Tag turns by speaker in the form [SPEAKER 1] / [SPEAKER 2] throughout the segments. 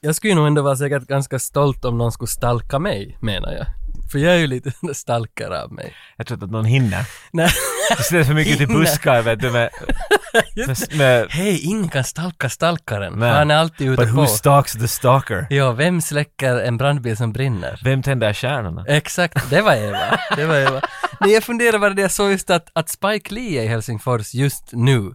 [SPEAKER 1] jag skulle nog ändå vara säkert ganska stolt om någon skulle stalka mig, menar jag. För jag är ju lite stalkare av mig.
[SPEAKER 2] Jag tror inte att någon hinner.
[SPEAKER 1] Nej.
[SPEAKER 2] Det sitter för mycket till
[SPEAKER 1] Hinner.
[SPEAKER 2] buskar vet du med...
[SPEAKER 1] Just
[SPEAKER 2] med, med
[SPEAKER 1] Hej, ingen kan stalka stalkaren.
[SPEAKER 2] Nej.
[SPEAKER 1] Han är alltid ute
[SPEAKER 2] but
[SPEAKER 1] på.
[SPEAKER 2] who stalks the stalker?
[SPEAKER 1] Ja, vem släcker en brandbil som brinner?
[SPEAKER 2] Vem tänder stjärnorna?
[SPEAKER 1] Exakt, det var Eva. Det var Eva. Nej, jag funderar på det jag såg just att, att Spike Lee är i Helsingfors just nu.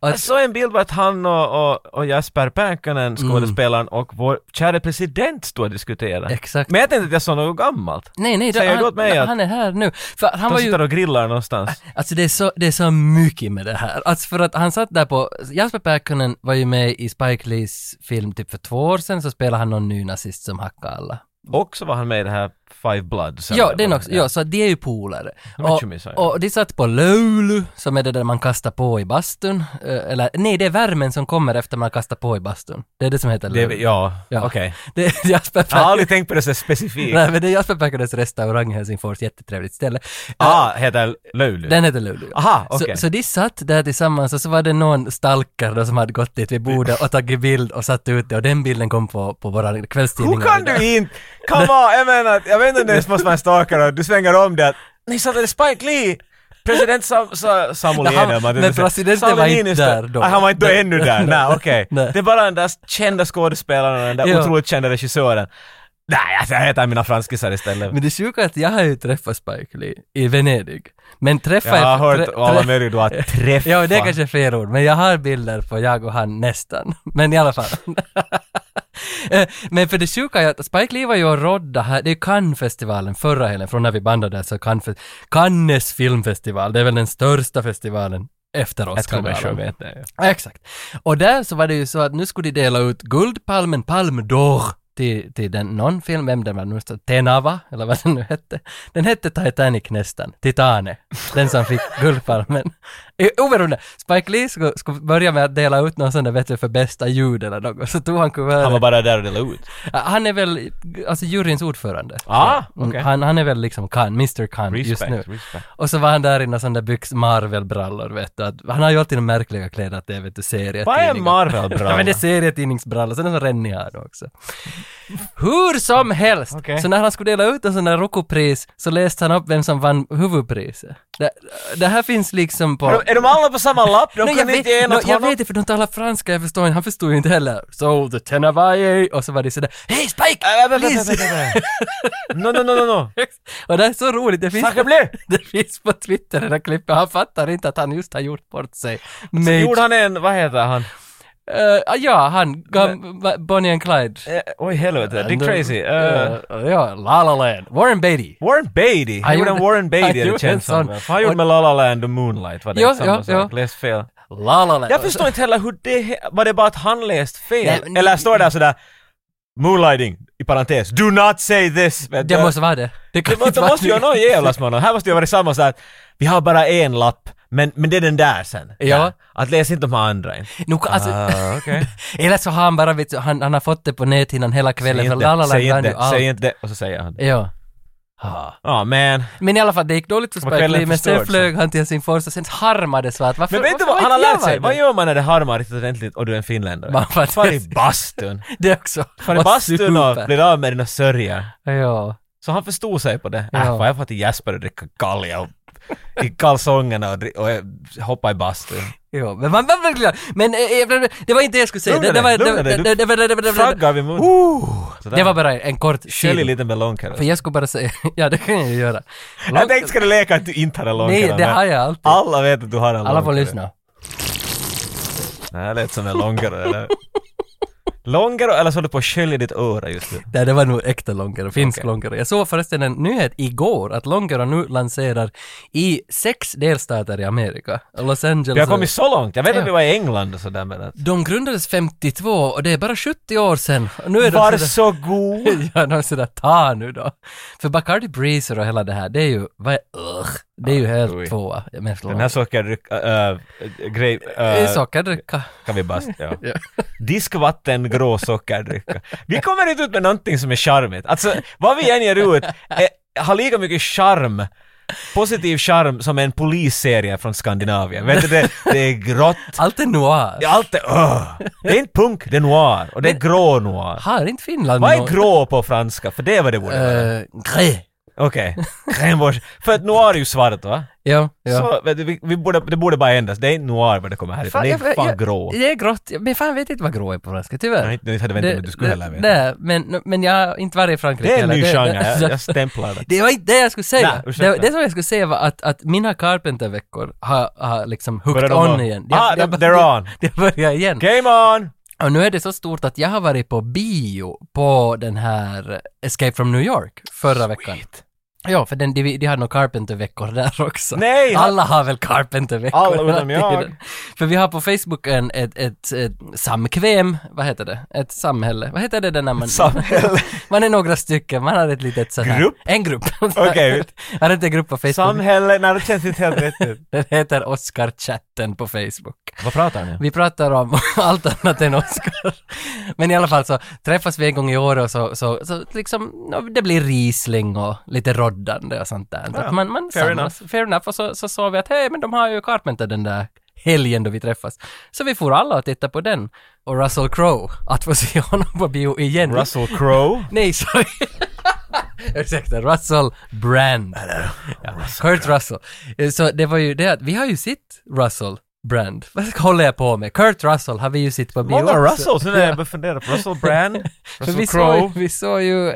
[SPEAKER 2] Jag såg en bild på att han och, och, och Jasper Pärkkönen,
[SPEAKER 1] Mm.
[SPEAKER 2] skådespelaren, och vår kära president stod och diskuterade.
[SPEAKER 1] Exakt.
[SPEAKER 2] Men jag tänkte att jag såg något gammalt.
[SPEAKER 1] Nej, nej, det,
[SPEAKER 2] Säger du åt
[SPEAKER 1] han,
[SPEAKER 2] mig att-
[SPEAKER 1] han är här nu. För han
[SPEAKER 2] De
[SPEAKER 1] var ju...
[SPEAKER 2] sitter och grillar någonstans.
[SPEAKER 1] Alltså det är, så, det är så mycket med det här. Alltså för att han satt där på, Jasper Pärkkönen var ju med i Spike Lees film typ för två år sedan, så spelade han någon ny nazist som hackade alla.
[SPEAKER 2] Och så var han med i det här Five Bloods.
[SPEAKER 1] Ja, den också. Ja, så det är ju polare.
[SPEAKER 2] De är
[SPEAKER 1] Och,
[SPEAKER 2] tjommisar, ja.
[SPEAKER 1] och de satt på Lulu, som är det där man kastar på i bastun. Eh, Eller nej, det är värmen som kommer efter man kastar på i bastun. Det är det som heter
[SPEAKER 2] Det,
[SPEAKER 1] Lulu.
[SPEAKER 2] ja,
[SPEAKER 1] Ja.
[SPEAKER 2] okej.
[SPEAKER 1] Det är Jasper
[SPEAKER 2] Jag har
[SPEAKER 1] Pärkkönen.
[SPEAKER 2] aldrig tänkt på det så specifikt.
[SPEAKER 1] Nej, men det är Jasper Pärkkönens restaurang i Helsingfors, jättetrevligt ställe.
[SPEAKER 2] Ah, heter Lulu.
[SPEAKER 1] Den heter Luleå.
[SPEAKER 2] Aha, okej.
[SPEAKER 1] så, så de satt där tillsammans och så var det någon stalkare då som hade gått dit vid bordet och tagit bild och satt ut det och den bilden kom på, på våra
[SPEAKER 2] Hur
[SPEAKER 1] kvällstidningar.
[SPEAKER 2] kan du inte? Come on, jag menar, att- jag vet inte om det ens måste vara en stalker och du svänger om det att ni sa att det är Spike Lee! President Sam, Sa, Samuel
[SPEAKER 1] Nej, han-
[SPEAKER 2] Ehnman,
[SPEAKER 1] men
[SPEAKER 2] det vill säga.
[SPEAKER 1] presidenten
[SPEAKER 2] Sauli
[SPEAKER 1] var inte
[SPEAKER 2] Niinistö.
[SPEAKER 1] där då.
[SPEAKER 2] Ah, han var inte då
[SPEAKER 1] Nej,
[SPEAKER 2] ännu
[SPEAKER 1] nej,
[SPEAKER 2] där.
[SPEAKER 1] nej.
[SPEAKER 2] Nej, okej.
[SPEAKER 1] Nej.
[SPEAKER 2] Det är bara den där kända skådespelaren och den där
[SPEAKER 1] Ja.
[SPEAKER 2] otroligt kända regissören. Nej, alltså, jag heter mina franskisar istället.
[SPEAKER 1] Men det sjuka är att jag har ju träffat Spike Lee i Venedig. Men träffa...
[SPEAKER 2] Jag har
[SPEAKER 1] trä-
[SPEAKER 2] hört
[SPEAKER 1] trä-
[SPEAKER 2] alla möjliga du har träffat.
[SPEAKER 1] Ja, det är kanske är fel ord, men jag har bilder på jag och han nästan. Men i alla fall. Eh, men för det sjuka är att Spike Lee var ju och rodda här, det är ju Cannes-festivalen förra helgen, från när vi bandade där så Cannes, Cannes filmfestival, det är väl den största festivalen efter
[SPEAKER 2] Jag tror människor
[SPEAKER 1] Oscarsgalan.
[SPEAKER 2] vet det. ja.
[SPEAKER 1] Exakt. Och där så var det ju så att nu skulle de dela ut Guldpalmen, Palme d'Or, till, till den, någon film, vem den var nu, så- Tenava, eller vad den nu hette. Den hette Titanic nästan, Titane, den som fick Guldpalmen. Eh, Oberoende, Spike Lee skulle, skulle börja med att dela ut någon sån där, vet du, för bästa ljud eller något, så tog han
[SPEAKER 2] Han var
[SPEAKER 1] kuvertet.
[SPEAKER 2] bara där och delade ut.
[SPEAKER 1] Han är väl, alltså juryns ordförande.
[SPEAKER 2] Ah,
[SPEAKER 1] Mm,
[SPEAKER 2] okej.
[SPEAKER 1] han, han är väl liksom Khan, Mr Khan just nu.
[SPEAKER 2] Respect, respect.
[SPEAKER 1] Och så var han där i några sådana där byx, Marvel-brallor vet du. Att, han har ju alltid de märkliga kläder att det är vet du serietidningar.
[SPEAKER 2] Vad är Marvel-brallor?
[SPEAKER 1] ja men det är serietidningsbrallor, sen är det så rännig här också. Hur som helst!
[SPEAKER 2] Okej.
[SPEAKER 1] Så när han skulle dela ut en sån där Rokopris så läste han upp vem som vann huvudpriset. Det, det här finns liksom på...
[SPEAKER 2] Är de- Är de alla på samma lapp? De
[SPEAKER 1] Nej, jag,
[SPEAKER 2] kunde
[SPEAKER 1] vet,
[SPEAKER 2] inte ge en
[SPEAKER 1] nå,
[SPEAKER 2] åt
[SPEAKER 1] jag
[SPEAKER 2] honom?
[SPEAKER 1] vet inte för de talar franska, jag förstår inte, han förstod ju inte heller. So the Tenavaye, och så var det sådär Hej Spike!
[SPEAKER 2] Äh, vänta,
[SPEAKER 1] please!"
[SPEAKER 2] vänta, vänta, vänta. No, no, no, no, no.
[SPEAKER 1] och det är så roligt, det finns...
[SPEAKER 2] Snacka blir!
[SPEAKER 1] Det finns på Twitter det där klippet, han fattar inte att han just har gjort bort sig. Men,
[SPEAKER 2] Gjorde han en, vad heter han?
[SPEAKER 1] Eh, ja, han, gam, va- Bonnie and Clyde.
[SPEAKER 2] Eh, oj helvete, Dick
[SPEAKER 1] Eh,
[SPEAKER 2] Tracy. eh,
[SPEAKER 1] eh, ja, La La Land. Warren Beatty.
[SPEAKER 2] Warren Beatty, han gjorde en Warren
[SPEAKER 1] han
[SPEAKER 2] Beatty, det
[SPEAKER 1] gjorde en
[SPEAKER 2] känns
[SPEAKER 1] sån.
[SPEAKER 2] som. För Han gjorde med La La Land och Moonlight, var det
[SPEAKER 1] Ja,
[SPEAKER 2] inte samma
[SPEAKER 1] ja,
[SPEAKER 2] sak?
[SPEAKER 1] ja.
[SPEAKER 2] Läst fel.
[SPEAKER 1] La La Land.
[SPEAKER 2] Jag förstår inte heller hur det, he- var det bara att han läst
[SPEAKER 1] Nej,
[SPEAKER 2] fel?
[SPEAKER 1] men-
[SPEAKER 2] Eller står det där sådär, Moonlighting, i parentes, do not say this! vet
[SPEAKER 1] Det
[SPEAKER 2] du.
[SPEAKER 1] måste vara det. Det kan
[SPEAKER 2] Det måste,
[SPEAKER 1] inte vara
[SPEAKER 2] måste ju
[SPEAKER 1] det.
[SPEAKER 2] någon jävlas med honom. Här måste ju vara samma så att vi har bara en lapp, men, men det är den där sen.
[SPEAKER 1] Ja.
[SPEAKER 2] Där. Att läs inte de andra. in.
[SPEAKER 1] Nu, kan- alltså,
[SPEAKER 2] Ah, okej.
[SPEAKER 1] Eller så har han bara, vet du, han, han har fått det på näthinnan hela kvällen,
[SPEAKER 2] Säg
[SPEAKER 1] för liksom La La Land
[SPEAKER 2] inte, säg
[SPEAKER 1] vann ju
[SPEAKER 2] inte,
[SPEAKER 1] allt.
[SPEAKER 2] säg inte. Och så säger han det.
[SPEAKER 1] Ja. Ah.
[SPEAKER 2] Ja, men.
[SPEAKER 1] Men i alla fall, det gick dåligt för
[SPEAKER 2] Var
[SPEAKER 1] Spike
[SPEAKER 2] kvällen
[SPEAKER 1] Lee, men sen
[SPEAKER 2] förstörd, så.
[SPEAKER 1] flög han till Helsingfors och sen harmades va? att Varför,
[SPEAKER 2] Men vet du
[SPEAKER 1] varför
[SPEAKER 2] vad, han har
[SPEAKER 1] var inte
[SPEAKER 2] lärt sig.
[SPEAKER 1] jag
[SPEAKER 2] Vad
[SPEAKER 1] där?
[SPEAKER 2] gör man när det harmar riktigt ordentligt och du är en finländare?
[SPEAKER 1] Man får-
[SPEAKER 2] Far i bastun.
[SPEAKER 1] Det också.
[SPEAKER 2] Far i
[SPEAKER 1] Vad
[SPEAKER 2] bastun och
[SPEAKER 1] super.
[SPEAKER 2] blir av med dina sörjor.
[SPEAKER 1] Ja.
[SPEAKER 2] Så han förstod sig på det.
[SPEAKER 1] Ja.
[SPEAKER 2] Äh, fan, jag får till Jasper och dricka kalja och i kalsongerna och, dri- och eh, hoppa i bastun.
[SPEAKER 1] Jo, men man var verkligen... Men eh, eh, det var inte det jag skulle säga.
[SPEAKER 2] Lugna
[SPEAKER 1] Det, det, var,
[SPEAKER 2] dig,
[SPEAKER 1] det,
[SPEAKER 2] lugna
[SPEAKER 1] det,
[SPEAKER 2] dig.
[SPEAKER 1] det, det, det, det, det, det,
[SPEAKER 2] Fraggar vid munnen. Uh,
[SPEAKER 1] det var bara en kort
[SPEAKER 2] Skölj
[SPEAKER 1] sida.
[SPEAKER 2] lite med långkärra.
[SPEAKER 1] För jag skulle bara säga... Ja, det kan jag ju göra.
[SPEAKER 2] Jag tänkte ska du leka att du inte hade långkärra.
[SPEAKER 1] Nej, det
[SPEAKER 2] men
[SPEAKER 1] har jag alltid.
[SPEAKER 2] Alla vet att du har en långkärra.
[SPEAKER 1] Alla får lyssna.
[SPEAKER 2] Nej, det lät som en långkärra. eller? Långkärra eller så håller du på att skölja ditt öra just nu.
[SPEAKER 1] Nej, det var nog äkta Långero, finsk
[SPEAKER 2] Okej.
[SPEAKER 1] Långero. Jag såg förresten en nyhet igår att Långero nu lanserar i sex delstater i Amerika. Los Angeles...
[SPEAKER 2] Vi har kommit så långt. Jag vet
[SPEAKER 1] Ja.
[SPEAKER 2] att vi var i England och sådär men att...
[SPEAKER 1] De grundades 52 och det är bara 70 år sedan. Och Nu är de
[SPEAKER 2] Var
[SPEAKER 1] sådär-
[SPEAKER 2] så god!
[SPEAKER 1] ja, de är sådär ta nu då. För Bacardi Breezer och hela det här, det är ju, vad är, ugh, det är ju helt
[SPEAKER 2] oj.
[SPEAKER 1] tvåa. Jag menar,
[SPEAKER 2] Den här sockerdryck... Äh, äh, grej...
[SPEAKER 1] Det är
[SPEAKER 2] Äh,
[SPEAKER 1] sockerdricka.
[SPEAKER 2] kan vi bara... Ja.
[SPEAKER 1] Ja.
[SPEAKER 2] Diskvatten, grå sockerdrycka. Vi kommer eh, inte ut med någonting som är charmigt. Alltså, vad vi än ger ut är, har lika mycket charm positiv charm som en polisserie från Skandinavien. Vet du, det, det är grått.
[SPEAKER 1] Allt är noir.
[SPEAKER 2] det är Allt är... öh. Det är inte punk, det är noir. Och det är grå noir.
[SPEAKER 1] Har inte Finland
[SPEAKER 2] Vad är
[SPEAKER 1] någon-
[SPEAKER 2] grå på franska? För det är vad det borde vara.
[SPEAKER 1] Eh, grä.
[SPEAKER 2] Okej. Crème För att noir är ju svart va?
[SPEAKER 1] Ja, ja.
[SPEAKER 2] Så, vet du, vi, vi borde, det borde bara ändras. Det är inte noir vad det kommer härifrån. Det är
[SPEAKER 1] jag-
[SPEAKER 2] fan
[SPEAKER 1] jag-
[SPEAKER 2] grå.
[SPEAKER 1] Det är grått. Men fan vet inte vad grå är på franska, tyvärr.
[SPEAKER 2] Jag hade väntat mig att du skulle heller veta.
[SPEAKER 1] Nej, men, men jag har inte varit i Frankrike
[SPEAKER 2] Det är en ny
[SPEAKER 1] heller. alltså,
[SPEAKER 2] genre, jag, jag stämplar det.
[SPEAKER 1] Det var inte det jag skulle
[SPEAKER 2] Nej,
[SPEAKER 1] säga.
[SPEAKER 2] ursäkta.
[SPEAKER 1] det, det som jag skulle säga var att, att mina Carpenter-veckor har, har liksom
[SPEAKER 2] Börjar
[SPEAKER 1] hooked
[SPEAKER 2] de
[SPEAKER 1] on
[SPEAKER 2] vara-
[SPEAKER 1] igen.
[SPEAKER 2] Ah,
[SPEAKER 1] jag,
[SPEAKER 2] de- they're on.
[SPEAKER 1] Det börjar igen.
[SPEAKER 2] Game on!
[SPEAKER 1] Och nu är det så stort att jag har varit på bio på den här Escape from New York förra veckan. Ja, för den, de, de hade nog Carpenter-veckor där också.
[SPEAKER 2] Nej, ha-
[SPEAKER 1] Alla har väl Carpenter-veckor?
[SPEAKER 2] Alla utom
[SPEAKER 1] hela
[SPEAKER 2] jag.
[SPEAKER 1] tiden. För vi har på Facebook en, ett, ett, ett samkväm, vad heter det? Ett samhälle. Vad heter det där när man...
[SPEAKER 2] Samhälle.
[SPEAKER 1] man är några stycken, man har ett litet sånt här...
[SPEAKER 2] Grupp?
[SPEAKER 1] En grupp.
[SPEAKER 2] Okej.
[SPEAKER 1] Jag har inte en grupp på Facebook.
[SPEAKER 2] Samhälle, nej det känns inte helt rätt ut.
[SPEAKER 1] den heter Oscar-chatten på Facebook.
[SPEAKER 2] Vad pratar ni om?
[SPEAKER 1] Vi pratar om allt annat än Oscar. Men i alla fall så träffas vi en gång i år och så, så, så liksom, ja, det blir risling och lite roddande och sånt där. Så att man, man
[SPEAKER 2] fair
[SPEAKER 1] samlas, fair enough. Och så, så sa vi att hej, men de har ju Carpenter den där helgen då vi träffas. Så vi får alla och titta på den. Och Russell Crowe, att få se honom på bio igen.
[SPEAKER 2] Russell Crowe?
[SPEAKER 1] Nej, sorry. Ursäkta, Russell Brand. Ja, Kurt Russell. Eh, Så det var ju det att vi har ju sett Russell Brand. Vad håller jag på med? Kurt Russell har vi ju sett på bio
[SPEAKER 2] Många
[SPEAKER 1] också.
[SPEAKER 2] Russells, nu när jag börjar fundera på Russell Brand,
[SPEAKER 1] För vi,
[SPEAKER 2] Russell
[SPEAKER 1] såg,
[SPEAKER 2] Crowe.
[SPEAKER 1] ju- vi såg ju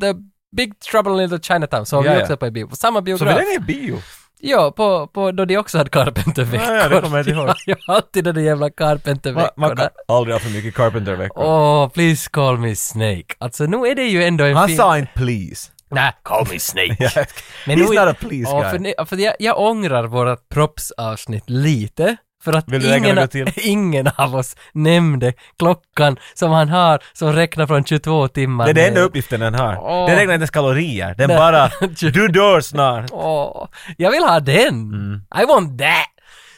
[SPEAKER 1] The Big Trouble in Little Chinatown, såg
[SPEAKER 2] Ja,
[SPEAKER 1] vi
[SPEAKER 2] ja.
[SPEAKER 1] också på bio. På samma
[SPEAKER 2] Så vi
[SPEAKER 1] biograf.
[SPEAKER 2] är i bio.
[SPEAKER 1] Ja, på, på, då de också hade Carpenter-veckor.
[SPEAKER 2] Ja, ja, det kommer jag inte ihåg.
[SPEAKER 1] Ja, alltid de där jävla
[SPEAKER 2] Man, man
[SPEAKER 1] Carpenter-veckorna.
[SPEAKER 2] kan aldrig ha för mycket Carpenter-veckor.
[SPEAKER 1] Åh, please call me Snake. Alltså nu är det ju ändå en
[SPEAKER 2] Han
[SPEAKER 1] fin-
[SPEAKER 2] sa inte please.
[SPEAKER 1] Nej, call me Snake.
[SPEAKER 2] He's
[SPEAKER 1] nu-
[SPEAKER 2] not a please
[SPEAKER 1] Ja,
[SPEAKER 2] guy.
[SPEAKER 1] för, ni- för jag, jag ångrar vårt proppsavsnitt lite. För att
[SPEAKER 2] Vill du lägga
[SPEAKER 1] ingen,
[SPEAKER 2] något
[SPEAKER 1] av-
[SPEAKER 2] till?
[SPEAKER 1] ingen av oss nämnde klockan som han har som räknar från 22 timmar.
[SPEAKER 2] Det är den enda
[SPEAKER 1] ner.
[SPEAKER 2] uppgiften den har.
[SPEAKER 1] Åh.
[SPEAKER 2] Den räknar inte ens kalorier. Den
[SPEAKER 1] Nej.
[SPEAKER 2] bara, du dör snart.
[SPEAKER 1] Åh, jag vill ha den!
[SPEAKER 2] Mm.
[SPEAKER 1] I want that!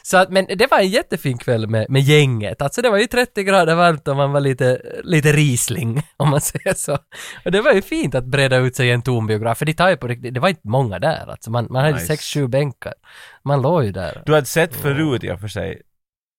[SPEAKER 1] Så att, men det var en jättefin kväll med, med gänget. Alltså det var ju 30 grader varmt och man var lite, lite risling, om man säger så. Och det var ju fint att breda ut sig i en tom biograf, för det tar ju på riktigt, det var inte många där alltså. Man, man hade
[SPEAKER 2] Nice.
[SPEAKER 1] sex, sju bänkar. Man låg ju där.
[SPEAKER 2] Du hade sett förut i och för sig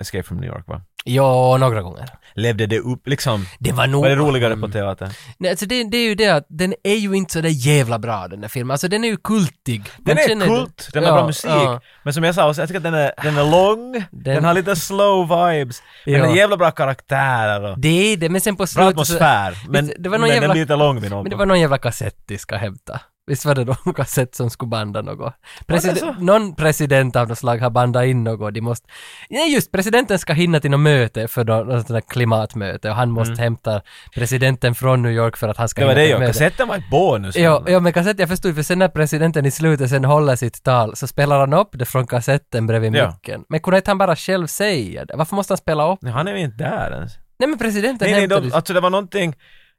[SPEAKER 2] Escape from New York va?
[SPEAKER 1] Ja, några gånger.
[SPEAKER 2] Levde det upp liksom?
[SPEAKER 1] Det var nog...
[SPEAKER 2] Var det roligare på teatern?
[SPEAKER 1] Nej, alltså det, det är ju det att den är ju inte så där jävla bra den där filmen. Alltså den är ju kultig.
[SPEAKER 2] Den
[SPEAKER 1] Man
[SPEAKER 2] är
[SPEAKER 1] känner-
[SPEAKER 2] kult, den har
[SPEAKER 1] Ja,
[SPEAKER 2] bra musik.
[SPEAKER 1] ja.
[SPEAKER 2] Men som jag sa, också, jag tycker att den är, den är lång, den, har lite slow vibes, den
[SPEAKER 1] Ja.
[SPEAKER 2] har jävla bra karaktärer och
[SPEAKER 1] Det är det, men sen på
[SPEAKER 2] bra
[SPEAKER 1] slutet... så-
[SPEAKER 2] atmosfär. Men,
[SPEAKER 1] visst, det var någon
[SPEAKER 2] men den
[SPEAKER 1] jävla-
[SPEAKER 2] blir lite lång vid någon
[SPEAKER 1] Men det
[SPEAKER 2] punkt.
[SPEAKER 1] var någon jävla kassett de ska hämta. Visst var det någon kassett som skulle banda något? Preside-
[SPEAKER 2] så?
[SPEAKER 1] någon president av något slag har bandat in något. De måste... Nej just, presidenten ska hinna till något möte för nå- något sånt där klimatmöte och han måste hämta presidenten från New York för att han ska
[SPEAKER 2] Mm. Det var
[SPEAKER 1] hinna
[SPEAKER 2] det
[SPEAKER 1] till ett möte.
[SPEAKER 2] ju, kassetten var ett bonus.
[SPEAKER 1] Ja, ja, men kassett, jag förstod för sen när presidenten i slutet sen håller sitt tal så spelar han upp det från kassetten bredvid
[SPEAKER 2] Ja.
[SPEAKER 1] micken. Men kunde inte han bara själv säga det? Varför måste han spela upp?
[SPEAKER 2] Nej, Han är ju inte där ens.
[SPEAKER 1] Nej men presidenten
[SPEAKER 2] Nej, nej,
[SPEAKER 1] hämtade
[SPEAKER 2] de,
[SPEAKER 1] ju-
[SPEAKER 2] alltså det var någonting...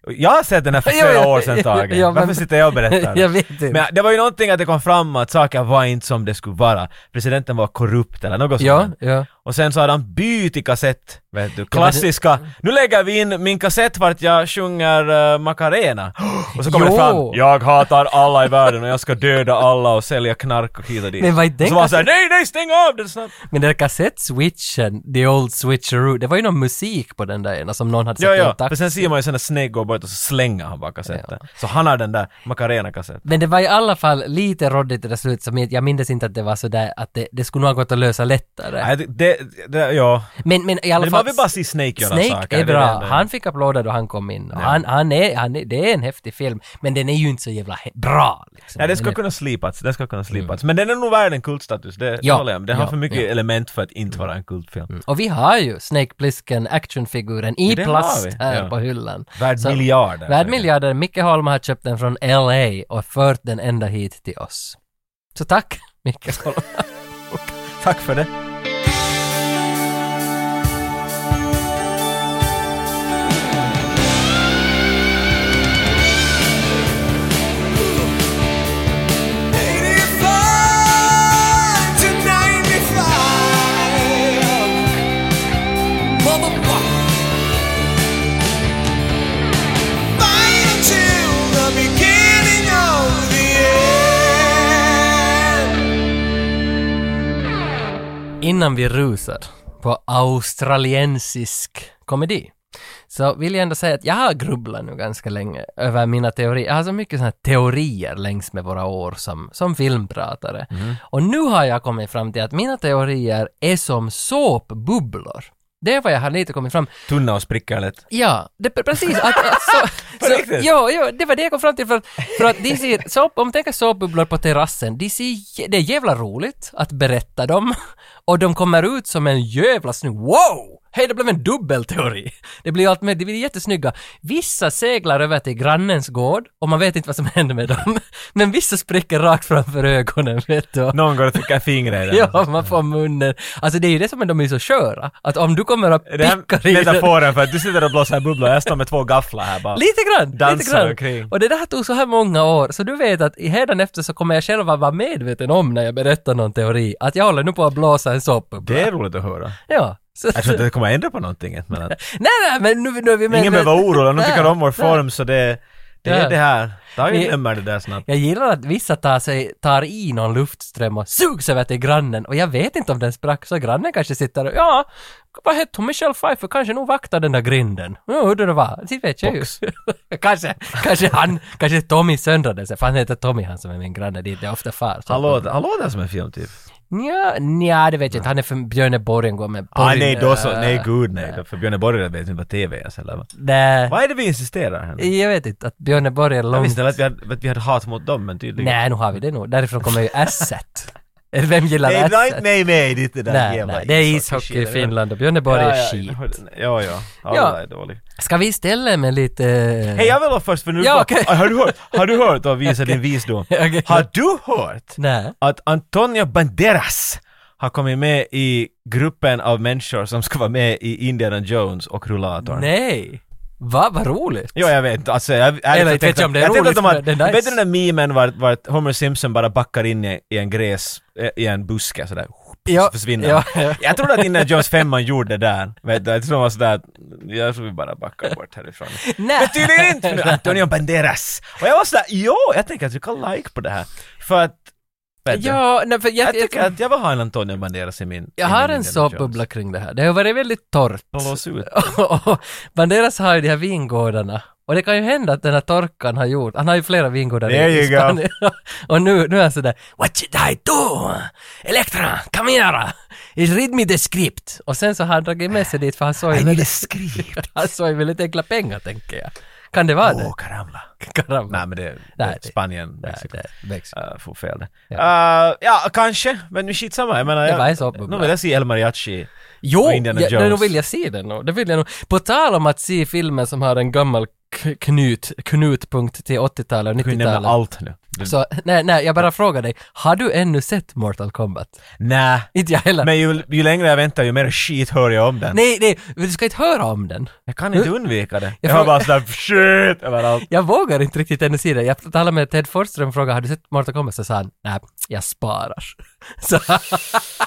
[SPEAKER 2] Jag har sett den här för
[SPEAKER 1] Ja,
[SPEAKER 2] flera
[SPEAKER 1] ja,
[SPEAKER 2] år sedan
[SPEAKER 1] ja,
[SPEAKER 2] Tage.
[SPEAKER 1] ja, men-
[SPEAKER 2] Varför sitter jag och berättar?
[SPEAKER 1] Jag vet inte.
[SPEAKER 2] Men det var ju någonting att det kom fram att saker var inte som det skulle vara. Presidenten var korrupt eller något
[SPEAKER 1] Ja,
[SPEAKER 2] sånt.
[SPEAKER 1] ja.
[SPEAKER 2] Och sen så hade han bytt i kassett, vet du, klassiska. Nu lägger vi in min kassett vart jag sjunger eh, Macarena. Och så kommer det
[SPEAKER 1] Jo.
[SPEAKER 2] fram, jag hatar alla i världen och jag ska döda alla och sälja knark och hit och dit.
[SPEAKER 1] Men vad är
[SPEAKER 2] och
[SPEAKER 1] den
[SPEAKER 2] så var han såhär, nej, nej, stäng av den snabbt!
[SPEAKER 1] Men den där kassettswitchen, the old switcheroo, det var ju någon musik på den där ena som någon hade satt
[SPEAKER 2] Ja,
[SPEAKER 1] i en
[SPEAKER 2] ja.
[SPEAKER 1] taxi.
[SPEAKER 2] För sen ser man ju sen när Snake går bort och så slänger han bara kassetten. Så han har den där Macarena-kassetten.
[SPEAKER 1] Men det var i alla fall lite råddigt i det slut, som jag, jag minns inte att det var sådär att det, det skulle nog ha gått att lösa lättare.
[SPEAKER 2] Nej, det, det, det, ja.
[SPEAKER 1] Men, men i alla
[SPEAKER 2] Men man
[SPEAKER 1] fall...
[SPEAKER 2] vill bara se Snake göra
[SPEAKER 1] Snake
[SPEAKER 2] saker.
[SPEAKER 1] är
[SPEAKER 2] det det
[SPEAKER 1] bra.
[SPEAKER 2] enda.
[SPEAKER 1] han fick applåder då han kom in. Och Han, han är, han är, det är en häftig film, men den är ju inte så jävla he- bra. Liksom.
[SPEAKER 2] Nej, det ska
[SPEAKER 1] Eller-
[SPEAKER 2] kunna slipats. Det ska kunna slipats. Men den är nog värd en kultstatus, det
[SPEAKER 1] Mm. Ja.
[SPEAKER 2] håller jag med. Den har
[SPEAKER 1] Ja,
[SPEAKER 2] för mycket
[SPEAKER 1] ja. Mm.
[SPEAKER 2] element för att inte vara en kultfilm.
[SPEAKER 1] Och vi har ju Snake Plissken, actionfiguren i
[SPEAKER 2] Det har
[SPEAKER 1] plast
[SPEAKER 2] vi,
[SPEAKER 1] här
[SPEAKER 2] ja.
[SPEAKER 1] på hyllan.
[SPEAKER 2] Värd
[SPEAKER 1] Så-
[SPEAKER 2] miljarder.
[SPEAKER 1] Värd miljarder. Micke Holm har köpt den från LA och fört den ända hit till oss. Så tack, Micke Holm.
[SPEAKER 2] Tack för det.
[SPEAKER 3] Beginning of the end.
[SPEAKER 1] innan vi rusar på australiensisk komedi så vill jag ändå säga att jag har grubblat nu ganska länge över mina teorier. Jag har så mycket såna här teorier längs med våra år som, som filmpratare. Och nu har jag kommit fram till att mina teorier är som såpbubblor. Det är vad jag har lite kommit fram
[SPEAKER 2] Tunna och sprickar lätt.
[SPEAKER 1] Ja, det, pre- precis. Att, att, så,
[SPEAKER 2] På
[SPEAKER 1] så,
[SPEAKER 2] riktigt?
[SPEAKER 1] jo, jo, det var det jag kom fram till. För, att- för att de ser, så, om tänker såpbubblor på terrassen, de ser, jä- det är jävla roligt att berätta dem och de kommer ut som en jävla snygg, wow! Hej, det blev en dubbelteori. Det blir allt med, de blir jättesnygga. Vissa seglar över till grannens gård och man vet inte vad som händer med dem. Men vissa spricker rakt framför ögonen, vet du.
[SPEAKER 2] Någon går och trycker fingrar i den.
[SPEAKER 1] Ja, man får munnen. Alltså det är ju det som är de är så sköra. Att om du kommer och
[SPEAKER 2] Är Det
[SPEAKER 1] pickar i
[SPEAKER 2] här
[SPEAKER 1] den
[SPEAKER 2] metaforen för att du sitter och blåser bubblor jag står med två gafflar här bara.
[SPEAKER 1] Lite grann! lite
[SPEAKER 2] Dansar
[SPEAKER 1] grann.
[SPEAKER 2] omkring.
[SPEAKER 1] Och det där tog så här många år, så du vet att i hädanefter så kommer jag själv att vara medveten om när jag berättar någon teori, att jag håller nu på att blåsa en såpbubbla.
[SPEAKER 2] Det är roligt att höra.
[SPEAKER 1] Ja. Så,
[SPEAKER 2] Jag tror inte det kommer ändra på någonting. Men att,
[SPEAKER 1] nej, nej, men nu, nu är vi med.
[SPEAKER 2] ingen behöver vara orolig, de
[SPEAKER 1] Nej,
[SPEAKER 2] tycker om vår
[SPEAKER 1] nej.
[SPEAKER 2] form så det, det
[SPEAKER 1] Ja.
[SPEAKER 2] är det här. Ta
[SPEAKER 1] Ni-
[SPEAKER 2] ju nummer det där snabbt.
[SPEAKER 1] Jag gillar att vissa tar, sig, tar i någon luftström och sugs över till grannen och jag vet inte om den sprack så grannen kanske sitter och ja, vad hette hon, Michelle Pfeiffer kanske nog vaktar den där grinden. Ja, hur det var, det vet jag ju. kanske, kanske han, kanske Tommy söndrade sig, för han heter Tommy han som är min granne dit, det är ofta far. Så-
[SPEAKER 2] Han låter, han låter som en film typ.
[SPEAKER 1] Nja, nja, det vet jag inte. Han är från Björne Borgengård med
[SPEAKER 2] Ah,
[SPEAKER 1] Borg-
[SPEAKER 2] nej, då så,
[SPEAKER 1] äh,
[SPEAKER 2] nej gud nej. Då, För Björn Borg vet inte vad TV är ens eller vad.
[SPEAKER 1] Nej,
[SPEAKER 2] Vad är det vi insisterar här? nu?
[SPEAKER 1] jag vet inte. Att Björne Borg är
[SPEAKER 2] Jag
[SPEAKER 1] långt...
[SPEAKER 2] visste inte att vi hade, att vi hade hat mot dem men tydligen.
[SPEAKER 1] Nej, nu har vi det nog. Därifrån kommer ju Asset. Eller Vem gillar
[SPEAKER 2] Nej, det är inte
[SPEAKER 1] Asset?
[SPEAKER 2] nej, nej, det är inte det där
[SPEAKER 1] Nej,
[SPEAKER 2] jävla
[SPEAKER 1] nej, det är ishockey i
[SPEAKER 2] ishockey-skiten.
[SPEAKER 1] Finland och Björne Borg är skit.
[SPEAKER 2] Ja, ja. Alla
[SPEAKER 1] Ja.
[SPEAKER 2] är dåliga.
[SPEAKER 1] Ska vi istället med lite... eh,
[SPEAKER 2] Hej, jag vill ha först för nu... Ah,
[SPEAKER 1] Ja, okej.
[SPEAKER 2] har, du hört, har du hört och visa din visdom?
[SPEAKER 1] Okej.
[SPEAKER 2] Har du hört
[SPEAKER 1] Nej.
[SPEAKER 2] att Antonio Banderas har kommit med i gruppen av människor som ska vara med i Indiana Jones och Rullatorn?
[SPEAKER 1] Nej. Va, vad roligt.
[SPEAKER 2] Jo, jag vet. Alltså, jag, jag,
[SPEAKER 1] Eller vet jag om det är roligt,
[SPEAKER 2] att de har,
[SPEAKER 1] men det är nice.
[SPEAKER 2] Vet du den där memen vart, vart Homer Simpson bara backar in i, i en gräs, eh, i en buske sådär?
[SPEAKER 1] Ja,
[SPEAKER 2] Så försvinner
[SPEAKER 1] ja,
[SPEAKER 2] han.
[SPEAKER 1] ja.
[SPEAKER 2] Jag trodde att innan Jones 5 gjorde det där. Vet du, jag tror de var sådär att, jag tror vi bara backar bort härifrån.
[SPEAKER 1] Nej.
[SPEAKER 2] Men tydligen inte! för nu är Antonio Banderas. Och jag var sådär, jo, jag tänker att du kan like på det här. För att, vet du,
[SPEAKER 1] Ja, nej, för jag,
[SPEAKER 2] jag
[SPEAKER 1] jag,
[SPEAKER 2] tycker att jag vill ha en Antonio Banderas i min...
[SPEAKER 1] jag
[SPEAKER 2] i
[SPEAKER 1] har en
[SPEAKER 2] min Indiana
[SPEAKER 1] såpbubbla
[SPEAKER 2] Jones.
[SPEAKER 1] kring det här. Det har varit väldigt torrt.
[SPEAKER 2] Blås ut.
[SPEAKER 1] Och Banderas har ju de här vingårdarna. Och det kan ju hända att den här torkan har gjort, han har ju flera vingårdar
[SPEAKER 2] There
[SPEAKER 1] i
[SPEAKER 2] you go.
[SPEAKER 1] Spanien. Och nu, nu är han sådär ”What should I do? Elektra, come here! Read me the script!” Och sen så har han dragit med sig dit för han såg
[SPEAKER 2] Men
[SPEAKER 1] ju,
[SPEAKER 2] det skriver...
[SPEAKER 1] han såg ju väldigt enkla pengar tänker jag. Kan det vara
[SPEAKER 2] Åh,
[SPEAKER 1] det?
[SPEAKER 2] karamba.
[SPEAKER 1] Karamba.
[SPEAKER 2] Nej, men det, det
[SPEAKER 1] Nej,
[SPEAKER 2] är
[SPEAKER 1] det-
[SPEAKER 2] Spanien,
[SPEAKER 1] Nej,
[SPEAKER 2] Mexiko.
[SPEAKER 1] det är Mexiko.
[SPEAKER 2] Uh, får fel det.
[SPEAKER 1] Ja.
[SPEAKER 2] Ja. ja, kanske. Men nu skitsamma. Jag menar,
[SPEAKER 1] Det var en
[SPEAKER 2] jag,
[SPEAKER 1] såpbubbla.
[SPEAKER 2] nu vill jag se El Mariachi.
[SPEAKER 1] Jo,
[SPEAKER 2] Och
[SPEAKER 1] ja,
[SPEAKER 2] Indiana
[SPEAKER 1] nej,
[SPEAKER 2] Jones.
[SPEAKER 1] då vill jag se den. nog. Det vill jag nog. På tal om att se filmer som har en gammal k- knut, knutpunkt till 80-talet och
[SPEAKER 2] Du nämna
[SPEAKER 1] 90-talet.
[SPEAKER 2] allt nu. Du,
[SPEAKER 1] Så, nej, nej, jag bara frågar dig, har du ännu sett Mortal Kombat?
[SPEAKER 2] nä.
[SPEAKER 1] Inte jag heller.
[SPEAKER 2] Men ju, ju längre jag väntar ju mer skit hör jag om den.
[SPEAKER 1] Nej, nej, du ska inte höra om den.
[SPEAKER 2] Jag kan inte undvika det. Jag,
[SPEAKER 1] Jag
[SPEAKER 2] hör
[SPEAKER 1] frågar-
[SPEAKER 2] bara sådär shit överallt.
[SPEAKER 1] Jag vågar inte riktigt ännu se den. Jag talade med Ted Forsström och frågade, har du sett Mortal Kombat? Så sa han, nej, jag sparar. Så,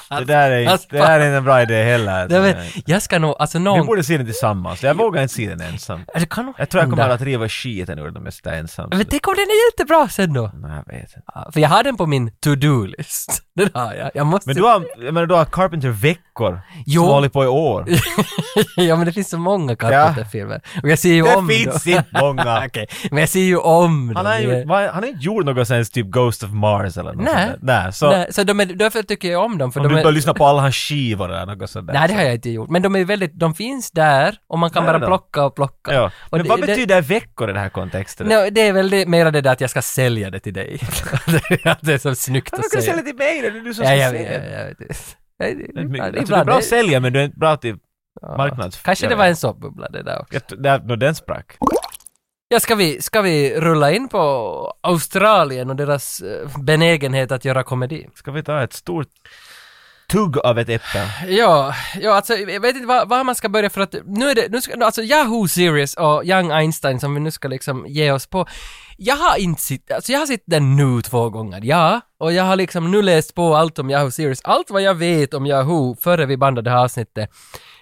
[SPEAKER 2] Det där är,
[SPEAKER 1] Alltså,
[SPEAKER 2] inte- det där är inte en bra idé heller.
[SPEAKER 1] jag, vet, jag ska nog, alltså
[SPEAKER 2] Vi
[SPEAKER 1] någon... Alltså,
[SPEAKER 2] borde se den tillsammans. Jag vågar inte se den ensam.
[SPEAKER 1] Det kan nog
[SPEAKER 2] Jag tror jag kommer
[SPEAKER 1] hända.
[SPEAKER 2] att riva skiten ur den om jag sitter ensam.
[SPEAKER 1] Men tänk om den är jättebra sen då?
[SPEAKER 2] Nej, jag vet inte.
[SPEAKER 1] Ja, För jag har den på min to-do-list. Den har jag. Jag måste...
[SPEAKER 2] Men du har, jag menar, du har Carpenter veckor.
[SPEAKER 1] Alltså- Jo.
[SPEAKER 2] Som har hållit på i år.
[SPEAKER 1] ja, men det finns så många Carpenter-filmer. Och jag ser ju om
[SPEAKER 2] Det
[SPEAKER 1] dem.
[SPEAKER 2] finns inte många.
[SPEAKER 1] Okej, men jag ser ju om
[SPEAKER 2] Han
[SPEAKER 1] dem.
[SPEAKER 2] har,
[SPEAKER 1] Jag-
[SPEAKER 2] gjort, vad- han har inte gjort något sen typ Ghost of Mars eller något
[SPEAKER 1] Nej.
[SPEAKER 2] sånt där. Nej. Så
[SPEAKER 1] Nej, så de är, därför tycker jag om dem. För
[SPEAKER 2] om
[SPEAKER 1] de
[SPEAKER 2] du
[SPEAKER 1] är,
[SPEAKER 2] bara lyssnar på alla hans skivor eller något sånt där.
[SPEAKER 1] nej, det har jag inte gjort. Men de är väldigt, de finns där och man kan
[SPEAKER 2] Nej,
[SPEAKER 1] bara
[SPEAKER 2] Alltså. då.
[SPEAKER 1] plocka och plocka.
[SPEAKER 2] Ja.
[SPEAKER 1] Och
[SPEAKER 2] Men
[SPEAKER 1] det-
[SPEAKER 2] vad
[SPEAKER 1] det-
[SPEAKER 2] betyder veckor i den här kontexten?
[SPEAKER 1] No, det är väl det, mera det där att jag ska sälja det till dig. Att det är så snyggt
[SPEAKER 2] Men
[SPEAKER 1] att
[SPEAKER 2] du kan
[SPEAKER 1] säga.
[SPEAKER 2] sälja till mig då, det är du som
[SPEAKER 1] ja,
[SPEAKER 2] ska
[SPEAKER 1] jag,
[SPEAKER 2] sälja.
[SPEAKER 1] jag, jag, jag,
[SPEAKER 2] Det är mycket-
[SPEAKER 1] ibland-
[SPEAKER 2] Jag tror du är bra att sälja men du är inte bra till...
[SPEAKER 1] ja.
[SPEAKER 2] marknads-
[SPEAKER 1] Kanske
[SPEAKER 2] jag
[SPEAKER 1] det
[SPEAKER 2] vet.
[SPEAKER 1] var en såpbubbla det där också.
[SPEAKER 2] Jag tror- där- Nå, den sprack.
[SPEAKER 1] Ja, ska vi, ska vi rulla in på Australien och deras eh, benägenhet att göra komedi?
[SPEAKER 2] Ska vi ta ett stort tugg av ett äpple?
[SPEAKER 1] Ja, ja alltså jag vet inte var, var man ska börja för att nu är det, nu ska, alltså Yahoo Series och Young Einstein som vi nu ska liksom ge oss på. Jag har inte sett, alltså jag har sett den nu två gånger, ja. Och jag har liksom nu läst på allt om Yahoo Series. Allt vad jag vet om Yahoo före vi bandade det här avsnittet,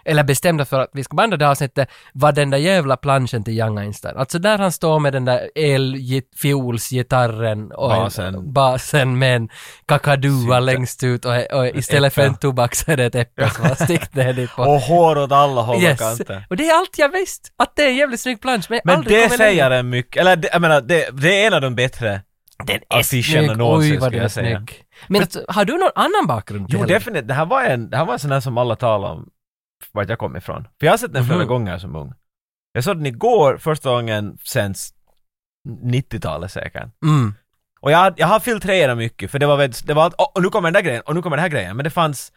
[SPEAKER 1] eller bestämde för att vi ska banda det här avsnittet, var den där jävla planschen till Young Einstein. Alltså där han står med den där elfiolsgitarren och
[SPEAKER 2] Basen.
[SPEAKER 1] basen med en kakadua
[SPEAKER 2] Synte.
[SPEAKER 1] längst ut och, och istället för en tobak så är det ett äpple som har stickt ner dit på.
[SPEAKER 2] Och hår åt alla håll och kanter.
[SPEAKER 1] Och det är allt jag visst, att det är en jävligt snygg plansch, men, jag
[SPEAKER 2] Men
[SPEAKER 1] aldrig
[SPEAKER 2] det
[SPEAKER 1] kommer
[SPEAKER 2] säger
[SPEAKER 1] längre.
[SPEAKER 2] en mycket, eller det, jag menar, det, det är en av de bättre.
[SPEAKER 1] Den är
[SPEAKER 2] affischen
[SPEAKER 1] snygg,
[SPEAKER 2] annonsen,
[SPEAKER 1] oj vad
[SPEAKER 2] skulle
[SPEAKER 1] den är
[SPEAKER 2] jag säga.
[SPEAKER 1] snygg. Men alltså, har du någon annan bakgrund?
[SPEAKER 2] Jo,
[SPEAKER 1] till-
[SPEAKER 2] definitivt. Det här var en, det här var en sån här som alla talar om, vart jag kom ifrån. För jag har sett den flera
[SPEAKER 1] Mhm.
[SPEAKER 2] gånger som ung. Jag såg den igår första gången sen 90-talet säkert.
[SPEAKER 1] Mm.
[SPEAKER 2] Och jag, hade- jag har filtrerat mycket, för det var väldigt, det var att, "Åh, och nu kommer den där grejen, och nu kommer den här grejen, men det fanns,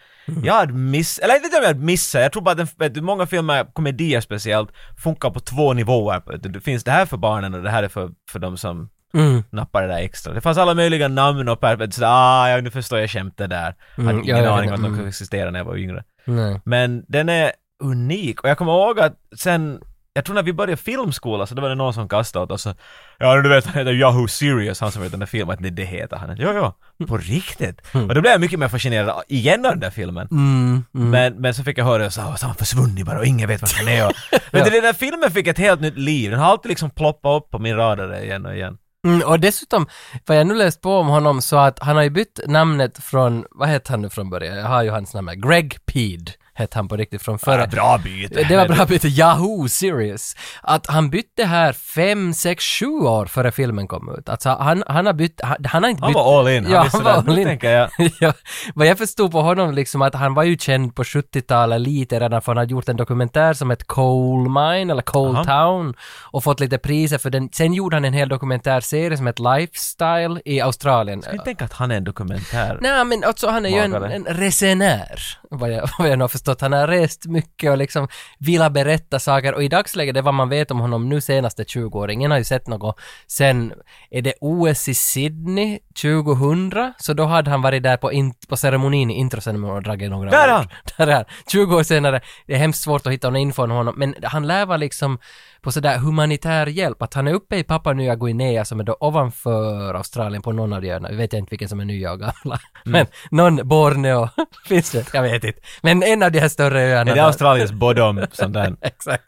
[SPEAKER 2] jag hade miss, eller jag vet inte om jag hade missat, jag tror bara att den, vet du, många filmer, komedier speciellt, funkar på två nivåer. Vet du, Det finns det här för barnen och det här är för, för de som
[SPEAKER 1] Mm.
[SPEAKER 2] nappar det där extra. Det fanns alla möjliga namn och per, vet du, sådär, ah, ja, nu förstår jag skämtet där. Jag hade
[SPEAKER 1] Mm,
[SPEAKER 2] ingen
[SPEAKER 1] ja, ja,
[SPEAKER 2] aning
[SPEAKER 1] ja,
[SPEAKER 2] om att de
[SPEAKER 1] mm.
[SPEAKER 2] kunde existera när jag var yngre.
[SPEAKER 1] Nej.
[SPEAKER 2] Men den är unik och jag kommer ihåg att sen jag tror när vi började filmskola så då var det någon som kastade åt oss så, Ja du vet han heter Yahoo Serious, han som vet den där filmen, att det, det heter han. Jo, jo, på riktigt.
[SPEAKER 1] Mm.
[SPEAKER 2] Och då blev jag mycket mer fascinerad igen av den där filmen.
[SPEAKER 1] Mm. Mm.
[SPEAKER 2] Men, men så fick jag höra det så här, "Så han har försvunnit bara och ingen vet vart han är. Och, men den där filmen fick ett helt nytt liv, den har alltid liksom ploppat upp på min radar igen och igen.
[SPEAKER 1] Mm, och dessutom, vad jag nu läst på om honom så att han har ju bytt namnet från, vad hette han nu från början? Jag har ju hans namn här. Greg Peed hette han på riktigt från förra.
[SPEAKER 2] Ja, Ah, bra byte.
[SPEAKER 1] Det var bra byte, Yahoo Serious. Att han bytte här fem, sex, sju år före filmen kom ut. Alltså han, han har bytt, han, han har inte
[SPEAKER 2] Han
[SPEAKER 1] bytt...
[SPEAKER 2] var all in, han,
[SPEAKER 1] Ja,
[SPEAKER 2] visste
[SPEAKER 1] han var
[SPEAKER 2] det. Nu
[SPEAKER 1] all in.
[SPEAKER 2] tänker jag,
[SPEAKER 1] ja, vad jag förstod på honom liksom att han var ju känd på 70-talet lite redan för han hade gjort en dokumentär som hette Coal Mine eller Coal
[SPEAKER 2] Aha.
[SPEAKER 1] Town och fått lite priser för den. Sen gjorde han en hel dokumentärserie som hette Lifestyle i Australien.
[SPEAKER 2] jag tänker att han är en dokumentär.
[SPEAKER 1] Nej men alltså han är ju en,
[SPEAKER 2] Magare.
[SPEAKER 1] en resenär, vad jag, vad jag nu har förstått. Han har rest mycket och liksom vill berätta saker och i dagsläget, det är vad man vet om honom nu senaste 20 år, ingen har ju sett något. Sen är det OS i Sydney 2000, så då hade han varit där på, in, på ceremonin, i introceremonin och dragit några
[SPEAKER 2] Där är
[SPEAKER 1] ord.
[SPEAKER 2] han!
[SPEAKER 1] Där är han! 20 år senare, det är hemskt svårt att hitta någon info om honom, men han lär vara liksom på sådär humanitär hjälp, att han är uppe i Papua Nya Guinea som är då ovanför Australien på någon av de öarna, vi vet inte vilken som är nya och
[SPEAKER 2] Mm.
[SPEAKER 1] gamla, men någon Borneo, finns det? Jag vet inte. Men en av de här större öarna.
[SPEAKER 2] Är det Australiens Bodom, sån där
[SPEAKER 1] Exakt.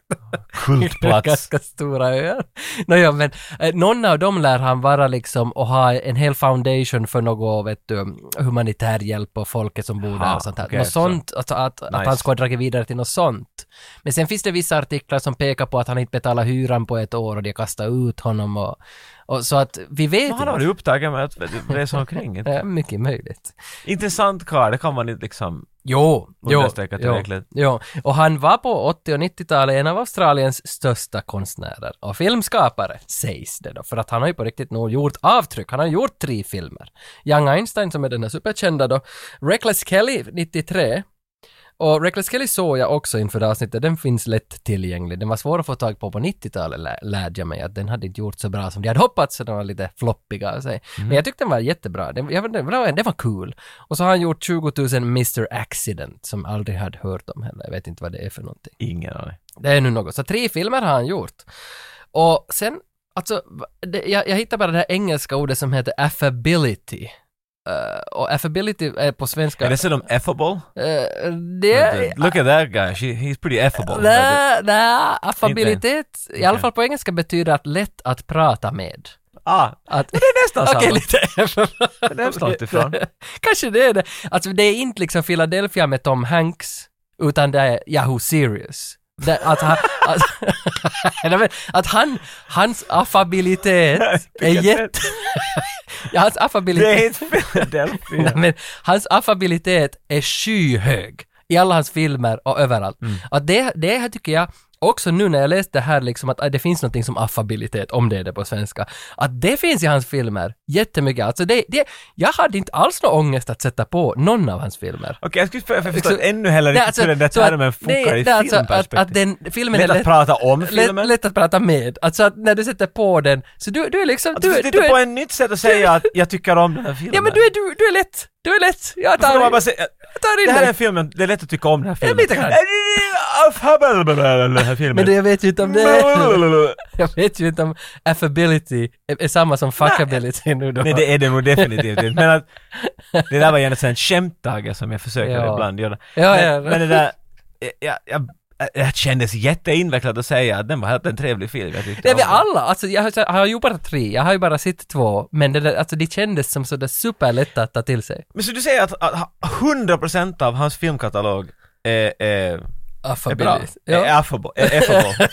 [SPEAKER 2] kultplats?
[SPEAKER 1] Ganska stora öar. Nåja, men eh, någon av dem lär han vara liksom och ha en hel foundation för något, vet du, humanitär hjälp och folket som bor där
[SPEAKER 2] Jaha,
[SPEAKER 1] och sånt här.
[SPEAKER 2] okej,
[SPEAKER 1] något
[SPEAKER 2] så.
[SPEAKER 1] sånt, alltså att, att
[SPEAKER 2] Nice.
[SPEAKER 1] han ska ha dragit vidare till något sånt. Men sen finns det vissa artiklar som pekar på att han inte betalar hyran på ett år och de kastar ut honom och, och så att vi vet
[SPEAKER 2] Men han har varit upptagen med att resa omkring. inte?
[SPEAKER 1] Eh, Mycket möjligt.
[SPEAKER 2] Intressant karl, det kan man inte liksom
[SPEAKER 1] Jo, jo,
[SPEAKER 2] understryka
[SPEAKER 1] jo.
[SPEAKER 2] tillräckligt.
[SPEAKER 1] Ja, och han var på 80 och 90-talet en av Australiens största konstnärer och filmskapare, sägs det då, för att han har ju på riktigt nog gjort avtryck. Han har gjort tre filmer. Young Einstein som är den här superkända då, Reckless Kelly 93, och Reckless Kelly såg jag också inför det här avsnittet, den finns lätt tillgänglig. Den var svår att få tag på på 90-talet lä- lärde jag mig att den hade inte gjort så bra som de hade hoppats, så den var lite floppiga av sig. Men jag tyckte den var jättebra, den, jag, vet inte, det, var, det var kul. Och så har han gjort 20 000 Mr Accident som aldrig hade hört om heller, jag vet inte vad det är för någonting.
[SPEAKER 2] Ingen aning.
[SPEAKER 1] Det är nu något. Så tre filmer har han gjort. Och sen, alltså, va- det, jag, jag hittar bara det här engelska ordet som heter affability. Eh, och affability är på svenska...
[SPEAKER 2] Är det så de effable?
[SPEAKER 1] eh, det,
[SPEAKER 2] Look at that guy, She, he's pretty effable.
[SPEAKER 1] Nej, nej, affabilitet, i alla fall på engelska betyder att lätt att prata med.
[SPEAKER 2] Ah,
[SPEAKER 1] Att,
[SPEAKER 2] det är nästan
[SPEAKER 1] Okej,
[SPEAKER 2] samma.
[SPEAKER 1] lite
[SPEAKER 2] Det är hemskt långt ifrån.
[SPEAKER 1] Kanske det är det. Alltså det är inte liksom Philadelphia med Tom Hanks, utan det är Yahoo Serious. Det, att, han, att, Nej, men, att han, hans affabilitet är jätte... Ja, hans affabilitet...
[SPEAKER 2] Det är inte Philadelphia.
[SPEAKER 1] Nej, men hans affabilitet är skyhög i alla hans filmer och överallt.
[SPEAKER 2] Mm.
[SPEAKER 1] Och det, det här tycker jag, också nu när jag läste det här liksom att ah, det finns någonting som affabilitet, om det är det på svenska, att det finns i hans filmer jättemycket. Alltså det, det, jag hade inte alls någon ångest att sätta på någon av hans filmer.
[SPEAKER 2] Okej, jag skulle för, för förstå
[SPEAKER 1] Så-
[SPEAKER 2] ännu heller
[SPEAKER 1] Nej, alltså,
[SPEAKER 2] riktigt hur den där
[SPEAKER 1] så att-
[SPEAKER 2] termen
[SPEAKER 1] nej,
[SPEAKER 2] funkar i
[SPEAKER 1] det är alltså att, att
[SPEAKER 2] filmperspektiv.
[SPEAKER 1] den filmen
[SPEAKER 2] Lätt
[SPEAKER 1] är
[SPEAKER 2] att
[SPEAKER 1] lätt,
[SPEAKER 2] prata om
[SPEAKER 1] lätt,
[SPEAKER 2] filmen.
[SPEAKER 1] lätt att prata med. Alltså att när du sätter på den, så du, du är liksom...
[SPEAKER 2] Att Alltså, du
[SPEAKER 1] är-
[SPEAKER 2] tittar
[SPEAKER 1] är-
[SPEAKER 2] på ett nytt sätt att säga att jag tycker om den här filmen.
[SPEAKER 1] Ja men du är, du, du är lätt. Det var lätt. Jag
[SPEAKER 2] Får man
[SPEAKER 1] tar,
[SPEAKER 2] Alltså, bara säga-
[SPEAKER 1] jag tar in
[SPEAKER 2] Det här är
[SPEAKER 1] den.
[SPEAKER 2] en film, jag- det är lätt att tycka om den här filmen.
[SPEAKER 1] lite grann.
[SPEAKER 2] Den här filmen.
[SPEAKER 1] Men det, jag vet ju inte om det är... Jag vet ju inte om affability är, är samma som fuckability nu då.
[SPEAKER 2] Nej det är det nog definitivt inte. Men att det där var ju en sån skämtdagar som jag försöker
[SPEAKER 1] Ja.
[SPEAKER 2] ibland göra.
[SPEAKER 1] ja,
[SPEAKER 2] Men,
[SPEAKER 1] ja.
[SPEAKER 2] men det där, jag, jag, jag kändes jätteinvecklat att säga att den var helt en trevlig film. Jag tyckte
[SPEAKER 1] Det är
[SPEAKER 2] om
[SPEAKER 1] vi
[SPEAKER 2] den.
[SPEAKER 1] alla, alltså jag har- jag har ju bara tre, jag har ju bara sett två, men det, där, alltså, det kändes som sådär superlätta att ta till sig.
[SPEAKER 2] Men så du säger att, att 100% av hans filmkatalog är, är, är bra?
[SPEAKER 1] Affability.
[SPEAKER 2] Är
[SPEAKER 1] Ja.
[SPEAKER 2] affable? Är affable.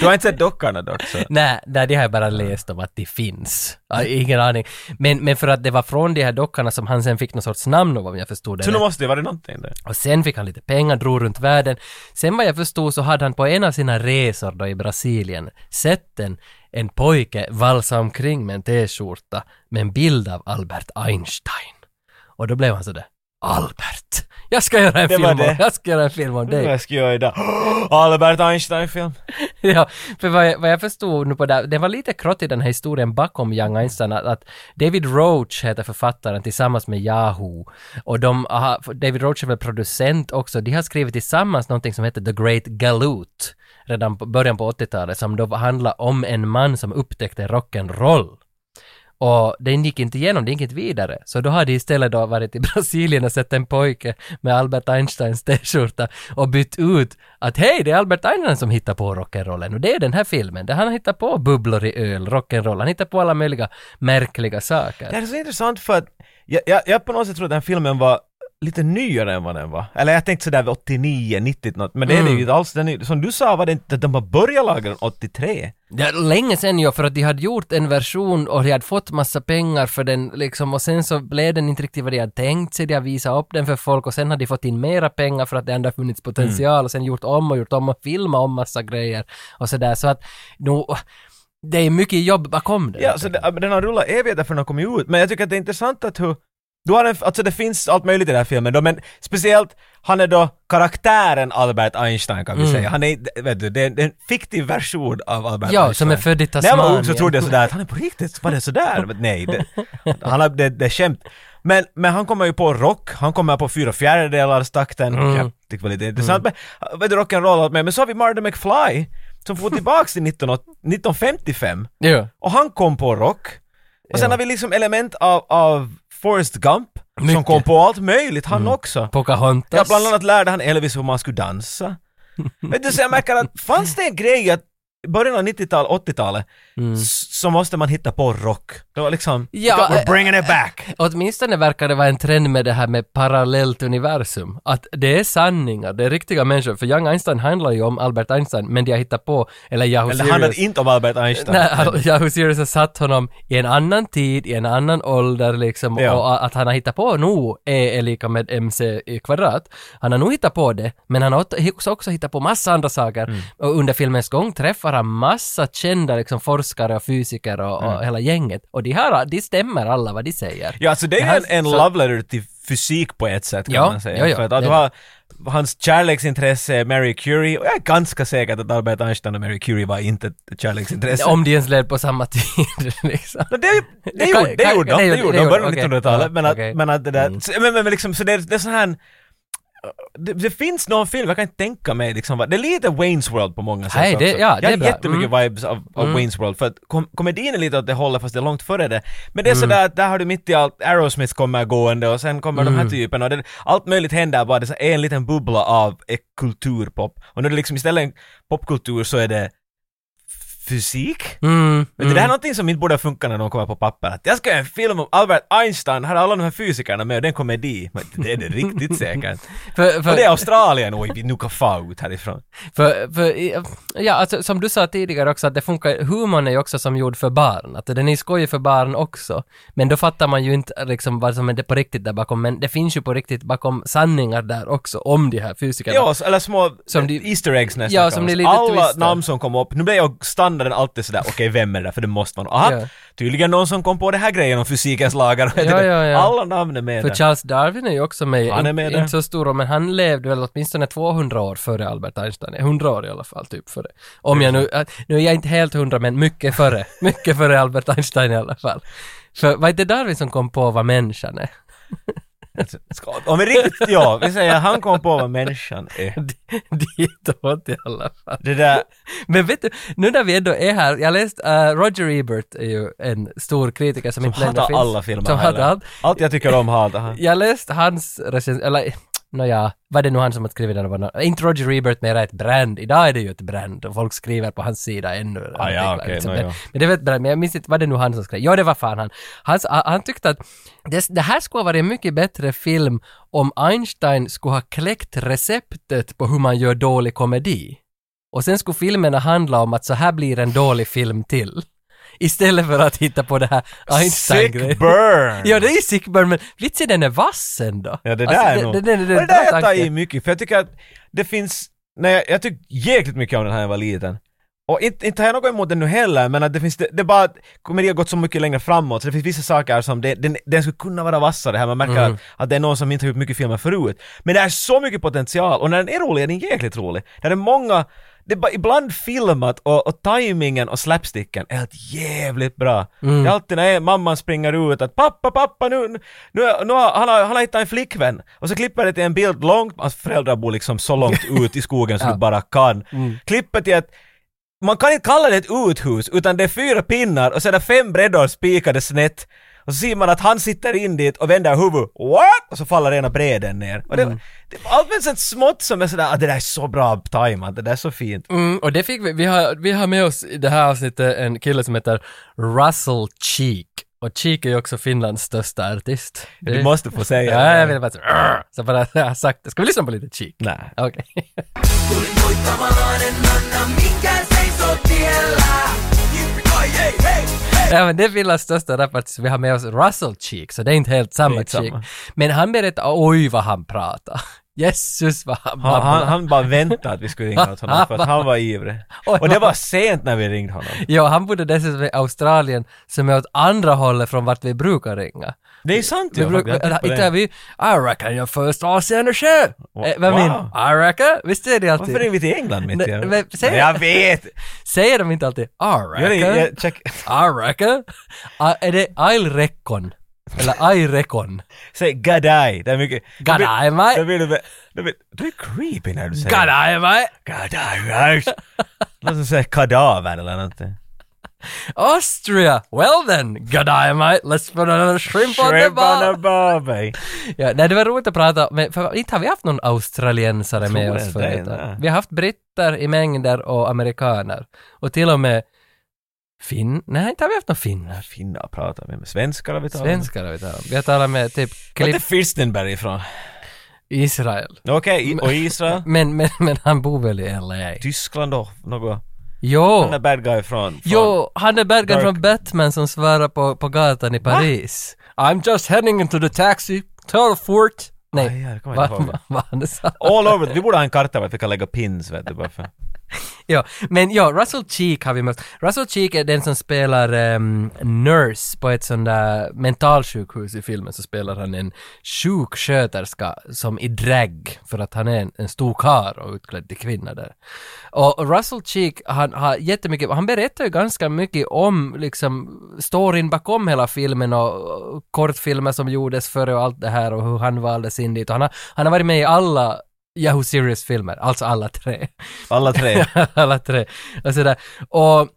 [SPEAKER 2] Du har inte sett dockarna dock så.
[SPEAKER 1] Nej, nej, det har jag bara läst om att det finns. Jag har ingen aning. Men, men för att det var från de här dockorna som han sen fick någon sorts namn av om jag förstod det
[SPEAKER 2] Så nu
[SPEAKER 1] rätt.
[SPEAKER 2] måste det vara någonting där.
[SPEAKER 1] Och sen fick han lite pengar, drog runt världen. Sen vad jag förstod så hade han på en av sina resor då i Brasilien sett en, en pojke valsa omkring med en t-skjorta med en bild av Albert Einstein. Och då blev han sådär Albert, jag ska göra en,
[SPEAKER 2] Det
[SPEAKER 1] film
[SPEAKER 2] var
[SPEAKER 1] om,
[SPEAKER 2] det.
[SPEAKER 1] jag ska göra en film om dig.
[SPEAKER 2] Vad ska jag göra idag? Albert Einstein-film.
[SPEAKER 1] Ja, för vad jag, vad jag förstod nu på det, här, det var lite krott i den här historien bakom Young Einstein, att, att David Roach heter författaren tillsammans med Yahoo, och de har, för David Roach är väl producent också, de har skrivit tillsammans någonting som heter The Great Galoot, redan på början på 80-talet, som då handlar om en man som upptäckte rock'n'roll. Och den gick inte igenom, den gick inte vidare. Så då hade istället då varit i Brasilien och sett en pojke med Albert Einsteins t-skjorta och bytt ut att hej, det är Albert Einstein som hittar på rock'n'rollen och det är den här filmen där han hittar på bubblor i öl, rock'n'roll, han hittar på alla möjliga märkliga
[SPEAKER 2] Det
[SPEAKER 1] saker.
[SPEAKER 2] här är så intressant för att jag, jag, jag på något sätt tror att den filmen var lite nyare än vad den var. Eller jag tänkte sådär vid 89, 90 något, men det är det ju
[SPEAKER 1] Mm.
[SPEAKER 2] inte alls. Den, är- som du sa var det inte att de bara började laga den 83.
[SPEAKER 1] Det är länge sedan ju, för att de hade gjort en version och de hade fått massa pengar för den liksom och sen så blev den inte riktigt vad de hade tänkt sig, de hade visat upp den för folk och sen hade de fått in mera pengar för att det ändå har funnits potential och sen gjort om och gjort om och filmat om massa grejer och sådär så att nu, det är mycket jobb bakom det.
[SPEAKER 2] Ja, så det, ja, men den har rullat evigheter för den har kommit ut. Men jag tycker att det är intressant att hur du har en, alltså det finns allt möjligt i den här filmen då, men speciellt han är då karaktären Albert Einstein kan vi
[SPEAKER 1] Mm.
[SPEAKER 2] säga. Han är, vet du, det är en, det är en fiktiv version av Albert
[SPEAKER 1] ja,
[SPEAKER 2] Einstein.
[SPEAKER 1] som är född i
[SPEAKER 2] När jag
[SPEAKER 1] Tasmanien.
[SPEAKER 2] var ung så trodde jag sådär att han är på riktigt, var det sådär? Men nej, det, han har, det, det är skämt. Men, men han kommer ju på rock, han kommer på fyra fjärdedelars takten.
[SPEAKER 1] Mm.
[SPEAKER 2] Jag tyckte det var lite intressant. Men, vet du, rock'n'roll och allt med. Men så har vi Marty McFly, som får tillbaks till 19, 1955.
[SPEAKER 1] Ja.
[SPEAKER 2] Och han kom på rock. Och sen
[SPEAKER 1] Ja.
[SPEAKER 2] har vi liksom element av, av Forrest Gump, som
[SPEAKER 1] Mycket. Mm.
[SPEAKER 2] kom på allt möjligt, han också.
[SPEAKER 1] Pocahontas.
[SPEAKER 2] Ja, bland annat lärde han Elvis hur man skulle dansa. Vet du, så jag märker att fanns det en grej att i början av 90-talet, 80-talet,
[SPEAKER 1] Mm.
[SPEAKER 2] s- så måste man hitta på rock. Det var liksom,
[SPEAKER 1] Ja,
[SPEAKER 2] we're
[SPEAKER 1] eh,
[SPEAKER 2] bringing it back!
[SPEAKER 1] Åtminstone verkar det vara en trend med det här med parallellt universum. Att det är sanningar, det är riktiga människor. För Young Einstein handlar ju om Albert Einstein, men de har hittat på, eller Yahoo
[SPEAKER 2] Eller det handlade
[SPEAKER 1] Serious.
[SPEAKER 2] inte om Albert Einstein.
[SPEAKER 1] Nej, Al- Yahoo Serious har satt honom i en annan tid, i en annan ålder liksom.
[SPEAKER 2] Ja.
[SPEAKER 1] Och a- att han har hittat på nu är, är lika med MC i kvadrat. Han har nog hittat på det, men han har åt- också- också hittat på massa andra saker.
[SPEAKER 2] Mm.
[SPEAKER 1] Och under filmens gång träffar han massa kända liksom, forskare och fysiker och,
[SPEAKER 2] Mm.
[SPEAKER 1] och hela gänget. Och de, här, de stämmer alla vad de säger.
[SPEAKER 2] Ja, så det
[SPEAKER 1] Det
[SPEAKER 2] är
[SPEAKER 1] här-
[SPEAKER 2] en, en
[SPEAKER 1] så-
[SPEAKER 2] love letter till fysik på ett sätt kan
[SPEAKER 1] Ja,
[SPEAKER 2] man säga.
[SPEAKER 1] ja, ja,
[SPEAKER 2] För att, att
[SPEAKER 1] det
[SPEAKER 2] du har, hans kärleksintresse är Mary Curie, och jag är ganska säker att Albert Einstein och Mary Curie var inte ett kärleksintresse.
[SPEAKER 1] Om de ens led på samma tid liksom.
[SPEAKER 2] No, det, det,
[SPEAKER 1] Det kan-
[SPEAKER 2] gjorde, det
[SPEAKER 1] kan-
[SPEAKER 2] gjorde
[SPEAKER 1] det
[SPEAKER 2] de, det
[SPEAKER 1] gjorde-
[SPEAKER 2] gjorde
[SPEAKER 1] det
[SPEAKER 2] de, början
[SPEAKER 1] gjorde-
[SPEAKER 2] av
[SPEAKER 1] okej.
[SPEAKER 2] 1900-talet. Men,
[SPEAKER 1] Ja,
[SPEAKER 2] att,
[SPEAKER 1] okej.
[SPEAKER 2] men att det där,
[SPEAKER 1] Mm.
[SPEAKER 2] så, men, men liksom, så det, det är sån här, det, det finns någon film, jag kan inte tänka mig liksom, vad- det är lite Wayne's World på många sätt
[SPEAKER 1] Nej, det-
[SPEAKER 2] också.
[SPEAKER 1] ja, det
[SPEAKER 2] jag
[SPEAKER 1] är
[SPEAKER 2] har
[SPEAKER 1] bra.
[SPEAKER 2] jättemycket vibes av, av
[SPEAKER 1] Mm.
[SPEAKER 2] Wayne's World, för att kom, komedin är lite åt det hållet fast det är långt före det. Men det är
[SPEAKER 1] Mm.
[SPEAKER 2] sådär att där har du mitt i allt, Aerosmith kommer gående och sen kommer de här
[SPEAKER 1] Mm.
[SPEAKER 2] typerna och det, allt möjligt händer bara, det är så- en liten bubbla av eh, kulturpop. Och nu är det liksom istället en popkultur så är det fysik?
[SPEAKER 1] Mm,
[SPEAKER 2] Men Det där är någonting som inte borde funka när de kommer på papper. Att jag ska göra en film om Albert Einstein, här är alla de här fysikerna med och det är en komedi. Men det är det riktigt säkert.
[SPEAKER 1] För,
[SPEAKER 2] Och
[SPEAKER 1] för,
[SPEAKER 2] det är Australien, oj vi nu kan få ut härifrån.
[SPEAKER 1] för, för, i- ja, alltså, som du sa tidigare också att det funkar, humorn är ju också som gjord för barn, att den är skojig för barn också. Men då fattar man ju inte liksom vad som är det på riktigt där bakom, men det finns ju på riktigt bakom sanningar där också om de här fysikerna.
[SPEAKER 2] Ja, så- eller små
[SPEAKER 1] Som
[SPEAKER 2] som
[SPEAKER 1] de-
[SPEAKER 2] Easter eggs nästan.
[SPEAKER 1] Ja,
[SPEAKER 2] kan
[SPEAKER 1] som
[SPEAKER 2] man
[SPEAKER 1] de
[SPEAKER 2] säga.
[SPEAKER 1] lite
[SPEAKER 2] Alla
[SPEAKER 1] twistar.
[SPEAKER 2] namn som kom upp, nu blir jag standarden alltid sådär, okej vem är det där? För det måste man. Aha,
[SPEAKER 1] Ja.
[SPEAKER 2] tydligen någon som kom på det här grejen om fysikens lagar.
[SPEAKER 1] Ja, ja, ja.
[SPEAKER 2] Alla namn är med
[SPEAKER 1] För
[SPEAKER 2] där.
[SPEAKER 1] Charles Darwin är ju också med,
[SPEAKER 2] Han är
[SPEAKER 1] in-
[SPEAKER 2] med där.
[SPEAKER 1] inte så stor men han levde väl åtminstone 200 år före Albert Einstein, 100 år i alla fall typ före. Om jag nu, äh, nu är jag inte helt hundra men mycket före, mycket före Albert Einstein i alla fall. För var det Darwin som kom på vad människan är?
[SPEAKER 2] Ska- Om vi riktigt, ja, vi säger han kom på vad människan är.
[SPEAKER 1] Ditåt i alla fall.
[SPEAKER 2] Det där,
[SPEAKER 1] Men vet du, nu när vi ändå är här, jag läste, eh, Roger Ebert är ju en stor kritiker som,
[SPEAKER 2] som
[SPEAKER 1] inte längre
[SPEAKER 2] hatar
[SPEAKER 1] finns.
[SPEAKER 2] alla filmer
[SPEAKER 1] Som
[SPEAKER 2] här.
[SPEAKER 1] hatar allt.
[SPEAKER 2] Allt jag tycker om hatar han.
[SPEAKER 1] Jag läste hans recension, eller nåja, var det nu han som hade skrivit den? Det var nå- Inte Roger Ebert, mera ett brand. Idag är det ju ett brand och folk skriver på hans sida ännu.
[SPEAKER 2] Ah, ja,
[SPEAKER 1] artiklar,
[SPEAKER 2] okej,
[SPEAKER 1] liksom.
[SPEAKER 2] nåja.
[SPEAKER 1] men, men det var ett brand, men jag minns inte, var det nu han som skrev? Ja, det var fan han. Han, s- han tyckte att det, det här skulle ha varit en mycket bättre film om Einstein skulle ha kläckt receptet på hur man gör dålig komedi. Och sen skulle filmerna handla om att så här blir en dålig film till. Istället för att hitta på det här
[SPEAKER 2] Sick
[SPEAKER 1] Einstein-grejen.
[SPEAKER 2] burn!
[SPEAKER 1] Ja, det är sick burn, men vitsen den är vass ändå.
[SPEAKER 2] Ja, det där
[SPEAKER 1] Alltså,
[SPEAKER 2] är nog...
[SPEAKER 1] det, det, det, det,
[SPEAKER 2] Och det där
[SPEAKER 1] bra
[SPEAKER 2] jag tar
[SPEAKER 1] tanke.
[SPEAKER 2] i mycket, för jag tycker att det finns... Nej, jag, jag tyckte jäkligt mycket om den här när jag var liten. Och inte, inte har jag något emot den nu heller, men att det finns... Det, det är bara att komedi har gått så mycket längre framåt, så det finns vissa saker som... Det, den, den skulle kunna vara vassare här, man märker att, att det är någon som inte har gjort mycket filmer förut. Men det är så mycket potential, och när den är rolig är den jäkligt rolig. När det är många... Det är bara ibland filmat och, och timingen och slapsticken är helt jävligt bra. Det är alltid när mamman springer ut att pappa, pappa nu, nu, nu har, han, har, han har hittat en flickvän. Och så klipper det till en bild långt, hans föräldrar bor liksom så långt ut i skogen som
[SPEAKER 1] Ja.
[SPEAKER 2] du bara kan. Klipper till att man kan inte kalla det ett uthus, utan det är fyra pinnar och så är det fem brädor spikade snett. Och så ser man att han sitter in dit och vänder huvudet. What? Och så faller ena bräden ner. Och det,
[SPEAKER 1] Mm.
[SPEAKER 2] det används ett smått som är sådär, ah, det där är så bra tajmat, det där är så fint.
[SPEAKER 1] Mm, och det fick vi, vi har, vi har med oss i det här avsnittet en kille som heter Russell Cheek. Och Cheek är ju också Finlands största artist.
[SPEAKER 2] Du måste få säga
[SPEAKER 1] Mm. Ja, jag
[SPEAKER 2] det.
[SPEAKER 1] vill bara så, "Arr!" så bara, jag har sagt det. Ska vi lyssna på lite Cheek?
[SPEAKER 2] Nej.
[SPEAKER 1] Okej.
[SPEAKER 3] Tulin uittavarainen Anna, mikä seisoo tiellä. Oi, hei, hei, hei.
[SPEAKER 1] Ja, men det är Finlands största rapartist, vi har med oss Russell Cheek, så det är inte helt
[SPEAKER 2] Det är
[SPEAKER 1] samma
[SPEAKER 2] inte
[SPEAKER 1] Cheek.
[SPEAKER 2] samma.
[SPEAKER 1] Men han berättar, oj vad han pratar. Jesus vad han,
[SPEAKER 2] Han, han,
[SPEAKER 1] babblar.
[SPEAKER 2] han bara väntade att vi skulle ringa åt honom för att han var ivrig. Och det var sent när vi ringde honom.
[SPEAKER 1] Ja, han bodde dessutom i Australien som är åt andra hållet från vart vi brukar ringa.
[SPEAKER 2] Det är sant
[SPEAKER 1] Vi
[SPEAKER 2] ju.
[SPEAKER 1] brukar,
[SPEAKER 2] jag har tänkt på
[SPEAKER 1] inte är
[SPEAKER 2] det.
[SPEAKER 1] vi, I reckon your first avseende show!
[SPEAKER 2] Wa-
[SPEAKER 1] Eh, Vad
[SPEAKER 2] wow.
[SPEAKER 1] min? I reckon? Visst är det alltid?
[SPEAKER 2] Varför ringde vi till England mitt i?
[SPEAKER 1] Nej, men säg-
[SPEAKER 2] Nej, Jag vet!
[SPEAKER 1] Säger de inte alltid I
[SPEAKER 2] Jag, ringde-
[SPEAKER 1] reckon?
[SPEAKER 2] jag, check.
[SPEAKER 1] I reckon? Ah, Är det I'll reckon? Eller I reckon?
[SPEAKER 2] Säg gadaj, det är mycket...
[SPEAKER 1] God eye, mate.
[SPEAKER 2] Då blir du... Då blir, du är creepy när du säger
[SPEAKER 1] God eye, mate!
[SPEAKER 2] Gadaj, right? Någon som säger kadaver eller någonting.
[SPEAKER 1] Austria! Well then, good eye, mate! Let's put another shrimp, on the
[SPEAKER 2] Shrimp on
[SPEAKER 1] bar!
[SPEAKER 2] a barbie.
[SPEAKER 1] Ja, nej, det var roligt att prata med, för inte har vi haft någon australiensare
[SPEAKER 2] Jag
[SPEAKER 1] med
[SPEAKER 2] tror
[SPEAKER 1] oss
[SPEAKER 2] inte
[SPEAKER 1] förut.
[SPEAKER 2] det, nej.
[SPEAKER 1] Vi har haft britter i mängder och amerikaner. Och till och med finn... Nej, inte har vi haft någon finnar.
[SPEAKER 2] Finnar pratar vi med. Svenskar har vi talat med.
[SPEAKER 1] Svenskar har vi talat om. Vi har talat med typ
[SPEAKER 2] Var
[SPEAKER 1] Klipp
[SPEAKER 2] är Firstenberg ifrån?
[SPEAKER 1] Israel.
[SPEAKER 2] Okej,
[SPEAKER 1] Mm.
[SPEAKER 2] i- och Israel?
[SPEAKER 1] Men, men, men han bor väl i LA?
[SPEAKER 2] Tyskland då? Något? Han är
[SPEAKER 1] Jo!
[SPEAKER 2] bad guy från... från
[SPEAKER 1] Jo, han är Bergen
[SPEAKER 2] Dark-
[SPEAKER 1] från Batman som svarar på, på gatan i Paris. I'm just heading into the taxi, tell fort. Nej,
[SPEAKER 2] Aj, ja, det kommer
[SPEAKER 1] vad
[SPEAKER 2] jag inte
[SPEAKER 1] va,
[SPEAKER 2] ihåg.
[SPEAKER 1] va, vad han sa.
[SPEAKER 2] All over, vi borde ha en karta vart vi kan lägga pins vet du bara för.
[SPEAKER 1] Ja, men ja, Russell Cheek har vi mött. Russell Cheek är den som spelar ehm, nurse på ett sånt där mentalsjukhus i filmen, så spelar han en sjuksköterska som i drag, för att han är en, en stor karl och utklädd till kvinna där. Och och Russell Cheek, han har jättemycket, han berättar ju ganska mycket om liksom storyn bakom hela filmen och och kortfilmer som gjordes före och allt det här och hur han valdes in dit och han har, han har varit med i alla Yahoo Serious-filmer, alltså alla tre
[SPEAKER 2] Alla tre.
[SPEAKER 1] alla tre. Och sådär. Och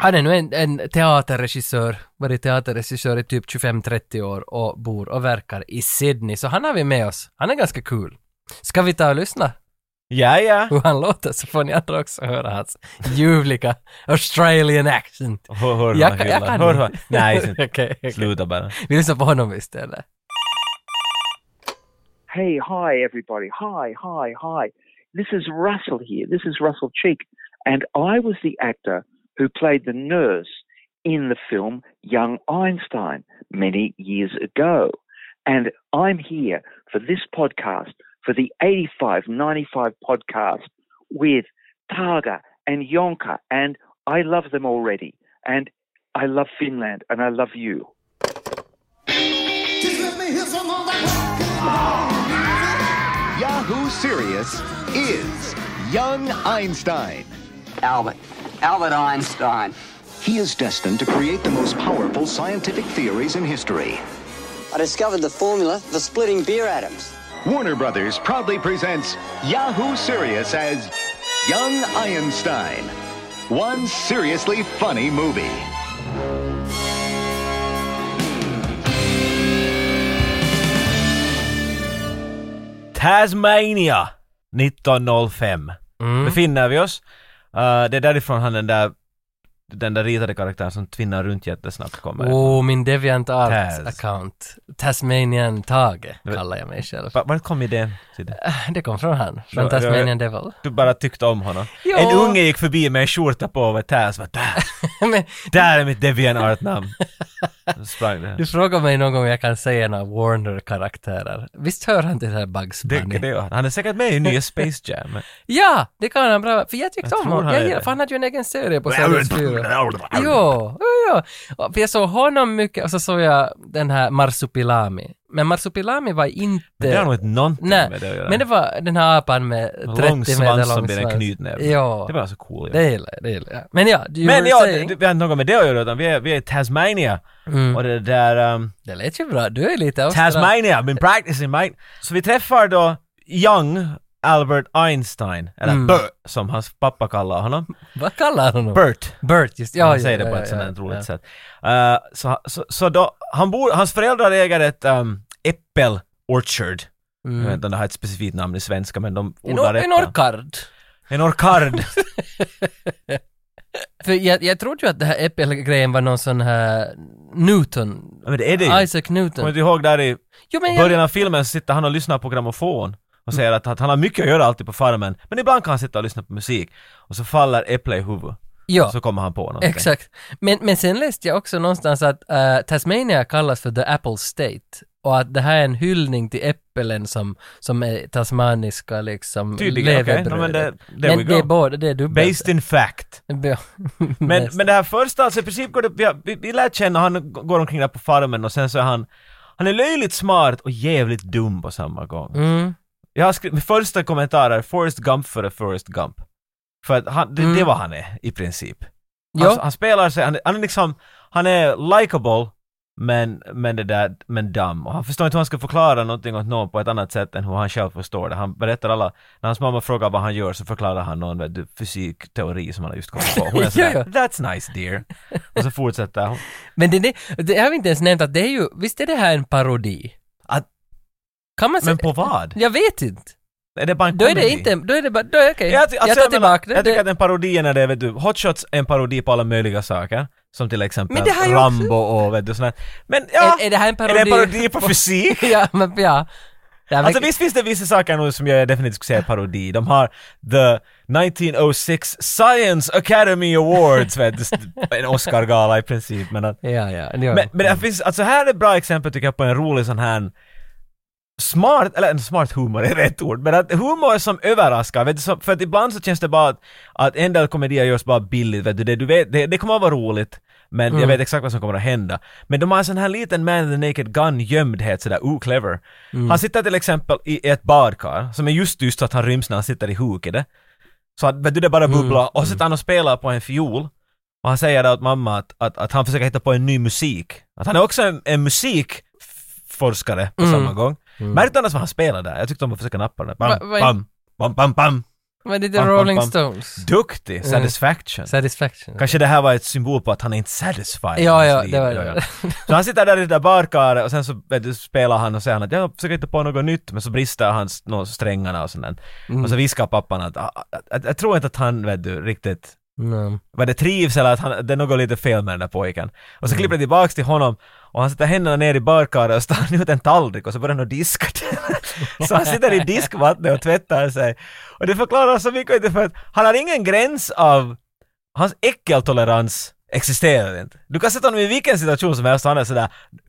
[SPEAKER 1] han är nu en, en teaterregissör, varit teaterregissör i typ 25-30 år och bor och verkar i Sydney. Så han har vi med oss. Han är ganska kul. Ska vi ta och lyssna
[SPEAKER 2] Ja, ja.
[SPEAKER 1] hur han låter så får ni andra också höra hans ljuvliga Australian accent.
[SPEAKER 2] Hör, hör
[SPEAKER 1] Jag
[SPEAKER 2] jag,
[SPEAKER 1] kan-
[SPEAKER 2] hyllan.
[SPEAKER 1] jag kan
[SPEAKER 2] hör,
[SPEAKER 1] det.
[SPEAKER 2] hör. Nej, sen-
[SPEAKER 1] Okej, okej.
[SPEAKER 2] sluta bara.
[SPEAKER 1] Vi lyssnar på honom istället.
[SPEAKER 4] Hey, hi, everybody. Hi, hi, hi. This is Russell here. This is Russell Cheek. And I was the actor who played the nurse in the film Young Einstein many years ago. And I'm here for this podcast, for the 85 95 podcast with Targa and Yonka. And I love them already. And I love Finland. And I love you.
[SPEAKER 5] She's left me here so long I
[SPEAKER 6] Yahoo Serious is young Einstein.
[SPEAKER 7] Albert. Albert Einstein.
[SPEAKER 6] He is destined to create the most powerful scientific theories in history.
[SPEAKER 7] I discovered the formula for splitting beer atoms.
[SPEAKER 6] Warner Brothers proudly presents Yahoo Serious as Young Einstein. One seriously funny movie.
[SPEAKER 2] Tasmania 1905
[SPEAKER 1] Mm.
[SPEAKER 2] befinner vi oss. Eh, det är därifrån han den där, den där ritade karaktären som tvinnar runt jättesnabbt kommer.
[SPEAKER 1] Oh, min Deviant Arts
[SPEAKER 2] Tas.
[SPEAKER 1] account. Tasmanian Tage kallar jag mig själv.
[SPEAKER 2] Va- Var kom idén till det?
[SPEAKER 1] Det kom från han,
[SPEAKER 2] Ja, ja,
[SPEAKER 1] från Tasmanian Devil.
[SPEAKER 2] Du bara tyckte om honom.
[SPEAKER 1] Ja.
[SPEAKER 2] En unge gick förbi med en skjorta på och var Taz. Bara, där,
[SPEAKER 1] Men
[SPEAKER 2] där är mitt Deviant Art-namn. Så Sprang det.
[SPEAKER 1] du frågar mig någon gång om jag kan säga några Warner-karaktärer. Visst hör han till det här Bugs
[SPEAKER 2] Det,
[SPEAKER 1] Bunny?
[SPEAKER 2] det gör han. Han är säkert med i nya Space Jam. men-
[SPEAKER 1] Ja, det kan han bra. För jag tyckte
[SPEAKER 2] Jag
[SPEAKER 1] om
[SPEAKER 2] tror
[SPEAKER 1] honom.
[SPEAKER 2] han
[SPEAKER 1] Jag
[SPEAKER 2] är
[SPEAKER 1] gillar,
[SPEAKER 2] det.
[SPEAKER 1] för han hade ju en egen serie på TV4. jo, jo, jo. Och För jag såg honom mycket och så såg jag den här Marsupilami. Men Marsupilami var inte...
[SPEAKER 2] Det har nog inte någonting
[SPEAKER 1] Nej,
[SPEAKER 2] med det att göra.
[SPEAKER 1] men det var den här apan med 30
[SPEAKER 2] lång
[SPEAKER 1] meter lång
[SPEAKER 2] svans
[SPEAKER 1] svans.
[SPEAKER 2] som blir en knytnäve.
[SPEAKER 1] Ja,
[SPEAKER 2] Det var alltså cool. Ja.
[SPEAKER 1] det gillar jag, det gillar jag. Men ja, you
[SPEAKER 2] Men
[SPEAKER 1] were
[SPEAKER 2] ja, det,
[SPEAKER 1] saying- Mm.
[SPEAKER 2] det, vi har inte något med det att göra utan vi är, vi är i Tasmania. Och det där... ehm,
[SPEAKER 1] det lät ju bra. Du är lite austral-
[SPEAKER 2] Tasmania, been practicing mate. Så vi träffar då Young Albert Einstein, eller
[SPEAKER 1] Mm.
[SPEAKER 2] Bert som hans pappa kallar honom.
[SPEAKER 1] Vad kallar han honom?
[SPEAKER 2] Bert.
[SPEAKER 1] Bert, just ja.
[SPEAKER 2] han
[SPEAKER 1] ja,
[SPEAKER 2] säger
[SPEAKER 1] ja,
[SPEAKER 2] det på
[SPEAKER 1] ja,
[SPEAKER 2] ett
[SPEAKER 1] ja,
[SPEAKER 2] sånt här roligt
[SPEAKER 1] ja.
[SPEAKER 2] sätt. Eh, så, så, så då, han bor, hans föräldrar äger ett um, äppel orchard.
[SPEAKER 1] Mm.
[SPEAKER 2] Jag vet inte om det har ett specifikt namn i svenska men de
[SPEAKER 1] En,
[SPEAKER 2] odlar
[SPEAKER 1] or- en
[SPEAKER 2] äpplen.
[SPEAKER 1] orkard.
[SPEAKER 2] En orkard.
[SPEAKER 1] För jag, jag trodde ju att det här äppelgrejen var någon sån här Newton.
[SPEAKER 2] Ja, men det är det ju.
[SPEAKER 1] Isaac
[SPEAKER 2] Kommer
[SPEAKER 1] Newton.
[SPEAKER 2] du ihåg där i
[SPEAKER 1] Jo, men jag,
[SPEAKER 2] början av filmen så sitter han och lyssnar på grammofon och säger att, att han har mycket att göra alltid på farmen men ibland kan han sitta och lyssna på musik och så faller äpple i huvudet.
[SPEAKER 1] ja.
[SPEAKER 2] Så kommer han på någonting.
[SPEAKER 1] Exakt. Men, men sen läste jag också någonstans att eh, Tasmania kallas för The Apple State och att det här är en hyllning till äpplen som, som är tasmaniska liksom
[SPEAKER 2] Tydligen, okej. Ja, men
[SPEAKER 1] levebrödet.
[SPEAKER 2] det- there we
[SPEAKER 1] men det är
[SPEAKER 2] go.
[SPEAKER 1] både, det är dubbelt.
[SPEAKER 2] Based in fact.
[SPEAKER 1] Ja.
[SPEAKER 2] Men,
[SPEAKER 1] Based.
[SPEAKER 2] men det här första, alltså i princip går det, vi, har- vi, vi lär känna, han g- går omkring där på farmen och sen så är han, han är löjligt smart och jävligt dum på samma gång.
[SPEAKER 1] Mm.
[SPEAKER 2] Jag har skrivit, min första kommentar är Forrest Gump före Forrest Gump. För att han, det,
[SPEAKER 1] Mm.
[SPEAKER 2] det är vad han är i princip. Han,
[SPEAKER 1] Ja.
[SPEAKER 2] Alltså, han spelar sig, han, är- han är liksom, han är likable men, men det där, men dum. Och han förstår inte hur han ska förklara någonting åt någon på ett annat sätt än hur han själv förstår det. Han berättar alla, när hans mamma frågar vad han gör så förklarar han någon vet du, fysikteori som han har just kommit på. Hon är sådär,
[SPEAKER 1] Ja,
[SPEAKER 2] That's nice dear. Och så fortsätter hon.
[SPEAKER 1] Men det, det, det har vi inte ens nämnt att det är ju, visst är det här en parodi?
[SPEAKER 2] Att-
[SPEAKER 1] kan man säga?
[SPEAKER 2] Men på vad?
[SPEAKER 1] Jag vet inte.
[SPEAKER 2] Är det bara en
[SPEAKER 1] Alltså, Då är det
[SPEAKER 2] komedi?
[SPEAKER 1] inte, då är det bara, då är det okej.
[SPEAKER 2] Jag, ty- alltså,
[SPEAKER 1] jag tar
[SPEAKER 2] jag menar,
[SPEAKER 1] tillbaka
[SPEAKER 2] Jag
[SPEAKER 1] det.
[SPEAKER 2] tycker att en parodi är när det är, vet du, Hot Shots är en parodi på alla möjliga saker. Som till
[SPEAKER 1] Men
[SPEAKER 2] exempel
[SPEAKER 1] det här är ju också-
[SPEAKER 2] Rambo och vet du sådär. Men ja,
[SPEAKER 1] Är- är det här en
[SPEAKER 2] Är det en
[SPEAKER 1] parodi-
[SPEAKER 2] parodi på fysik?
[SPEAKER 1] ja, men ja. Det här
[SPEAKER 2] Alltså
[SPEAKER 1] verkar-
[SPEAKER 2] visst finns det vissa saker nu som jag definitivt skulle säga är parodi. De har the 1906 Science Academy Awards, vet du, st- en Oscar-gala i princip. Men, att,
[SPEAKER 1] Ja, ja. ja.
[SPEAKER 2] men, men det finns, alltså här är ett bra exempel tycker jag på en rolig sån här smart, eller en smart humor är rätt ord, men att humor som överraskar, vet du, så, för att ibland så känns det bara att, att en del komedier görs bara billigt, vet du, det, du vet, det, det kommer att vara roligt, men jag vet exakt vad som kommer att hända. Men de har en sån här liten man in the naked gun gömdhet sådär, oh clever. Han sitter till exempel i ett badkar, som är just tyst så att han ryms när han sitter i huket. Så att, vet du, det bara
[SPEAKER 1] Mm.
[SPEAKER 2] bubblar, och så sitter han och spelar på en fiol, och han säger då åt mamma att, att, att han försöker hitta på en ny musik. Att han är också en, en musikforskare
[SPEAKER 1] Mm.
[SPEAKER 2] på samma gång. Märkte annars vad han spelade där? Jag tyckte de försökte nappa det. Bam,
[SPEAKER 1] Va- vad är-
[SPEAKER 2] bam, bam, bam, bam.
[SPEAKER 1] Men det är The
[SPEAKER 2] Pam, pam,
[SPEAKER 1] Rolling
[SPEAKER 2] pam.
[SPEAKER 1] Stones.
[SPEAKER 2] Duktig! Satisfaction.
[SPEAKER 1] Mm. Satisfaction.
[SPEAKER 2] Kanske det här var ett symbol på att han är inte satisfied
[SPEAKER 1] Ja,
[SPEAKER 2] med
[SPEAKER 1] ja,
[SPEAKER 2] hans liv.
[SPEAKER 1] det var det.
[SPEAKER 2] Så han sitter där i det där badkaret och sen så vet du, spelar han och säger han att jag försöker hitta på något nytt men så brister hans nå, strängarna och sånt där.
[SPEAKER 1] Mm.
[SPEAKER 2] Och så viskar pappan att "Ah, ah, jag, jag tror inte att han vet du, riktigt
[SPEAKER 1] Mm.
[SPEAKER 2] vad det trivs eller att han, det är något lite fel med den där pojken. Och så
[SPEAKER 1] Mm.
[SPEAKER 2] klipper det tillbaks till honom och han sätter händerna ner i badkaret och stannar ut en tallrik och så börjar han att diska den. Så han sitter i diskvattnet och tvättar sig. Och det förklarar så mycket inte för att han har ingen gräns av, hans äckeltolerans existerar inte. Du kan sätta honom i vilken situation som helst och han är sådär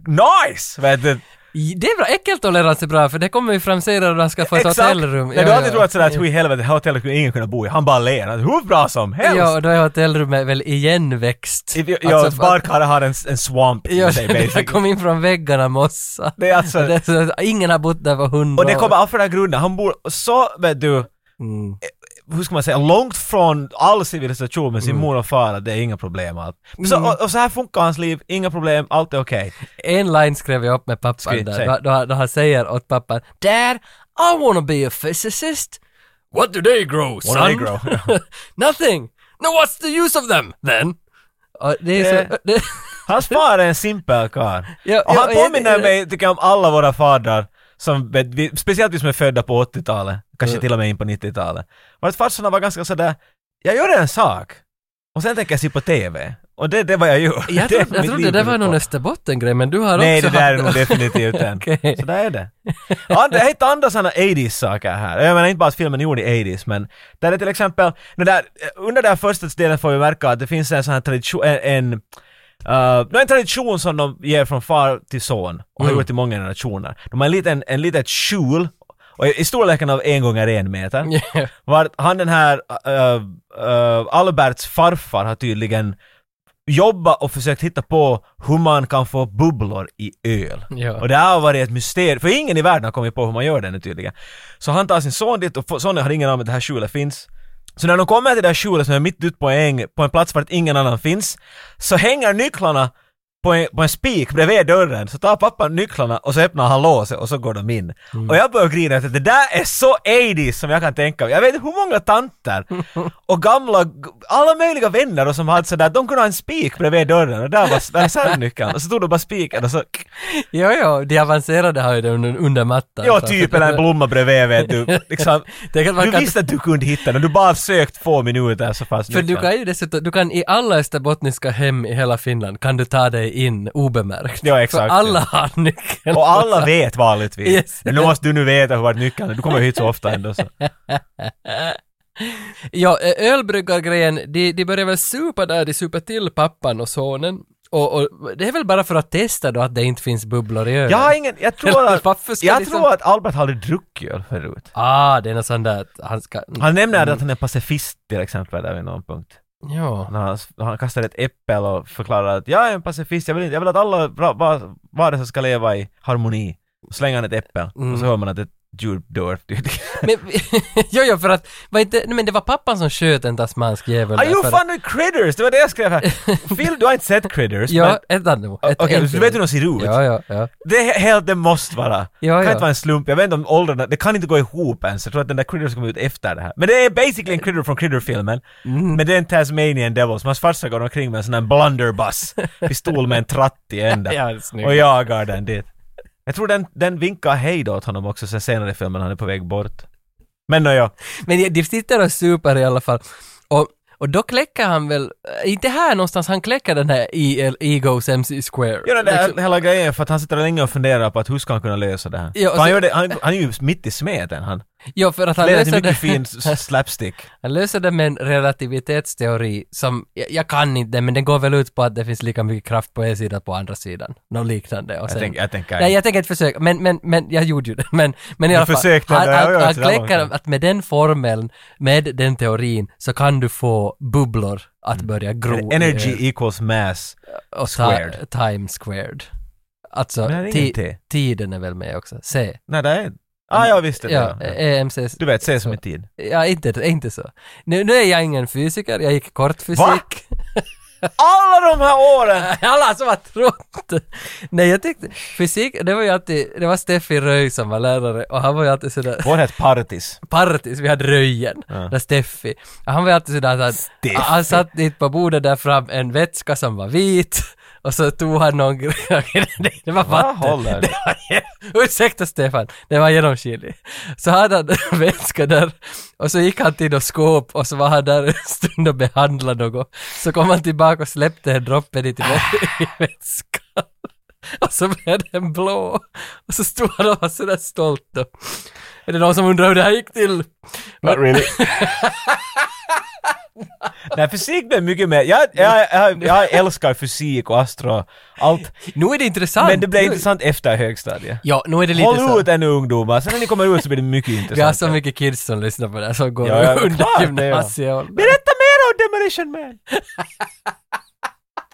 [SPEAKER 2] nice! Vet du?
[SPEAKER 1] I- Det är bra, äckeltolerans är bra för det kommer ju fram senare när han ska få ett hotellrum.
[SPEAKER 2] Nej, du har alltid trott sådär att hur i helvete, det här hotellet skulle ingen kunna bo i. Han bara ler, Han, hur bra som helst!
[SPEAKER 1] Ja, och då är hotellrummet väl igenväxt.
[SPEAKER 2] If you,
[SPEAKER 1] Alltså,
[SPEAKER 2] ja,
[SPEAKER 1] för-
[SPEAKER 2] badkaret har en, en swamp i
[SPEAKER 1] Ja,
[SPEAKER 2] sig
[SPEAKER 1] jag
[SPEAKER 2] basically.
[SPEAKER 1] kom in från väggarna mossa.
[SPEAKER 2] Det är alltså-
[SPEAKER 1] Det är så att ingen har bott där på hundra
[SPEAKER 2] Och
[SPEAKER 1] år.
[SPEAKER 2] det
[SPEAKER 1] Mm.
[SPEAKER 2] kommer av för den här grunden, han bor så, vet du, eh, hur ska man säga, långt från all civilisation med sin
[SPEAKER 1] Mm.
[SPEAKER 2] mor och far, att det är inga problem allt. Så, och, och så här funkar hans liv, inga problem, allt är okej.
[SPEAKER 1] En line skrev jag upp med pappan
[SPEAKER 2] Skriv,
[SPEAKER 1] där,
[SPEAKER 2] säg.
[SPEAKER 1] då, då, då han säger åt pappan Dad, I wanna be a physicist. What do they grow, son?
[SPEAKER 2] do they grow?
[SPEAKER 1] Nothing! No, what's the use of them, then? Och det är
[SPEAKER 2] Eh,
[SPEAKER 1] så... Det,
[SPEAKER 2] Hans far är en simpel karl.
[SPEAKER 1] Ja,
[SPEAKER 2] och han
[SPEAKER 1] ja,
[SPEAKER 2] påminner
[SPEAKER 1] ja, ja.
[SPEAKER 2] mig, tycker jag, om alla våra fadrar. Som, vet vi, speciellt vi som är födda på 80-talet, kanske till och med in på 90-talet. Var att farsorna var ganska sådär, jag gör en sak, och sen tänker jag se på TV. Och det, det är vad jag gör.
[SPEAKER 1] jag,
[SPEAKER 2] Det är
[SPEAKER 1] trodde, jag
[SPEAKER 2] mitt
[SPEAKER 1] trodde
[SPEAKER 2] liv
[SPEAKER 1] det var
[SPEAKER 2] går ut
[SPEAKER 1] någon
[SPEAKER 2] på.
[SPEAKER 1] Österbotten-grej, men du har
[SPEAKER 2] Nej,
[SPEAKER 1] också
[SPEAKER 2] det där är
[SPEAKER 1] haft-
[SPEAKER 2] nog definitivt en.
[SPEAKER 1] Okej.
[SPEAKER 2] Så där är det. And, jag hittar andra sådana 80s-saker här. Jag menar inte bara att filmen är gjord i 80s, men där är till exempel, den där, under den här första delen får vi märka att det finns en sån här tradition, en, en eh, det är en tradition som de ger från far till son och
[SPEAKER 1] Mm.
[SPEAKER 2] har gjort i många generationer. De har en liten, en litet skjul och i i storleken av en gånger en meter.
[SPEAKER 1] Ja.
[SPEAKER 2] Var han den här eh, eh, Alberts farfar har tydligen jobba och försökt hitta på hur man kan få bubblor i öl.
[SPEAKER 1] Ja.
[SPEAKER 2] Och det här har varit ett mysterium, för ingen i världen har kommit på hur man gör det nu tydligen. Så han tar sin son dit och får- sonen har ingen aning om att det här skjulet finns. Så när de kommer till det här skjulet som är mitt ute på en, äng, på en plats vart ingen annan finns, så hänger nycklarna på en, på en spik bredvid dörren, så tar pappan nycklarna och så öppnar han låset och så går de in. Och jag börjar grina att det där är så 80s som jag kan tänka mig. Jag vet inte hur många tanter och gamla, alla möjliga vänner och som hade sådär, de kunde ha en spik bredvid dörren och där var där är särnyckeln och så tog de bara spiken och så
[SPEAKER 1] Jo, jo, de avancerade har ju det under, under mattan.
[SPEAKER 2] Ja,
[SPEAKER 1] så att-
[SPEAKER 2] typ eller en blomma bredvid vet du. Liksom,
[SPEAKER 1] Alltså. Det kan- man
[SPEAKER 2] du
[SPEAKER 1] kan-
[SPEAKER 2] visste att du kunde hitta den, du bara sökt två minuter så liksom." fanns
[SPEAKER 1] För du
[SPEAKER 2] nyckeln.
[SPEAKER 1] kan ju dessutom, du kan i alla österbottniska hem i hela Finland kan du ta dig in obemärkt.
[SPEAKER 2] Ja, exakt,
[SPEAKER 1] För
[SPEAKER 2] ja.
[SPEAKER 1] alla har nyckeln.
[SPEAKER 2] Och alla vet vanligtvis.
[SPEAKER 1] Yes.
[SPEAKER 2] Men nu måste du nu veta hur vart nyckeln är, du kommer hit så ofta ändå så.
[SPEAKER 1] Ja, ö- ölbryggargrejen, de, de börjar väl supa där, de super till pappan och sonen. Och, och det är väl bara för att testa då att det inte finns bubblor i ölen.
[SPEAKER 2] Jag har ingen, jag tror
[SPEAKER 1] Varför
[SPEAKER 2] att,
[SPEAKER 1] ska
[SPEAKER 2] jag
[SPEAKER 1] liksom-
[SPEAKER 2] tror att Albert har aldrig druckit öl förut.
[SPEAKER 1] Ah, det är något sånt där att han ska...
[SPEAKER 2] Han nämner att han är pacifist till exempel där vid någon punkt.
[SPEAKER 1] Ja.
[SPEAKER 2] När han, han kastar ett äppel och förklarar att jag är en pacifist, jag vill, inte, jag vill att alla bra- va- varelser ska leva i harmoni. Och slänger han ett äppel och
[SPEAKER 1] Mm.
[SPEAKER 2] så hör man att ett djur dör tydligen.
[SPEAKER 1] Men, jo, jo, för att, var inte, nej, men det var pappan som sköt en tasmansk jävel.
[SPEAKER 2] Ah,
[SPEAKER 1] där
[SPEAKER 2] jo
[SPEAKER 1] för-
[SPEAKER 2] fan, det är Critters! Det var det jag skrev här. Phil, du har inte sett Critters, men...
[SPEAKER 1] Ja, ett nu.
[SPEAKER 2] Okej, du vet hur de ser ut?
[SPEAKER 1] Ja, ja, ja.
[SPEAKER 2] Det är he- helt, det måste vara.
[SPEAKER 1] Ja,
[SPEAKER 2] det kan
[SPEAKER 1] ja.
[SPEAKER 2] inte vara en slump, jag vet inte om åldrarna, det kan inte gå ihop ens. Jag tror att den där Critters kom ut efter det här. Men det är basically en Critter från Critter-filmen.
[SPEAKER 1] Mm.
[SPEAKER 2] Men det är en Tasmanian Devil, som hans farsa går omkring med en sån här blunderbuss. Pistol med en tratt i änden.
[SPEAKER 1] Ja, det är snyggt.
[SPEAKER 2] och jagar den dit. Jag tror den, den vinkar hej då åt honom också sen senare i filmen, han är på väg bort. Men nåja,
[SPEAKER 1] Men de sitter och super i alla fall. Och, och då kläcker han väl, eh, inte här någonstans, han kläcker den här E EL, Egos MC Square.
[SPEAKER 2] Ja, den där
[SPEAKER 1] Liksom.
[SPEAKER 2] hela grejen är för att han sitter länge och funderar på att hur ska han kunna lösa det här?
[SPEAKER 1] Ja, och
[SPEAKER 2] för han,
[SPEAKER 1] så-
[SPEAKER 2] gör det, han, han är ju mitt i smeten han.
[SPEAKER 1] ja för att han
[SPEAKER 2] Han leder till
[SPEAKER 1] löser, det,
[SPEAKER 2] mycket fin s- slapstick.
[SPEAKER 1] han löser det med en relativitetsteori som, jag, jag kan inte den, men den går väl ut på att det finns lika mycket kraft på en sida på andra sidan. Något liknande. Och
[SPEAKER 2] Jag
[SPEAKER 1] sen,
[SPEAKER 2] tänker, jag tänker
[SPEAKER 1] Nej, jag tänker inte försöka, men, men, men jag gjorde ju det. Men, men i
[SPEAKER 2] Du
[SPEAKER 1] alla fall,
[SPEAKER 2] försökte
[SPEAKER 1] han,
[SPEAKER 2] ändå, jag
[SPEAKER 1] han,
[SPEAKER 2] gör
[SPEAKER 1] han
[SPEAKER 2] inte det
[SPEAKER 1] kläcker
[SPEAKER 2] långt.
[SPEAKER 1] att med den formeln, med den teorin, så kan du få bubblor att börja gro. i
[SPEAKER 2] Mm. Energy
[SPEAKER 1] öl.
[SPEAKER 2] equals mass.
[SPEAKER 1] och
[SPEAKER 2] squared.
[SPEAKER 1] Ta, time squared. Alltså,
[SPEAKER 2] Men det är
[SPEAKER 1] ti-
[SPEAKER 2] ingen T.
[SPEAKER 1] tiden är väl med också. C.
[SPEAKER 2] Nej, det är... Ah, jag visste det.
[SPEAKER 1] Ja, eh, E
[SPEAKER 2] Ja,
[SPEAKER 1] EMC.
[SPEAKER 2] Du vet, se som en tid.
[SPEAKER 1] Ja, inte, inte så. Nu, nu är jag ingen fysiker, jag gick
[SPEAKER 2] Va?
[SPEAKER 1] kortfysik.
[SPEAKER 2] Alla de här åren!
[SPEAKER 1] Alla som har trott! Nej, jag tyckte, fysik, det var ju alltid, det var Steffi Röj som var lärare och han var ju alltid sådär
[SPEAKER 2] Vår hette Partis.
[SPEAKER 1] partis, vi hade Röjen, där Steffi. Han var ju alltid sådär att han, han satt dit på bordet där fram en vätska som var vit och så tog han någon grej, det var vatten.
[SPEAKER 2] håller?
[SPEAKER 1] Det var, ursäkta Stefan, det var genomskinlig. Så hade han en vätska där och så gick han till något skåp och så var han där en stund och behandlade något. Så kom han tillbaka och släppte en droppe dit i vä- i vätskan. Och så blev den blå. Och så stod han och var sådär stolt då. Är det någon som undrar hur det här gick till?
[SPEAKER 5] Not really.
[SPEAKER 2] Nej, fysik blev mycket mer... Jag, jag, jag, jag älskar fysik och astro, allt.
[SPEAKER 1] Nu är det intressant.
[SPEAKER 2] Men det blev
[SPEAKER 1] Nu-
[SPEAKER 2] intressant efter högstadiet.
[SPEAKER 1] Ja, nu är det lite
[SPEAKER 2] Håll ut
[SPEAKER 1] så.
[SPEAKER 2] ännu ungdomar, sen när ni kommer ut så blir det mycket
[SPEAKER 1] Vi har
[SPEAKER 2] intressant.
[SPEAKER 1] så mycket kids som lyssnar på det här som går
[SPEAKER 2] Ja, ja,
[SPEAKER 1] under
[SPEAKER 2] klart det, ja.
[SPEAKER 1] gymnasieåldern.
[SPEAKER 2] Berätta mer om Demolition Man!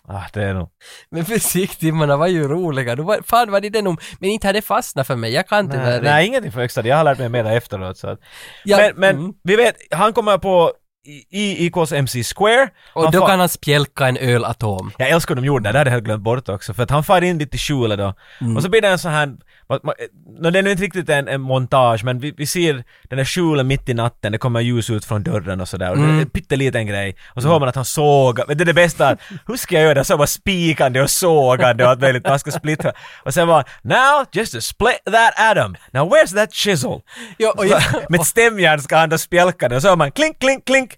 [SPEAKER 2] Ah, det är nog...
[SPEAKER 1] Men fysiktimmarna var ju roliga. Du var, fan vad det den om... Men inte hade det fastnat för mig. Jag kan tyvärr
[SPEAKER 2] Nej,
[SPEAKER 1] inte.
[SPEAKER 2] nej, ingenting för högstadiet. Jag har lärt mig mera efteråt. Så att.
[SPEAKER 1] Ja,
[SPEAKER 2] men men
[SPEAKER 1] mm.
[SPEAKER 2] vi vet, han kommer på i- i IKs MC Square.
[SPEAKER 1] Och
[SPEAKER 2] Han
[SPEAKER 1] då
[SPEAKER 2] far-
[SPEAKER 1] kan han spjälka en ölatom.
[SPEAKER 2] Jag älskar hur de gjorde det, det hade jag helt glömt bort också. För att han far in lite i skjulet då. Och så blir det en sån här... ma- ma- nå, det är nu inte riktigt en, en montage, men vi, vi ser den där skjulen mitt i natten, det kommer ljus ut från dörren och sådär. Och det är en pytteliten grej. Och så hör man att han sågar. Men det är det bästa, hur ska jag göra det? Så bara spikande och sågande och allt möjligt. Man ska splittra. Och sen bara “Now just to split that atom. Now where's that chisel?”
[SPEAKER 1] Ja, och jag,
[SPEAKER 2] Med ett stämjärn ska han då spjälka det och så hör man klink, klink, klink.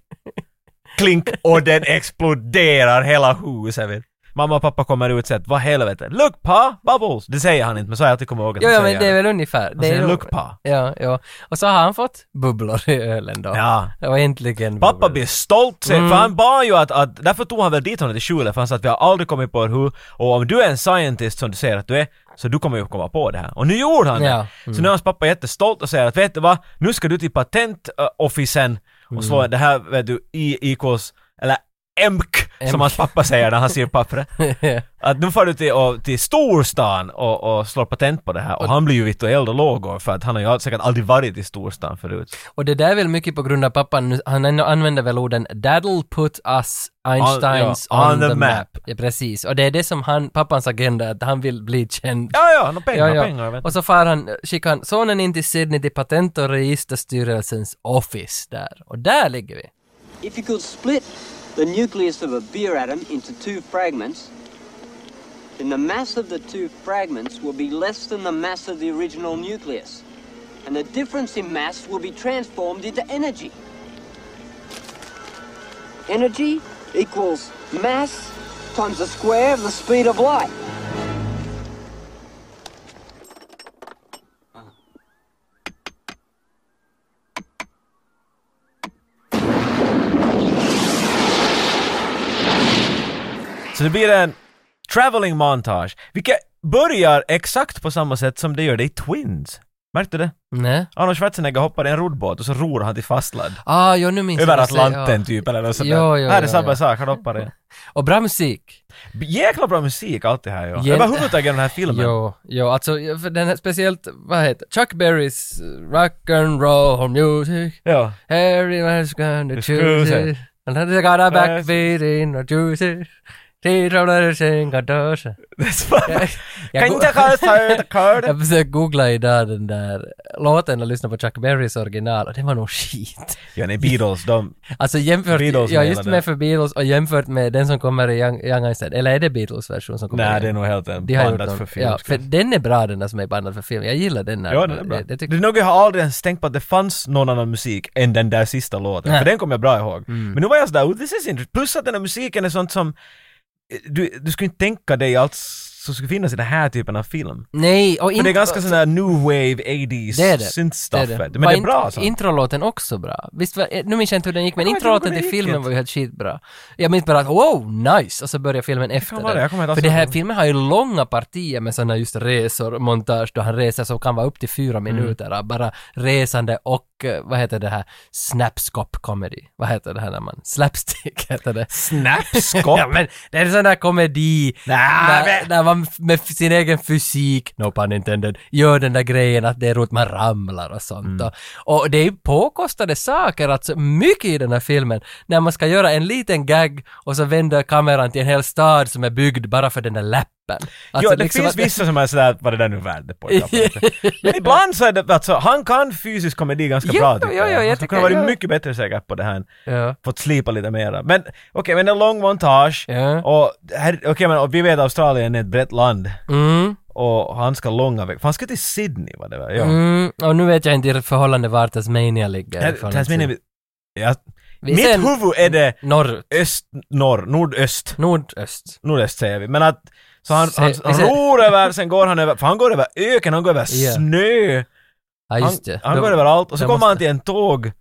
[SPEAKER 2] Klink och den exploderar hela huset. Vet. Mamma och pappa kommer ut och säger vad helvete. Look pa, bubbles. Det säger han inte men så har jag alltid kommit ihåg att
[SPEAKER 1] jo,
[SPEAKER 2] han
[SPEAKER 1] ja,
[SPEAKER 2] säger
[SPEAKER 1] men det är väl ungefär.
[SPEAKER 2] Han
[SPEAKER 1] Det är
[SPEAKER 2] säger
[SPEAKER 1] nog-
[SPEAKER 2] look pa.
[SPEAKER 1] Ja, ja. Och så har han fått bubblor i ölen då.
[SPEAKER 2] Ja.
[SPEAKER 1] Det var äntligen
[SPEAKER 2] Pappa
[SPEAKER 1] bubblor.
[SPEAKER 2] blir stolt, säger- för han bad ju att, att, därför tog han väl dit honom till skjulet, för han sa att vi har aldrig kommit på hur, och om du är en scientist som du säger att du är, så du kommer ju komma på det här. Och nu gjorde han det!
[SPEAKER 1] Ja,
[SPEAKER 2] Så nu är hans pappa jättestolt och säger att vet du vad, nu ska du till patentofficen och slå det här, vet du, i IKs, eller EMK, som
[SPEAKER 1] EMK.
[SPEAKER 2] hans pappa säger när han ser pappret.
[SPEAKER 1] Ja.
[SPEAKER 2] Att nu får du till, och, till storstan och, och slår patent på det här. Och han blir ju vitt och eld och lågor för att han har ju all- säkert aldrig varit i storstan förut.
[SPEAKER 1] Och det där är väl mycket på grund av pappan, nu- han an- använder väl orden “That'll put us Einsteins
[SPEAKER 2] ja,
[SPEAKER 1] on, the, map”. Ja, precis. Och det är det som han, pappans agenda, att han vill bli känd.
[SPEAKER 2] Ja, ja, no, pengar, pengar. jag Vet.
[SPEAKER 1] Och så far han, skickar han sonen in till Sydney till Patent och registerstyrelsens office där. Och där ligger vi.
[SPEAKER 7] If you could split the nucleus of a beer atom into two fragments, then the mass of the two fragments will be less than the mass of the original nucleus. And the difference in mass will be transformed into energy. Energy equals mass times the square of the speed of light.
[SPEAKER 2] Så det blir en traveling montage, vilket börjar exakt på samma sätt som det gör det i Twins. Märkte du det?
[SPEAKER 1] Nej.
[SPEAKER 2] Arnold Schwarzenegger hoppar i en roddbåt och så ror han till fastland.
[SPEAKER 1] Ah, jo, nu minns
[SPEAKER 2] Över
[SPEAKER 1] vad du säger.
[SPEAKER 2] Atlanten
[SPEAKER 1] Ja.
[SPEAKER 2] typ eller något sånt
[SPEAKER 1] Jo,
[SPEAKER 2] där.
[SPEAKER 1] jo,
[SPEAKER 2] Här är
[SPEAKER 1] jo,
[SPEAKER 2] samma
[SPEAKER 1] jo.
[SPEAKER 2] sak, han hoppar i.
[SPEAKER 1] Och bra musik.
[SPEAKER 2] Jäkla bra musik alltid här ja.
[SPEAKER 1] Gen-
[SPEAKER 2] Överhuvudtaget den här filmen.
[SPEAKER 1] Jo, jo, alltså för den här speciellt, vad heter Chuck Berrys eh, rock and roll music.
[SPEAKER 2] Ja.
[SPEAKER 1] Everyone's gonna
[SPEAKER 2] Just
[SPEAKER 1] choose
[SPEAKER 2] cruise
[SPEAKER 1] it.
[SPEAKER 2] it.
[SPEAKER 1] And then they got a
[SPEAKER 2] Yes.
[SPEAKER 1] backbeat in the juices. They don't let it sing a dose.
[SPEAKER 2] Kan inte
[SPEAKER 1] Jag försökte googla idag den där låten och lyssna på Chuck Berrys original och det var nog skit.
[SPEAKER 2] Ja, nej Beatles, de...
[SPEAKER 1] Alltså jämfört,
[SPEAKER 2] Beatles
[SPEAKER 1] ja
[SPEAKER 2] med
[SPEAKER 1] just
[SPEAKER 2] hela
[SPEAKER 1] med
[SPEAKER 2] det.
[SPEAKER 1] för Beatles och jämfört med den som kommer i Young, Young Einstein, eller är det Beatles version som kommer?
[SPEAKER 2] Nej,
[SPEAKER 1] i-
[SPEAKER 2] det är nog helt en
[SPEAKER 1] De har gjort
[SPEAKER 2] bandat
[SPEAKER 1] någon-
[SPEAKER 2] för film.
[SPEAKER 1] Ja,
[SPEAKER 2] skulle
[SPEAKER 1] för
[SPEAKER 2] jag säga.
[SPEAKER 1] den är bra den där som är bandad för film. Jag gillar den. Här.
[SPEAKER 2] Ja, den är bra.
[SPEAKER 1] Det, det tycker
[SPEAKER 2] Det är nog jag har aldrig ens tänkt på att det fanns någon annan musik än den där sista låten,
[SPEAKER 1] Nej. Mm.
[SPEAKER 2] för den kommer jag bra ihåg. Men nu var jag sådär, oh, this is interesting. Plus att den här musiken är sånt som eh, du, du skulle inte tänka dig allt som skulle finnas i den här typen av film.
[SPEAKER 1] Nej, och
[SPEAKER 2] För det är
[SPEAKER 1] intro-
[SPEAKER 2] ganska sån där new wave 80s
[SPEAKER 1] Det är det.
[SPEAKER 2] synth
[SPEAKER 1] Det är
[SPEAKER 2] stuff.
[SPEAKER 1] det.
[SPEAKER 2] vet du.
[SPEAKER 1] Var
[SPEAKER 2] Men det är
[SPEAKER 1] int-
[SPEAKER 2] bra alltså. så.
[SPEAKER 1] Introlåten också bra. Visst var, eh, nu minns jag inte hur den gick, men
[SPEAKER 2] Jag kommer inte
[SPEAKER 1] introlåten
[SPEAKER 2] ihåg hur
[SPEAKER 1] till filmen
[SPEAKER 2] den gick helt.
[SPEAKER 1] var ju helt skitbra. Jag minns bara att wow, nice! Och så börjar filmen efter
[SPEAKER 2] vara det, jag kommer inte
[SPEAKER 1] För
[SPEAKER 2] alls
[SPEAKER 1] det här
[SPEAKER 2] ihåg.
[SPEAKER 1] filmen har ju långa partier med sådana just resor, montage då han reser som kan vara upp till fyra
[SPEAKER 2] Mm.
[SPEAKER 1] minuter av bara resande och eh, vad heter det här, snapscop comedy. Vad heter det här när man, slapstick heter det.
[SPEAKER 2] Snapskott.
[SPEAKER 1] Ja, men det är en sån där komedi
[SPEAKER 2] Nej,
[SPEAKER 1] där,
[SPEAKER 2] men-
[SPEAKER 1] där man f- med f- sin egen fysik, no pun intended, gör den där grejen att det är roligt, man ramlar och
[SPEAKER 2] Mm.
[SPEAKER 1] sånt. Och, och det är påkostade saker, alltså mycket i den här filmen. När man ska göra en liten gag och så vänder kameran till en hel stad som är byggd bara för den där läppen. Alltså,
[SPEAKER 2] jo, det
[SPEAKER 1] liksom
[SPEAKER 2] finns
[SPEAKER 1] att-
[SPEAKER 2] vissa som är sådär, vad det där nu värde på. ett kapitlet." Men ibland så är det, alltså, han kan fysisk komedi ganska
[SPEAKER 1] Jo,
[SPEAKER 2] bra tycker
[SPEAKER 1] jo, jo, jag
[SPEAKER 2] jag. Han
[SPEAKER 1] tycker-
[SPEAKER 2] skulle kunna varit
[SPEAKER 1] jo.
[SPEAKER 2] mycket bättre säkert på det här.
[SPEAKER 1] Ja.
[SPEAKER 2] Fått slipa lite mera. Men okej, men en lång montage.
[SPEAKER 1] Ja.
[SPEAKER 2] Och, här- okej, men, och vi vet att Australien är ett brett land.
[SPEAKER 1] Mm,
[SPEAKER 2] Och han ska långa väg. För han ska till Sydney var det väl? Ja.
[SPEAKER 1] mm, och nu vet jag inte i förhållande vart Tasmania ligger.
[SPEAKER 2] Här-
[SPEAKER 1] ifall
[SPEAKER 2] Tasmanien-
[SPEAKER 1] inte-
[SPEAKER 2] Ja,
[SPEAKER 1] Vi
[SPEAKER 2] mitt
[SPEAKER 1] ser
[SPEAKER 2] huvud är det
[SPEAKER 1] Norrut,
[SPEAKER 2] öst, norr, nordöst.
[SPEAKER 1] nordöst.
[SPEAKER 2] nordöst säger vi, men att så han,
[SPEAKER 1] Se-
[SPEAKER 2] han,
[SPEAKER 1] vi
[SPEAKER 2] han
[SPEAKER 1] ser-
[SPEAKER 2] ror över, sen går han över, för han går över öken, han går över
[SPEAKER 1] Ja.
[SPEAKER 2] snö,
[SPEAKER 1] Ja,
[SPEAKER 2] han,
[SPEAKER 1] just det.
[SPEAKER 2] han
[SPEAKER 1] Då-
[SPEAKER 2] går över allt och så
[SPEAKER 1] då
[SPEAKER 2] kommer
[SPEAKER 1] måste-
[SPEAKER 2] han till en tåg,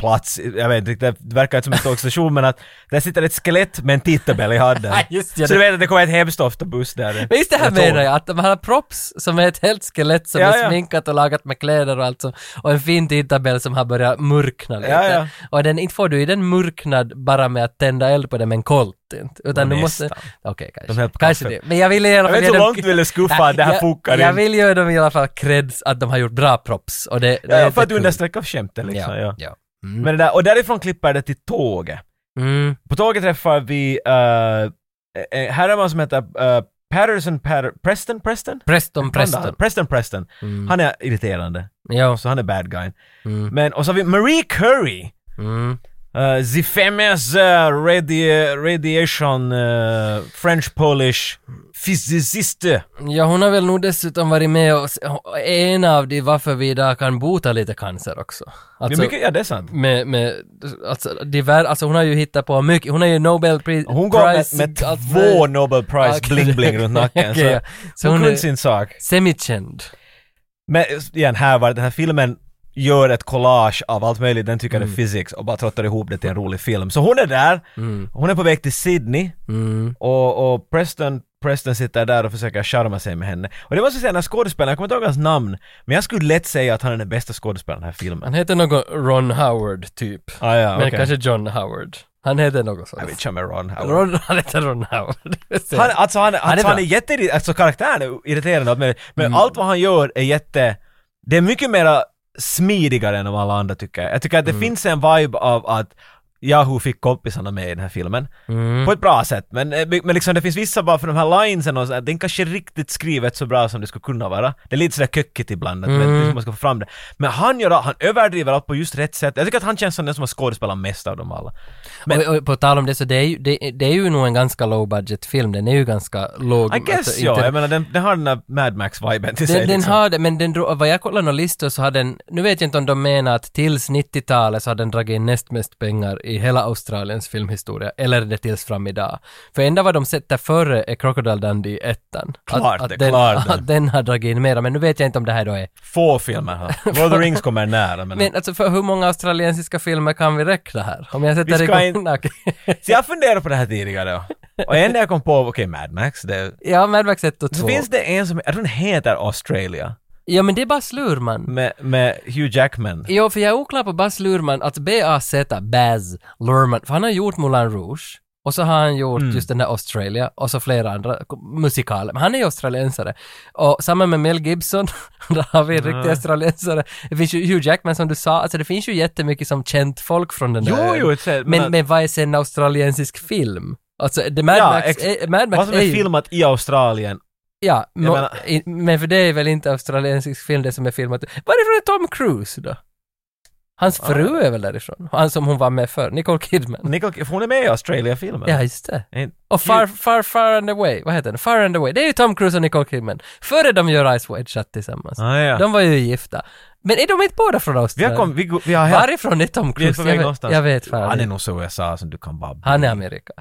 [SPEAKER 2] plats, jag vet inte, det verkar inte som en tågstation men att där sitter ett skelett med en tidtabell i handen.
[SPEAKER 1] Ja, just ja,
[SPEAKER 2] så
[SPEAKER 1] det-
[SPEAKER 2] du vet att det kommer ett hemskt ofta buss där.
[SPEAKER 1] Men just det här
[SPEAKER 2] Eller tåg.
[SPEAKER 1] menar jag, att de har props som är ett helt skelett som
[SPEAKER 2] Ja,
[SPEAKER 1] är
[SPEAKER 2] ja.
[SPEAKER 1] sminkat och lagat med kläder och allt så, och en fin tidtabell som har börjat murkna lite.
[SPEAKER 2] Ja, ja.
[SPEAKER 1] Och den, inte får du ju den murknad bara med att tända eld på den med en kolt, inte. Utan
[SPEAKER 2] Ja,
[SPEAKER 1] du måste...
[SPEAKER 2] nästan.
[SPEAKER 1] Okej,
[SPEAKER 2] De höll
[SPEAKER 1] kanske.
[SPEAKER 2] på
[SPEAKER 1] Kanske det.
[SPEAKER 2] kaffe.
[SPEAKER 1] Men jag vill i alla
[SPEAKER 2] Jag
[SPEAKER 1] fall...
[SPEAKER 2] vet
[SPEAKER 1] ge
[SPEAKER 2] hur
[SPEAKER 1] dem-
[SPEAKER 2] långt ville skuffa att det
[SPEAKER 1] jag-
[SPEAKER 2] här funkar
[SPEAKER 1] Jag
[SPEAKER 2] inte.
[SPEAKER 1] vill ge dem i alla fall creds att de har gjort bra props. Och det, det
[SPEAKER 2] Ja,
[SPEAKER 1] är
[SPEAKER 2] ja, för att
[SPEAKER 1] jättekul.
[SPEAKER 2] understryka skämtet liksom. Ja,
[SPEAKER 1] Ja, ja. Mm.
[SPEAKER 2] Men det där, och därifrån klipper det till tåget.
[SPEAKER 1] mm.
[SPEAKER 2] På tåget träffar vi, eh, eh, här är man som heter eh, Patterson, Patter, Preston, Preston?
[SPEAKER 1] Preston, Preston.
[SPEAKER 2] Preston, Preston.
[SPEAKER 1] Mm.
[SPEAKER 2] Han är irriterande,
[SPEAKER 1] Ja.
[SPEAKER 2] så han är bad guy.
[SPEAKER 1] Mm.
[SPEAKER 2] Men, och så har vi Marie Curry!
[SPEAKER 1] Mm.
[SPEAKER 2] Uh, the famous eh, radi- radiation eh, French Polish physicist.
[SPEAKER 1] Ja, hon har väl nog dessutom varit med och s- och är en av de varför vi idag kan bota lite cancer också.
[SPEAKER 2] ja,
[SPEAKER 1] Alltså,
[SPEAKER 2] mycket, ja, det är sant.
[SPEAKER 1] med, med, alltså, diver, alltså hon har ju hittat på mycket, hon har ju Nobelpris...
[SPEAKER 2] Hon går med,
[SPEAKER 1] Prize-
[SPEAKER 2] med
[SPEAKER 1] allt
[SPEAKER 2] två
[SPEAKER 1] möjligt.
[SPEAKER 2] Nobel
[SPEAKER 1] Ja,
[SPEAKER 2] Prize
[SPEAKER 1] okej.
[SPEAKER 2] bling-bling runt nacken.
[SPEAKER 1] Okej, ja.
[SPEAKER 2] så.
[SPEAKER 1] Så
[SPEAKER 2] hon
[SPEAKER 1] hon
[SPEAKER 2] kunde
[SPEAKER 1] är
[SPEAKER 2] sin sak.
[SPEAKER 1] semikänd.
[SPEAKER 2] Men igen, här var det, den här filmen gör ett collage av allt möjligt, den tycker det är physics och bara trottar ihop det till en rolig film. Så hon är där, hon är på väg till Sydney
[SPEAKER 1] Mm.
[SPEAKER 2] och, och Preston, Preston sitter där och försöker charma sig med henne. Och det måste jag säga, den här skådespelaren, jag kommer inte ihåg hans namn, men jag skulle lätt säga att han är den bästa skådespelaren i den här filmen.
[SPEAKER 1] Han heter någon Ron Howard typ.
[SPEAKER 2] Ah, ja,
[SPEAKER 1] Men
[SPEAKER 2] okej.
[SPEAKER 1] kanske John Howard. Han heter något
[SPEAKER 2] Jag
[SPEAKER 1] sånt.
[SPEAKER 2] vet inte om jag är Ron Howard.
[SPEAKER 1] Ron, han heter Ron Howard.
[SPEAKER 2] Han, alltså han,
[SPEAKER 1] är
[SPEAKER 2] alltså, han
[SPEAKER 1] bra. Mm.
[SPEAKER 2] är jätte... Alltså karaktären är irriterande, men, men allt vad han gör är jätte... Det är mycket mera smidigare än de alla andra tycker jag. Jag tycker att
[SPEAKER 1] Mm.
[SPEAKER 2] det finns en vibe av att Yahoo fick kompisarna med i den här filmen.
[SPEAKER 1] Mm.
[SPEAKER 2] På ett bra sätt, men, eh, men liksom det finns vissa bara för de här linesen och sådär, den kanske är riktigt skrivet så bra som det skulle kunna vara. Det är lite sådär kökigt ibland, att
[SPEAKER 1] Mm.
[SPEAKER 2] men, liksom man ska få fram det. Men han gör all- han överdriver allt på just rätt sätt. Jag tycker att han känns som den som har skådespelat mest av dem alla. Men-
[SPEAKER 1] och, och på tal om det så det är, ju, det, det är ju nog en ganska low budget film, den är ju ganska låg.
[SPEAKER 2] I guess,
[SPEAKER 1] alltså,
[SPEAKER 2] ja.
[SPEAKER 1] inte-
[SPEAKER 2] Jag menar, den, den har den där Mad Max-viben till sig.
[SPEAKER 1] Den, den
[SPEAKER 2] liksom.
[SPEAKER 1] har det, men den, dro- vad jag kollade några listor så har den, nu vet jag inte om de menar att tills 90-talet så har den dragit in näst mest pengar i hela Australiens filmhistoria, eller är det tills fram idag. För enda vad de sätter före är Crocodile Dundee ettan.
[SPEAKER 2] Klart det,
[SPEAKER 1] den,
[SPEAKER 2] klart det. Mm.
[SPEAKER 1] att den har dragit in mera, men nu vet jag inte om det här då är.
[SPEAKER 2] Få filmer här. Lord of the Rings kommer nära men...
[SPEAKER 1] Men alltså för hur många australiensiska filmer kan vi räkna här? Om jag sätter
[SPEAKER 2] Vi ska
[SPEAKER 1] igång... Okej.
[SPEAKER 2] Så jag funderade på det här tidigare. Och en jag kom på, okej Mad Max, det...
[SPEAKER 1] ja, Mad Max 1 och 2.
[SPEAKER 2] Så finns det en som, jag tror den heter Australia,
[SPEAKER 1] Ja, men det är Bas Lurman.
[SPEAKER 2] med, med Hugh Jackman.
[SPEAKER 1] Jo, för jag är oklar på Bas Lurman, alltså B-A-Z, Baz Lurman, för han har gjort Moulin Rouge och så har han gjort
[SPEAKER 2] Mm.
[SPEAKER 1] just den där Australia och så flera andra k- musikaler. Men han är ju australiensare. Och samma med Mel Gibson, där har vi en riktig australiensare. Det finns ju Hugh Jackman som du sa, alltså det finns ju jättemycket som känt folk från den där
[SPEAKER 2] Jo,
[SPEAKER 1] ön.
[SPEAKER 2] jo, ett sätt,
[SPEAKER 1] men, men,
[SPEAKER 2] men-
[SPEAKER 1] vad är sen australiensisk film? Alltså, The Mad
[SPEAKER 2] Ja,
[SPEAKER 1] Max,
[SPEAKER 2] ex-
[SPEAKER 1] är, Mad Max
[SPEAKER 2] Vad som är
[SPEAKER 1] ju-
[SPEAKER 2] filmat i Australien.
[SPEAKER 1] Ja, mo-
[SPEAKER 2] menar-
[SPEAKER 1] i, men för det är väl inte australiensisk film det som är filmat. Varifrån är Tom Cruise då? Hans fru är väl därifrån? Han som hon var med för Nicole Kidman.
[SPEAKER 2] Nicole, för hon är med i Australia-filmen.
[SPEAKER 1] Ja, just det.
[SPEAKER 2] En-
[SPEAKER 1] Och far, far, far and away, vad heter den? Far and away, det är ju Tom Cruise och Nicole Kidman. Före de gör Ice White Shut tillsammans.
[SPEAKER 2] Ah, ja.
[SPEAKER 1] De var ju gifta. Men är de inte båda från
[SPEAKER 2] Vi
[SPEAKER 1] Australien?
[SPEAKER 2] har kom, vi, går- vi har helt-
[SPEAKER 1] Varifrån är Tom
[SPEAKER 2] vi är
[SPEAKER 1] Cruise?
[SPEAKER 2] på väg
[SPEAKER 1] jag, vet,
[SPEAKER 2] någonstans.
[SPEAKER 1] jag vet fan
[SPEAKER 2] Han är
[SPEAKER 1] inte.
[SPEAKER 2] nog så USA som du kan bara...
[SPEAKER 1] Han är Amerika,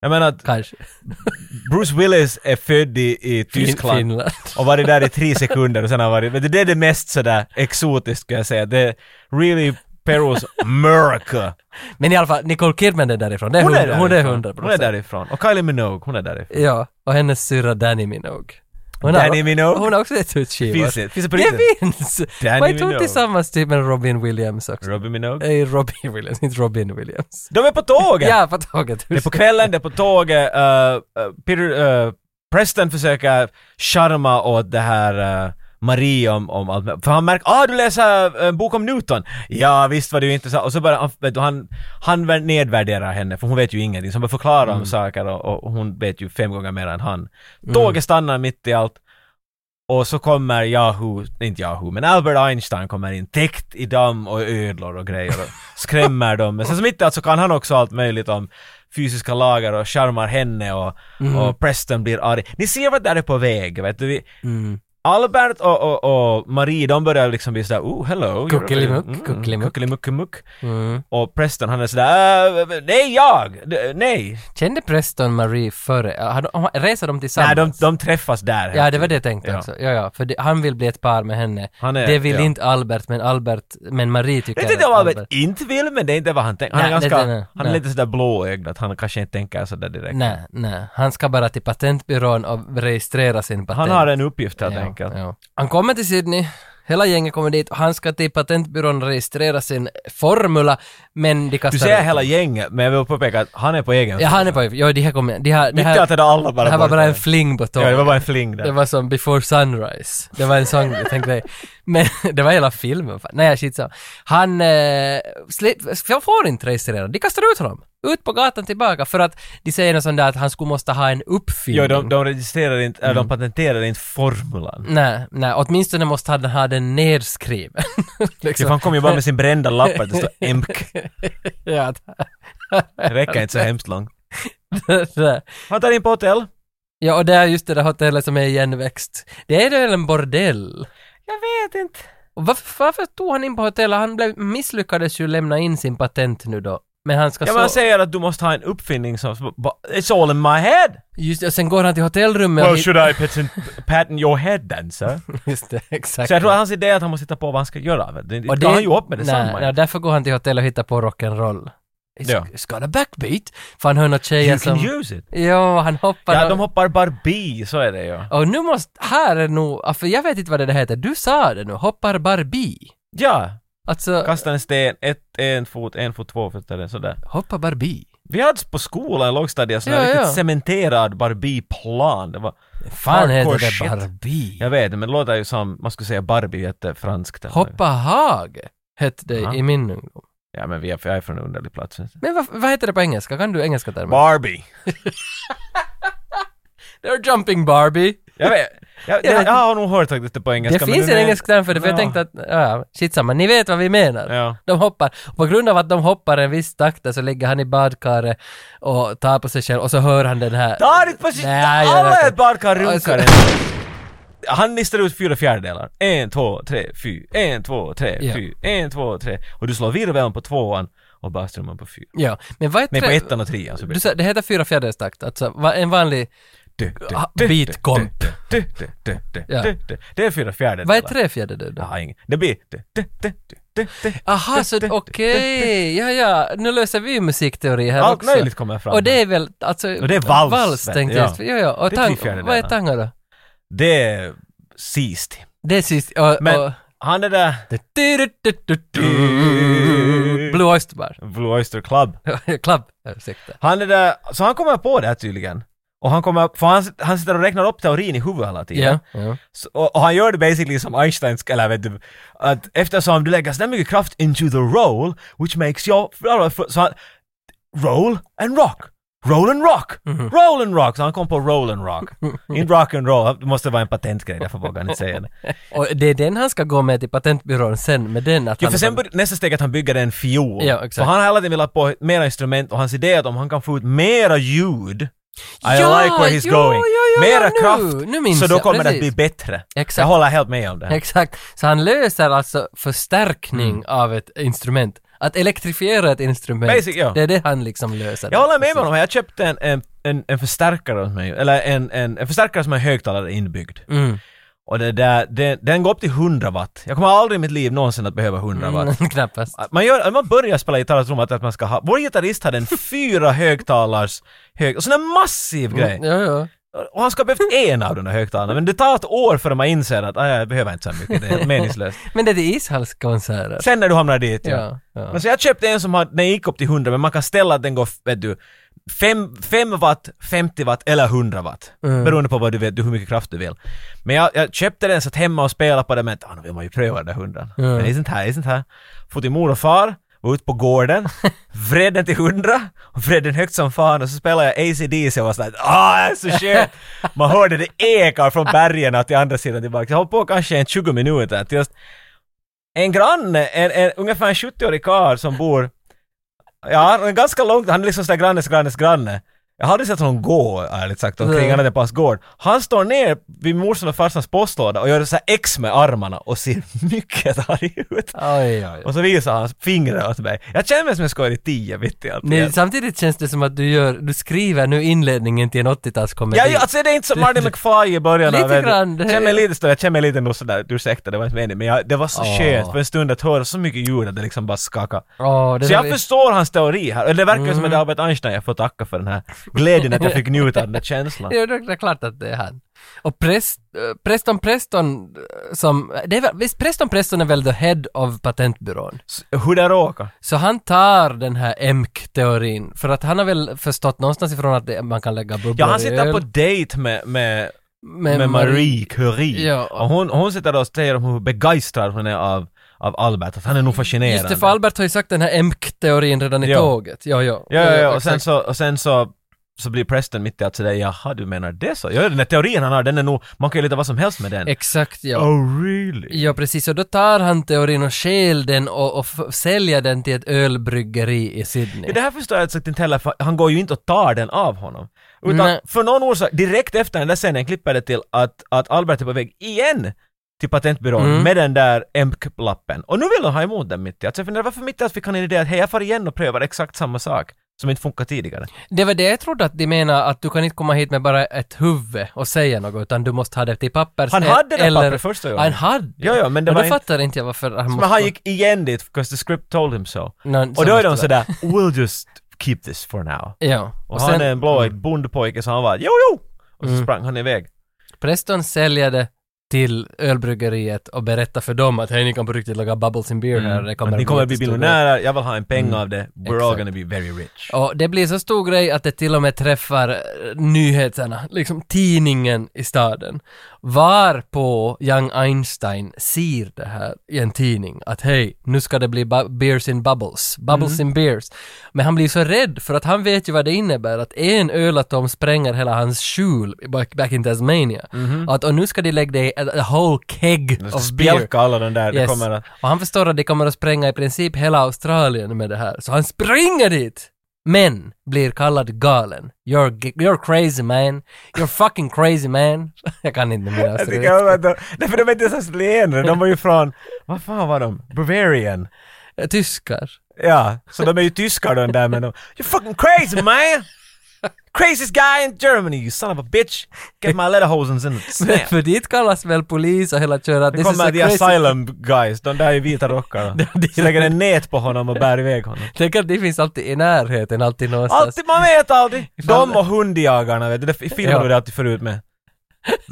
[SPEAKER 2] Jag menar att
[SPEAKER 1] kanske.
[SPEAKER 2] Bruce Willis är född i, i Tyskland.
[SPEAKER 1] Finland.
[SPEAKER 2] och varit där i tre sekunder och sen har varit... Men det är det mest sådär exotiskt ska jag säga. Det är really Perus America.
[SPEAKER 1] Men i alla fall, Nicole Kidman är därifrån. Det är
[SPEAKER 2] Hon är
[SPEAKER 1] hon är
[SPEAKER 2] därifrån.
[SPEAKER 1] 100
[SPEAKER 2] Hon är därifrån. Och Kylie Minogue, hon är därifrån.
[SPEAKER 1] Ja, och hennes syrra Danny Minogue. Hon
[SPEAKER 2] Danny Minogue?
[SPEAKER 1] Hon har också ett utskiva.
[SPEAKER 2] Finns det? Finns det på
[SPEAKER 1] Det
[SPEAKER 2] riktigt?
[SPEAKER 1] finns!
[SPEAKER 2] Danny
[SPEAKER 1] Vad tog
[SPEAKER 2] Minogue.
[SPEAKER 1] tillsammans typ med Robin Williams också?
[SPEAKER 2] Robbie Minogue.
[SPEAKER 1] Nej, Robin Williams, inte Robin Williams.
[SPEAKER 2] De är på tåget!
[SPEAKER 1] Ja, på tåget.
[SPEAKER 2] Det är på kvällen, det är på tåget. Uh, uh, Peter, uh, Preston försöker charma åt det här uh, Marie om, om allt möjligt. För han märker ah du läser uh, en bok om Newton! Ja visst var det ju intressant. Och så börjar han, vet du, han, han väl nedvärderar henne för hon vet ju ingenting. Så han börjar förklara om saker och, och hon vet ju fem gånger mer än han. Tåget stannar mitt i allt. Och så kommer Yahoo, inte Yahoo, men Albert Einstein kommer in täckt i damm och ödlor och grejer och skrämmer dem. Men sen som inte allt så kan han också allt möjligt om fysiska lagar och
[SPEAKER 1] Mm.
[SPEAKER 2] charmar henne och, och Preston blir arg. Ni ser vad det är på väg, vet du. Vi,
[SPEAKER 1] Mm.
[SPEAKER 2] Albert och, och, och Marie, de börjar liksom bli sådär oh hello.
[SPEAKER 1] Kuckelimuck,
[SPEAKER 2] Mm,
[SPEAKER 1] kuckelimuck.
[SPEAKER 2] Kuckelimuckelimuck.
[SPEAKER 1] Mm.
[SPEAKER 2] Och Preston han är sådär äh, nej jag! D- Nej!
[SPEAKER 1] Kände Preston Marie före? Har de- har- Reser de
[SPEAKER 2] Nej
[SPEAKER 1] tillsammans?
[SPEAKER 2] de, de träffas där.
[SPEAKER 1] Ja, det var det jag tänkte
[SPEAKER 2] Ja.
[SPEAKER 1] också. Ja, ja, för det, han vill bli ett par med henne.
[SPEAKER 2] Han är-
[SPEAKER 1] det vill
[SPEAKER 2] ja.
[SPEAKER 1] inte Albert, men Albert, men Marie tycker
[SPEAKER 2] Det är inte
[SPEAKER 1] att
[SPEAKER 2] om Albert inte vill men det är inte vad han tänker. Han är
[SPEAKER 1] Nej, det-
[SPEAKER 2] ganska,
[SPEAKER 1] det- det-
[SPEAKER 2] han är
[SPEAKER 1] nej.
[SPEAKER 2] lite sådär blåögd att han kanske inte tänker sådär direkt.
[SPEAKER 1] Nej, nej. Han ska bara till patentbyrån och registrera sin patent.
[SPEAKER 2] Han har en uppgift helt
[SPEAKER 1] ja,
[SPEAKER 2] enkelt.
[SPEAKER 1] Ja. Han kommer till Sydney, hela gänget kommer dit och han ska till patentbyrån och registrera sin formula, men de kastar
[SPEAKER 2] Du säger
[SPEAKER 1] ut
[SPEAKER 2] hela
[SPEAKER 1] honom.
[SPEAKER 2] gänget men jag vill påpeka att han är på egen
[SPEAKER 1] Ja, han är på Jo, de här kommer... De här, det
[SPEAKER 2] Mitt i allt
[SPEAKER 1] här,
[SPEAKER 2] är det alla bara
[SPEAKER 1] det här var
[SPEAKER 2] borta.
[SPEAKER 1] bara en fling på tåget.
[SPEAKER 2] Ja, det var bara en fling
[SPEAKER 1] Det
[SPEAKER 2] där.
[SPEAKER 1] var som Before Sunrise. Det var en sån en grej. Men det var hela filmen. fan. Nej, shit så. Han eh, sli- jag får inte registrera. De kastar ut honom. Ut på gatan tillbaka för att de säger något sånt där att han skulle måste ha en Mm. uppfinning.
[SPEAKER 2] Ja, de, de registrerar inte, eller de patenterar inte formulan.
[SPEAKER 1] Nej, nej, åtminstone måste han ha den nedskriven. Liksom.
[SPEAKER 2] Så han kom ju bara med sin brända lapp att det står EMK.
[SPEAKER 1] ja, att,
[SPEAKER 2] Det räcker inte så hemskt långt. Han tar in på hotell.
[SPEAKER 1] ja, och det är just det där hotellet som är igenväxt. Det är väl en bordell?
[SPEAKER 2] Jag vet inte.
[SPEAKER 1] Och varför, varför tog han in på hotellet? Han blev, misslyckades ju lämna in sin patent nu då. Men han ska
[SPEAKER 2] Ja,
[SPEAKER 1] så...
[SPEAKER 2] men han säger att du måste ha en uppfinning som... It's all in my head!
[SPEAKER 1] Just det, och sen går han till hotellrummet
[SPEAKER 2] Well,
[SPEAKER 1] hit-
[SPEAKER 2] should I patent, patent your head then, sir?
[SPEAKER 1] Just det, exakt.
[SPEAKER 2] Så jag tror att hans idé är att han måste titta på vad han ska göra. vet du. Det tar han ju upp med detsamma.
[SPEAKER 1] nej, nej, därför går han till hotellet och hittar på rock'n'roll. It's,
[SPEAKER 2] Ja.
[SPEAKER 1] it's got a backbeat. För han hör något tjejer
[SPEAKER 2] you
[SPEAKER 1] som...
[SPEAKER 2] can use it.
[SPEAKER 1] Jo, han hoppar
[SPEAKER 2] Ja,
[SPEAKER 1] och-
[SPEAKER 2] de hoppar Barbie, så är det ju.
[SPEAKER 1] Och nu måste... Här är nog... ah, För jag vet inte vad det där heter. Du sa det nu. Hoppar Barbie.
[SPEAKER 2] Ja,
[SPEAKER 1] Alltså...
[SPEAKER 2] kasta en sten, ett, en fot, en fot, två fötter, sådär.
[SPEAKER 1] Hoppa Barbie.
[SPEAKER 2] Vi hade på skolan i lågstadiet sån här
[SPEAKER 1] Ja,
[SPEAKER 2] riktigt
[SPEAKER 1] ja.
[SPEAKER 2] cementerad Barbie-plan. Det var...
[SPEAKER 1] Fan heter
[SPEAKER 2] hardcore
[SPEAKER 1] det
[SPEAKER 2] shit.
[SPEAKER 1] Barbie?
[SPEAKER 2] Jag vet, men det låter ju som, man skulle säga Barbie jättefranskt. eller något.
[SPEAKER 1] Hoppa Hage hette det
[SPEAKER 2] Ja.
[SPEAKER 1] i min ungdom.
[SPEAKER 2] Ja, men vi är, jag är från en underlig plats. vet du.
[SPEAKER 1] Men vad, vad heter det på engelska? Kan du engelska termer?
[SPEAKER 2] Barbie!
[SPEAKER 1] They're jumping Barbie.
[SPEAKER 2] Jag vet, jag, det, jag har nog hört faktiskt det på engelska.
[SPEAKER 1] Det
[SPEAKER 2] men
[SPEAKER 1] finns
[SPEAKER 2] nu
[SPEAKER 1] en
[SPEAKER 2] när-
[SPEAKER 1] engelsk term för det, för jag
[SPEAKER 2] Ja.
[SPEAKER 1] tänkte att, ja, skitsamma, ni vet vad vi menar.
[SPEAKER 2] Ja.
[SPEAKER 1] De hoppar, och på grund av att de hoppar en viss takt där så ligger han i badkaret och tar på sig själv och så hör han den här...
[SPEAKER 2] Ta ditt på sitt...
[SPEAKER 1] Nej, jag
[SPEAKER 2] Alla
[SPEAKER 1] vet
[SPEAKER 2] är
[SPEAKER 1] inte.
[SPEAKER 2] badkar
[SPEAKER 1] Alltså-
[SPEAKER 2] runkare. Han listar ut fyra fjärdedelar. En, två, tre, fy. En, två, tre,
[SPEAKER 1] Ja.
[SPEAKER 2] fy. En, två, tre. Och du slår virveln på tvåan och basstrumman på fyra.
[SPEAKER 1] Ja, men vad är
[SPEAKER 2] Nej, på
[SPEAKER 1] tre-
[SPEAKER 2] ettan och trean så blir
[SPEAKER 1] Du sa, det heter fyra fjärdedels takt, alltså va, en vanlig...
[SPEAKER 2] Du, du,
[SPEAKER 1] Ah,
[SPEAKER 2] du,
[SPEAKER 1] beatkomp.
[SPEAKER 2] du, du, du, du,
[SPEAKER 1] Ja.
[SPEAKER 2] du, du. Det är fyra fjärdedelar.
[SPEAKER 1] Vad är tre fjärdedelar
[SPEAKER 2] Jag
[SPEAKER 1] då?
[SPEAKER 2] har ingen. Det blir... du, du, du, du, du, du,
[SPEAKER 1] Aha,
[SPEAKER 2] du,
[SPEAKER 1] så
[SPEAKER 2] du,
[SPEAKER 1] okej,
[SPEAKER 2] du, du, du.
[SPEAKER 1] ja ja, nu löser vi musikteori här
[SPEAKER 2] Allt
[SPEAKER 1] också.
[SPEAKER 2] möjligt kommer fram
[SPEAKER 1] Och det
[SPEAKER 2] här.
[SPEAKER 1] är väl, alltså...
[SPEAKER 2] Och det är vals,
[SPEAKER 1] Vals
[SPEAKER 2] vet
[SPEAKER 1] tänkte
[SPEAKER 2] du,
[SPEAKER 1] jag
[SPEAKER 2] ja.
[SPEAKER 1] just, ja ja, och
[SPEAKER 2] Det är tre
[SPEAKER 1] tang,
[SPEAKER 2] fjärdedelar.
[SPEAKER 1] vad är tanga då?
[SPEAKER 2] Det är sist.
[SPEAKER 1] Det är sist, och...
[SPEAKER 2] Men
[SPEAKER 1] och
[SPEAKER 2] han är där...
[SPEAKER 1] Blue Oyster Bar.
[SPEAKER 2] Blue Oyster Club.
[SPEAKER 1] Club, ursäkta.
[SPEAKER 2] Han är där... Så han kommer på det här tydligen. Och han kommer... För han, han sitter och räknar upp teorin i huvudet hela tiden.
[SPEAKER 1] Ja. ja.
[SPEAKER 2] Så, och, och han gör det basically som Einstein ska, eller vet du, att eftersom du lägger så där mycket kraft into the roll, which makes your... Så han, roll and rock! Roll and rock! Roll and rock! Så han kom på roll and rock. Inte rock and roll, det måste vara en patentgrej, därför vågar han inte säga det.
[SPEAKER 1] Och det är den han ska gå med till patentbyrån sen med den att
[SPEAKER 2] Jo,
[SPEAKER 1] han...
[SPEAKER 2] för sen började, nästa steg är att han bygger en fiol.
[SPEAKER 1] Ja, exakt.
[SPEAKER 2] För han har hela tiden velat på mera instrument och hans idé är att om han kan få ut mera ljud, I
[SPEAKER 1] Ja,
[SPEAKER 2] like where he's
[SPEAKER 1] jo,
[SPEAKER 2] going,
[SPEAKER 1] jo, jo,
[SPEAKER 2] mera
[SPEAKER 1] ja, nu-
[SPEAKER 2] kraft,
[SPEAKER 1] nu minns
[SPEAKER 2] så då
[SPEAKER 1] jag,
[SPEAKER 2] kommer det
[SPEAKER 1] precis.
[SPEAKER 2] att bli bättre.
[SPEAKER 1] Exakt.
[SPEAKER 2] Jag håller helt med om det. här.
[SPEAKER 1] Exakt. Så han löser alltså förstärkning av ett instrument. Att elektrifiera ett instrument,
[SPEAKER 2] Basic, ja.
[SPEAKER 1] det är det han liksom löser.
[SPEAKER 2] Jag håller med honom här. Jag köpte en, en, en, en förstärkare åt mig, eller en, en, en förstärkare som har högtalare inbyggd.
[SPEAKER 1] Mm.
[SPEAKER 2] Och det där, den, den går upp till 100 watt. Jag kommer aldrig i mitt liv någonsin att behöva 100 watt.
[SPEAKER 1] Mm, Knappast.
[SPEAKER 2] Att Man, gör, man börjar spela gitarr tror man att man ska ha... Vår gitarrist hade en fyra högtalars hög... Och sån där massiv grej!
[SPEAKER 1] Ja, ja.
[SPEAKER 2] Och han ska ha behövt en av de där högtalarna, men det tar ett år förrän man inser att "Ah, jag behöver inte så här mycket, det är helt meningslöst.
[SPEAKER 1] Men det är till Ishalskonserter.
[SPEAKER 2] Sen när du hamnar dit, ja.
[SPEAKER 1] Ja, ja.
[SPEAKER 2] Men så jag köpte en som har, den gick upp till 100, men man kan ställa att den går, vet du, 5, watt, 50 watt eller 100 watt.
[SPEAKER 1] Mm.
[SPEAKER 2] Beroende på vad du vet, hur mycket kraft du vill. Men jag, jag köpte den, satt hemma och spelade på den, men ah, nu vill man ju pröva den där 100. Men det är sånt här, det är sånt här. Få till mor och far, var ute på gården, vred den till 100 och vred den högt som fan och så spelade jag ACDC och var sådär ah, det är så skönt! Man hörde det ekar från bergen till andra sidan tillbaka. Jag höll på kanske en 20 minuter tills en granne, en, en ungefär en 70-årig karl som bor, ja, han är ganska långt, han är liksom sådär grannes, grannes, granne. Jag har aldrig sett honom gå, ärligt sagt, omkring
[SPEAKER 1] Nej.
[SPEAKER 2] annat än på hans gård. Han står ner vid morsan och farsans postlåda och gör så här X med armarna och ser mycket arg ut.
[SPEAKER 1] Oj, oj, oj.
[SPEAKER 2] Och så visar han fingrar åt mig. Jag känner mig som en skojare i tio mitt i allt.
[SPEAKER 1] Nej, samtidigt känns det som att du gör, du skriver nu inledningen till en 80-talskomedi.
[SPEAKER 2] Ja, ja, alltså det är inte som Marty McFly i början
[SPEAKER 1] Lite
[SPEAKER 2] av en-
[SPEAKER 1] grann, det-
[SPEAKER 2] Jag känner mig lite större, jag känner mig lite nog sådär, ursäkta det var inte meningen, men jag, det var så
[SPEAKER 1] Åh.
[SPEAKER 2] skönt för en stund att höra så mycket ljud att det liksom bara skakade.
[SPEAKER 1] Åh, det Mm.
[SPEAKER 2] Så jag
[SPEAKER 1] där-
[SPEAKER 2] förstår hans teori här, eller det verkar ju som att det är Albert Einstein jag får tacka för den här glädjen att jag fick njuta av den här känslan.
[SPEAKER 1] Ja, det är klart att det är han. Och Prest, eh, Preston Preston eh, som, det är, väl- visst Preston Preston är väl the head of patentbyrån?
[SPEAKER 2] S- Hur det råkar.
[SPEAKER 1] Så han tar den här EMK-teorin, för att han har väl förstått någonstans ifrån att det, man kan lägga bubblor
[SPEAKER 2] Ja, han
[SPEAKER 1] i
[SPEAKER 2] sitter
[SPEAKER 1] öl.
[SPEAKER 2] på dejt med, med,
[SPEAKER 1] med,
[SPEAKER 2] med Marie Curie.
[SPEAKER 1] Ja.
[SPEAKER 2] Och hon, hon sitter då och säger om hur begeistrad hon är av, av Albert, att han är nog fascinerande.
[SPEAKER 1] Just det, för Albert har ju sagt den här EMK-teorin redan i
[SPEAKER 2] Ja.
[SPEAKER 1] tåget. Ja, ja.
[SPEAKER 2] Ja, ja, ja. Och, sen
[SPEAKER 1] exakt.
[SPEAKER 2] så, och sen så så blir Preston mitt i att säga jaha du menar det så? Ja den här teorin han har den är nog, man kan ju lite vad som helst med den.
[SPEAKER 1] Exakt, ja.
[SPEAKER 2] Oh really?
[SPEAKER 1] Ja, precis. Och då tar han teorin och stjäl den och, och f- säljer den till ett ölbryggeri i Sydney.
[SPEAKER 2] Ja, det här förstår jag sagt inte heller för han går ju inte och tar den av honom. Utan
[SPEAKER 1] Nej.
[SPEAKER 2] för någon orsak, direkt efter den där scenen klipper det till att, att Albert är på väg igen till patentbyrån
[SPEAKER 1] Mm.
[SPEAKER 2] med den där EMK-lappen. Och nu vill han ha emot den mitt i allt. Så jag funderar varför mitt i allt fick han en idé att hej jag far igen och prövar exakt samma sak som inte funkar tidigare.
[SPEAKER 1] Det var det jag trodde att de menade, att du kan inte komma hit med bara ett huvud och säga något, utan du måste ha det till pappers... e-
[SPEAKER 2] Han hade det
[SPEAKER 1] eller-
[SPEAKER 2] pappret första gången.
[SPEAKER 1] Han hade
[SPEAKER 2] Ja, ja, men det
[SPEAKER 1] och
[SPEAKER 2] var
[SPEAKER 1] då
[SPEAKER 2] inte-
[SPEAKER 1] fattar inte jag varför han
[SPEAKER 2] Men han gick igen dit, 'cause the script told him so.
[SPEAKER 1] Nå,
[SPEAKER 2] Och då
[SPEAKER 1] måste
[SPEAKER 2] är
[SPEAKER 1] det
[SPEAKER 2] de sådär, we'll just keep this for now.
[SPEAKER 1] Ja.
[SPEAKER 2] Och, han är en blåögd bondpojke så han var jo jo! Och så
[SPEAKER 1] Mm.
[SPEAKER 2] sprang han iväg.
[SPEAKER 1] Preston säljer det till ölbryggeriet och berättar för dem att hej, ni kan på riktigt laga bubbles in beer här. Det kommer
[SPEAKER 2] Att Mm. ni kommer bli
[SPEAKER 1] jättestor grej."
[SPEAKER 2] miljonärer, jag vill ha en peng av det, we're all
[SPEAKER 1] Exakt.
[SPEAKER 2] gonna be very rich.
[SPEAKER 1] Och det blir så stor grej att det till och med träffar eh, nyheterna, liksom tidningen i staden. Varpå Young Einstein ser det här i en tidning, att hej, nu ska det bli bu- beers in bubbles, bubbles in beers. Men han blir så rädd för att han vet ju vad det innebär, att en ölatom spränger hela hans skjul back, back in Tasmania. Att, och nu ska de lägga det i a, a whole keg
[SPEAKER 2] De ska
[SPEAKER 1] of beer.
[SPEAKER 2] spjälka alla den där, det
[SPEAKER 1] Yes.
[SPEAKER 2] kommer att...
[SPEAKER 1] Och han förstår att de kommer att spränga i princip hela Australien med det här, så han springer dit! Men blir kallad galen. You're, g- you're crazy man. You're fucking crazy man. jag kan inte mer alltså.
[SPEAKER 2] Jag tycker om att de, nej för de är inte ens leende, de var ju från, vad fan var de? Bavarian?
[SPEAKER 1] Tyskar.
[SPEAKER 2] Ja, så de är ju tyskar de där men de, you're fucking crazy man! Craziest guy in Germany you son of a bitch! Get my lederhosens in the
[SPEAKER 1] Men
[SPEAKER 2] snap!
[SPEAKER 1] för dit kallas väl polis och hela köra.
[SPEAKER 2] Det kommer the asylum guys, de där i vita rockarna.
[SPEAKER 1] det-
[SPEAKER 2] Slänger en nät på honom och bär iväg honom.
[SPEAKER 1] Tänk att det finns alltid i närheten, alltid någonstans.
[SPEAKER 2] Alltid, man vet aldrig!
[SPEAKER 1] Alltså, Ifall-
[SPEAKER 2] De och hundjagarna vet du, det- i filmer
[SPEAKER 1] Ja.
[SPEAKER 2] var det alltid förut med.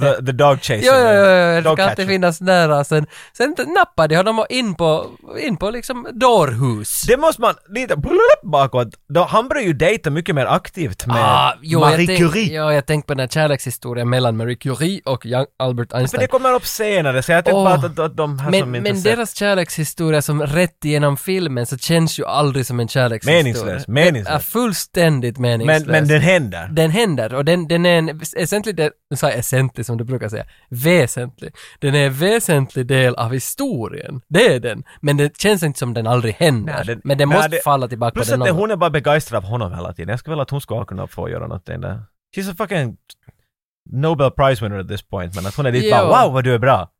[SPEAKER 2] The, the dog chaser.
[SPEAKER 1] Jo, jo, jo, jo, det
[SPEAKER 2] Dog
[SPEAKER 1] ska alltid
[SPEAKER 2] catcher.
[SPEAKER 1] finnas nära. Sen, sen nappar de honom och in på, in på liksom dårhus.
[SPEAKER 2] Det måste man, lite blup bakåt, då, han börjar ju dejta mycket mer aktivt med
[SPEAKER 1] Ah,
[SPEAKER 2] Marie
[SPEAKER 1] jag tänk-
[SPEAKER 2] Curie.
[SPEAKER 1] Ja, jag tänkte på den här kärlekshistorien mellan Marie Curie och Young Albert
[SPEAKER 2] För
[SPEAKER 1] Einstein.
[SPEAKER 2] det kommer upp senare, så jag tänkte
[SPEAKER 1] Åh.
[SPEAKER 2] bara att, att, att de här
[SPEAKER 1] men
[SPEAKER 2] som inte
[SPEAKER 1] men
[SPEAKER 2] sett-
[SPEAKER 1] deras kärlekshistoria som rätt igenom filmen så känns ju aldrig som en kärlekshistoria.
[SPEAKER 2] Meningslös, meningslös.
[SPEAKER 1] Det är fullständigt
[SPEAKER 2] men,
[SPEAKER 1] meningslös.
[SPEAKER 2] men den händer.
[SPEAKER 1] den händer och den, den är en väsentlig del, nu sa jag essentlig som du brukar säga, väsentlig. Den är en väsentlig del av historien, det är den. Men det känns inte som den aldrig händer.
[SPEAKER 2] Nej, den-
[SPEAKER 1] men den
[SPEAKER 2] nej,
[SPEAKER 1] måste
[SPEAKER 2] det-
[SPEAKER 1] falla tillbaka
[SPEAKER 2] Plus
[SPEAKER 1] på den
[SPEAKER 2] att det,
[SPEAKER 1] någon-
[SPEAKER 2] hon är bara begeistrad av honom hela tiden. Jag skulle vilja att hon skulle kunna få göra någonting där. She's a fucking Nobel Prize winner at this point, men att hon är dit
[SPEAKER 1] Jo.
[SPEAKER 2] bara wow vad du är bra.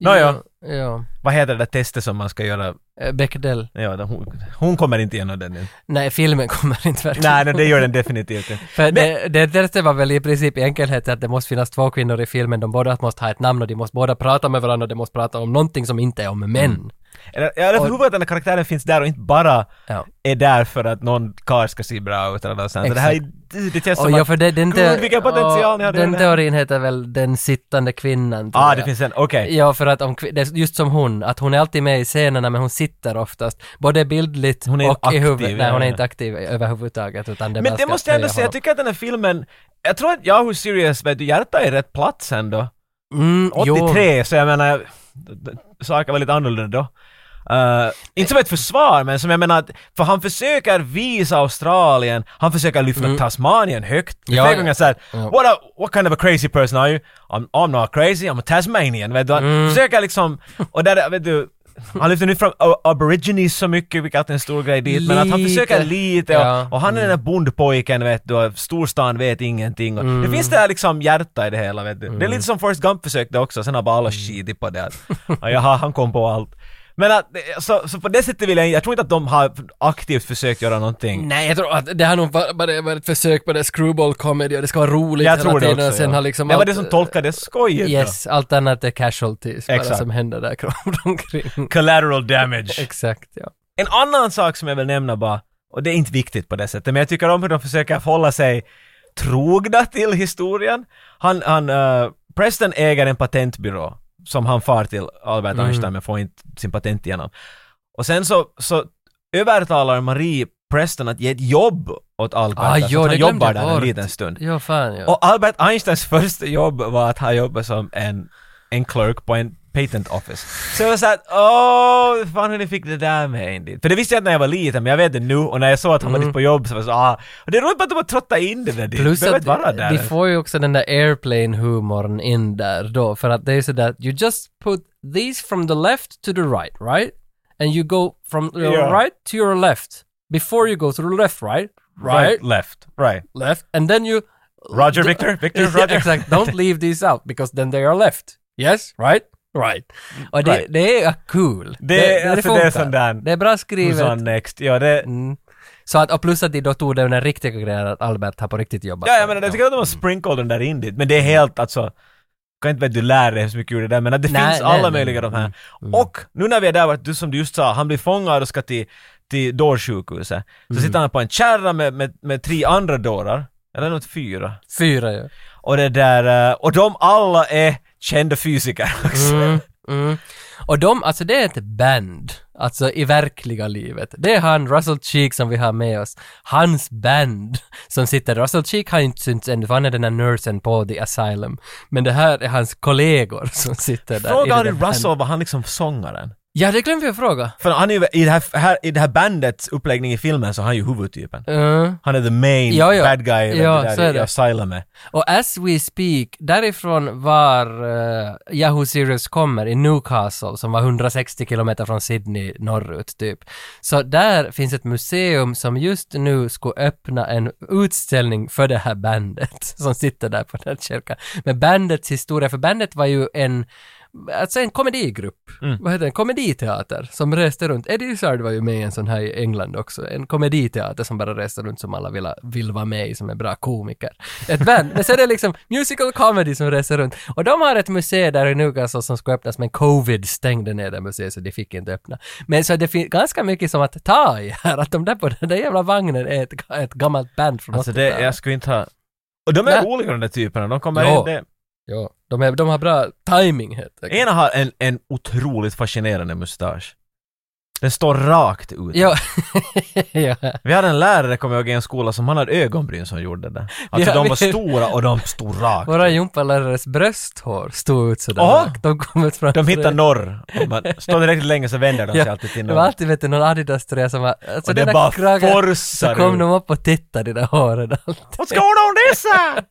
[SPEAKER 2] Nåja.
[SPEAKER 1] Ja, ja.
[SPEAKER 2] Vad heter det där testet som man ska göra?
[SPEAKER 1] Eh, Bechdel.
[SPEAKER 2] Ja, det- hon, hon kommer inte igenom den.
[SPEAKER 1] Nej, filmen kommer inte verkligen.
[SPEAKER 2] Nej, nej, det gör den definitivt inte.
[SPEAKER 1] För det, det, det var väl i princip i enkelhet att det måste finnas två kvinnor i filmen, de båda måste ha ett namn och de måste båda prata med varandra, de måste prata om någonting som inte är om män.
[SPEAKER 2] Mm. Eller- Jag är förhoppad att den här karaktären finns där och inte bara
[SPEAKER 1] Ja.
[SPEAKER 2] är där för att någon karl ska se bra ut eller något sånt. Det här är, det- det känns
[SPEAKER 1] Och
[SPEAKER 2] som
[SPEAKER 1] ja,
[SPEAKER 2] att...
[SPEAKER 1] för det, den, te-
[SPEAKER 2] Gud, vilken potential ni
[SPEAKER 1] och
[SPEAKER 2] hade i
[SPEAKER 1] den
[SPEAKER 2] den här.
[SPEAKER 1] teorin heter väl den sittande kvinnan. tror
[SPEAKER 2] Ah,
[SPEAKER 1] jag.
[SPEAKER 2] det finns en, okej.
[SPEAKER 1] Ja, för att om, kvin- det är just som hon, att hon är alltid med i scenerna men hon sitter oftast, både bildligt
[SPEAKER 2] Hon är
[SPEAKER 1] och
[SPEAKER 2] aktiv,
[SPEAKER 1] i huvudet. Nej,
[SPEAKER 2] ja,
[SPEAKER 1] hon är
[SPEAKER 2] ja.
[SPEAKER 1] inte aktiv överhuvudtaget utan det
[SPEAKER 2] Men det måste jag ändå säga, jag tycker att den här filmen... Jag tror att Yahoo Serious, vet du, hjärtat är i rätt plats ändå.
[SPEAKER 1] mm, jo.
[SPEAKER 2] 83, så jag menar, d- d- saker var lite annorlunda då. Eh, inte som ett försvar, men som jag menar, att- för han försöker visa Australien, han försöker lyfta Tasmanien högt.
[SPEAKER 1] Mm. Ja,
[SPEAKER 2] Flera
[SPEAKER 1] ja.
[SPEAKER 2] gånger såhär,
[SPEAKER 1] Ja.
[SPEAKER 2] what, a- what kind of a crazy
[SPEAKER 1] Mm.
[SPEAKER 2] person are you? I'm, I'm not crazy, I'm a Tasmanian, vet du. Han försöker liksom, och där, vet du, Han lyfter nu fram a- aborigines så mycket, vilket alltid är en stor grej dit, men att han
[SPEAKER 1] Lite.
[SPEAKER 2] försöker lite
[SPEAKER 1] Ja.
[SPEAKER 2] och, och han är den där bondpojken vet du, storstan vet ingenting och
[SPEAKER 1] Mm.
[SPEAKER 2] det finns det här liksom hjärta i det hela vet du. Det är lite som Forrest Gump försökte också, sen har bara
[SPEAKER 1] Mm.
[SPEAKER 2] alla skitit på det att, ja, jaha, han kom på allt. Men att, så, så på det sättet vill jag, jag tror inte att de har aktivt försökt göra någonting.
[SPEAKER 1] Mm. Nej, jag tror att det har nog va- bara varit ett försök på det screwball comedy och det ska vara roligt
[SPEAKER 2] Jag
[SPEAKER 1] hela
[SPEAKER 2] tror det
[SPEAKER 1] tiden
[SPEAKER 2] också.
[SPEAKER 1] och sen
[SPEAKER 2] ja.
[SPEAKER 1] har liksom
[SPEAKER 2] det var
[SPEAKER 1] allt-
[SPEAKER 2] det som tolkades skojigt. då.
[SPEAKER 1] Yes, allt annat är casualties bara
[SPEAKER 2] Exakt.
[SPEAKER 1] som händer där runt omkring.
[SPEAKER 2] Collateral damage.
[SPEAKER 1] Exakt, ja.
[SPEAKER 2] En annan sak som jag vill nämna bara, och det är inte viktigt på det sättet, men jag tycker om hur de försöker hålla sig trogna till historien. Han, han, eh, Preston äger en patentbyrå som han far till Albert
[SPEAKER 1] Mm.
[SPEAKER 2] Einstein men får inte sin patent igenom. Och sen så, så övertalar Marie Preston att ge ett jobb åt Albert,
[SPEAKER 1] Ah,
[SPEAKER 2] alltså
[SPEAKER 1] jo,
[SPEAKER 2] att
[SPEAKER 1] det
[SPEAKER 2] han
[SPEAKER 1] glömde
[SPEAKER 2] jobbar
[SPEAKER 1] jag
[SPEAKER 2] där en
[SPEAKER 1] bort.
[SPEAKER 2] liten stund.
[SPEAKER 1] Ja, fan ja.
[SPEAKER 2] Och Albert Einsteins första jobb var att han jobbade som en, en clerk på en patent office. Så jag var såhär, åh, hur fan hur ni fick det där med in dit. För det visste jag inte när jag var liten, men jag vet det nu och när jag såg att han var dit på jobb så var jag så ah. Och det är roligt bara att de har trottat in det där dit.
[SPEAKER 1] Mm. Plus
[SPEAKER 2] Det behöver
[SPEAKER 1] att
[SPEAKER 2] inte vara där.
[SPEAKER 1] de får ju också den där airplane-humorn in där då, för att det är sådär, you just put these from the left to the right, right? And you go from your
[SPEAKER 2] Ja.
[SPEAKER 1] right to your left. Before you go to the left, right? Right,
[SPEAKER 2] Right, left, right.
[SPEAKER 1] left. And then you...
[SPEAKER 2] Roger, Victor, Victor, Roger.
[SPEAKER 1] Exakt, don't leave these out because then they are left. Yes, right? Right. Och det,
[SPEAKER 2] Mm, Right.
[SPEAKER 1] det är cool.
[SPEAKER 2] Det, det, alltså, det är
[SPEAKER 1] funkar.
[SPEAKER 2] sån där...
[SPEAKER 1] Det är bra skrivet.
[SPEAKER 2] Susan Next, ja det...
[SPEAKER 1] Mm. Så att, och plus att de då tog den där riktiga grejen att Albert har på riktigt jobbat.
[SPEAKER 2] Ja, jag menar, jag tycker att de
[SPEAKER 1] Mm.
[SPEAKER 2] har sprinkled den där in dit, men det är helt alltså... Kan inte vara att du lär dig så mycket ur det där, men att det
[SPEAKER 1] Nej,
[SPEAKER 2] finns
[SPEAKER 1] nej,
[SPEAKER 2] alla
[SPEAKER 1] nej,
[SPEAKER 2] möjliga
[SPEAKER 1] nej.
[SPEAKER 2] de här.
[SPEAKER 1] Mm,
[SPEAKER 2] Och nu när vi är där, vart du som du just sa, han blir fångad och ska till, till dårsjukhuset. Så
[SPEAKER 1] Mm.
[SPEAKER 2] sitter han på en kärra med, med, med tre andra dårar, eller något fyra.
[SPEAKER 1] Fyra ju.
[SPEAKER 2] Och det där, eh, och de alla är kända fysiker också.
[SPEAKER 1] Mm, mm. Och de, alltså det är ett band, alltså i verkliga livet. Det är han, Russell Cheek som vi har med oss, hans band som sitter, Russell Cheek har inte synts ännu för han är den där nursen på The Asylum. Men det här är hans kollegor som sitter där.
[SPEAKER 2] Fråga
[SPEAKER 1] i det
[SPEAKER 2] Harry
[SPEAKER 1] där bandet.
[SPEAKER 2] Russell var han liksom sångaren?
[SPEAKER 1] Ja, det glömde jag fråga.
[SPEAKER 2] För han är ju, i det här, här, i det här bandets uppläggning i filmen så är han ju huvudtypen.
[SPEAKER 1] Mm.
[SPEAKER 2] Han är the main
[SPEAKER 1] Ja, ja.
[SPEAKER 2] bad guy
[SPEAKER 1] Ja,
[SPEAKER 2] ja,
[SPEAKER 1] så
[SPEAKER 2] där
[SPEAKER 1] är
[SPEAKER 2] i
[SPEAKER 1] det.
[SPEAKER 2] Asylumet.
[SPEAKER 1] Och as we speak, därifrån var eh, Yahoo Sirius kommer i Newcastle som var 160 kilometer från Sydney norrut typ. Så där finns ett museum som just nu skulle öppna en utställning för det här bandet som sitter där på den här kyrkan. Men bandets historia, för bandet var ju en Alltså en komedigrupp,
[SPEAKER 2] Mm.
[SPEAKER 1] vad heter det, en komediteater som reste runt. Eddie Izzard var ju med i en sån här i England också, en komediteater som bara reste runt som alla vill, vill vara med i som är bra komiker. Ett band, men sen är det liksom musical comedy som reser runt. Och de har ett museum där i Newcastle som ska öppnas men covid stängde ner det museet så de fick inte öppna. Men så det finns ganska mycket som att ta i här, att de där på den där jävla vagnen är ett, ett gammalt band från
[SPEAKER 2] Alltså det,
[SPEAKER 1] 80-talet.
[SPEAKER 2] jag skulle inte ha... Och de är
[SPEAKER 1] Nej.
[SPEAKER 2] roliga de där typerna, de kommer
[SPEAKER 1] Ja.
[SPEAKER 2] in, det...
[SPEAKER 1] Ja, de, är, de har bra timing helt enkelt.
[SPEAKER 2] Ena har en, en otroligt fascinerande mustasch. Den står rakt ut.
[SPEAKER 1] Ja. ja.
[SPEAKER 2] Vi hade en lärare, kommer jag ihåg, i en skola som han hade ögonbryn som gjorde det. Alltså
[SPEAKER 1] Ja,
[SPEAKER 2] de var
[SPEAKER 1] vi-
[SPEAKER 2] stora och de stod rakt
[SPEAKER 1] Våra
[SPEAKER 2] ut.
[SPEAKER 1] gympalärares brösthår stod ut sådär.
[SPEAKER 2] Aha!
[SPEAKER 1] De kom ut från...
[SPEAKER 2] De hittar norr. Om man står direkt länge så vänder de sig
[SPEAKER 1] Ja,
[SPEAKER 2] alltid till
[SPEAKER 1] Det var
[SPEAKER 2] norr.
[SPEAKER 1] alltid vet du, någon Adidas-tröja som var... Alltså
[SPEAKER 2] Och det
[SPEAKER 1] den där
[SPEAKER 2] bara
[SPEAKER 1] kragen-
[SPEAKER 2] forsar
[SPEAKER 1] Så kom
[SPEAKER 2] ut.
[SPEAKER 1] de upp och tittade i det där håret alltid.
[SPEAKER 2] What's going on this side?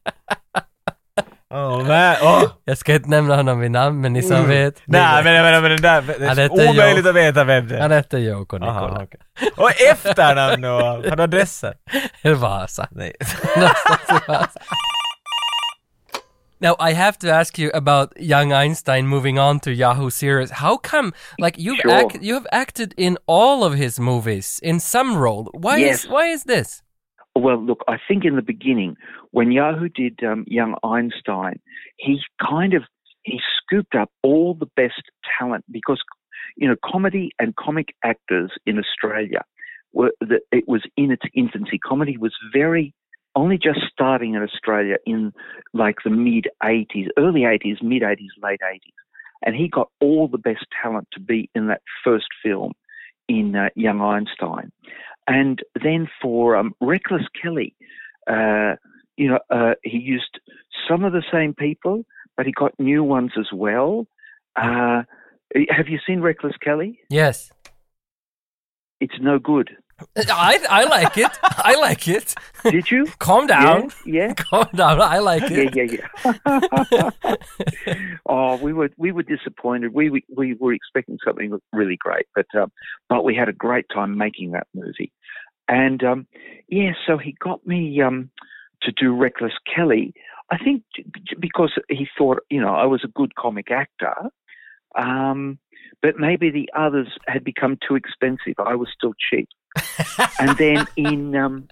[SPEAKER 2] Oh, man. Oh.
[SPEAKER 1] Jag ska inte nämna honom vid namn, men ni som vet. ni
[SPEAKER 2] Mm.
[SPEAKER 1] vet.
[SPEAKER 2] Nej, men, men, men den där, det
[SPEAKER 1] Han
[SPEAKER 2] är
[SPEAKER 1] heter Joe.
[SPEAKER 2] omöjligt att veta vem det är.
[SPEAKER 1] Han hette Jouko
[SPEAKER 2] Aha,
[SPEAKER 1] Nikola.
[SPEAKER 2] okej. Och efternamn och allt. Har du adressen?
[SPEAKER 1] Vasa.
[SPEAKER 2] Nej.
[SPEAKER 1] Någonstans i Vasa. Now I have to ask you about young Einstein moving on to Yahoo series. How come like you've
[SPEAKER 4] Sure.
[SPEAKER 1] act, you have acted in all of his movies in some role? Why
[SPEAKER 4] Yes.
[SPEAKER 1] is why is this?
[SPEAKER 4] Well, look, I think in the beginning, when Yahoo did um, Young Einstein, he kind of he scooped up all the best talent because you know comedy and comic actors in Australia were the, it was in its infancy. Comedy was very only just starting in Australia in like the mid 80s, early 80s, mid 80s, late 80s. And he got all the best talent to be in that first film in uh, Young Einstein. And then for um, Reckless Kelly, uh, you know, uh, he used some of the same people, but he got new ones as well. Uh, have you seen Reckless Kelly?
[SPEAKER 1] Yes.
[SPEAKER 4] It's no good.
[SPEAKER 1] I, I like it. I like it.
[SPEAKER 4] Did you?
[SPEAKER 1] Calm down.
[SPEAKER 4] Yeah,
[SPEAKER 1] Calm down. I like
[SPEAKER 4] yeah,
[SPEAKER 1] it.
[SPEAKER 4] yeah, yeah. yeah. oh, we were we were disappointed. We we, we were expecting something really great, but um, but we had a great time making that movie. And um, yeah, so he got me um, to do Reckless Kelly. I think j- j- because he thought you know I was a good comic actor. Um, but maybe the others had become too expensive. I was still cheap. and then in um,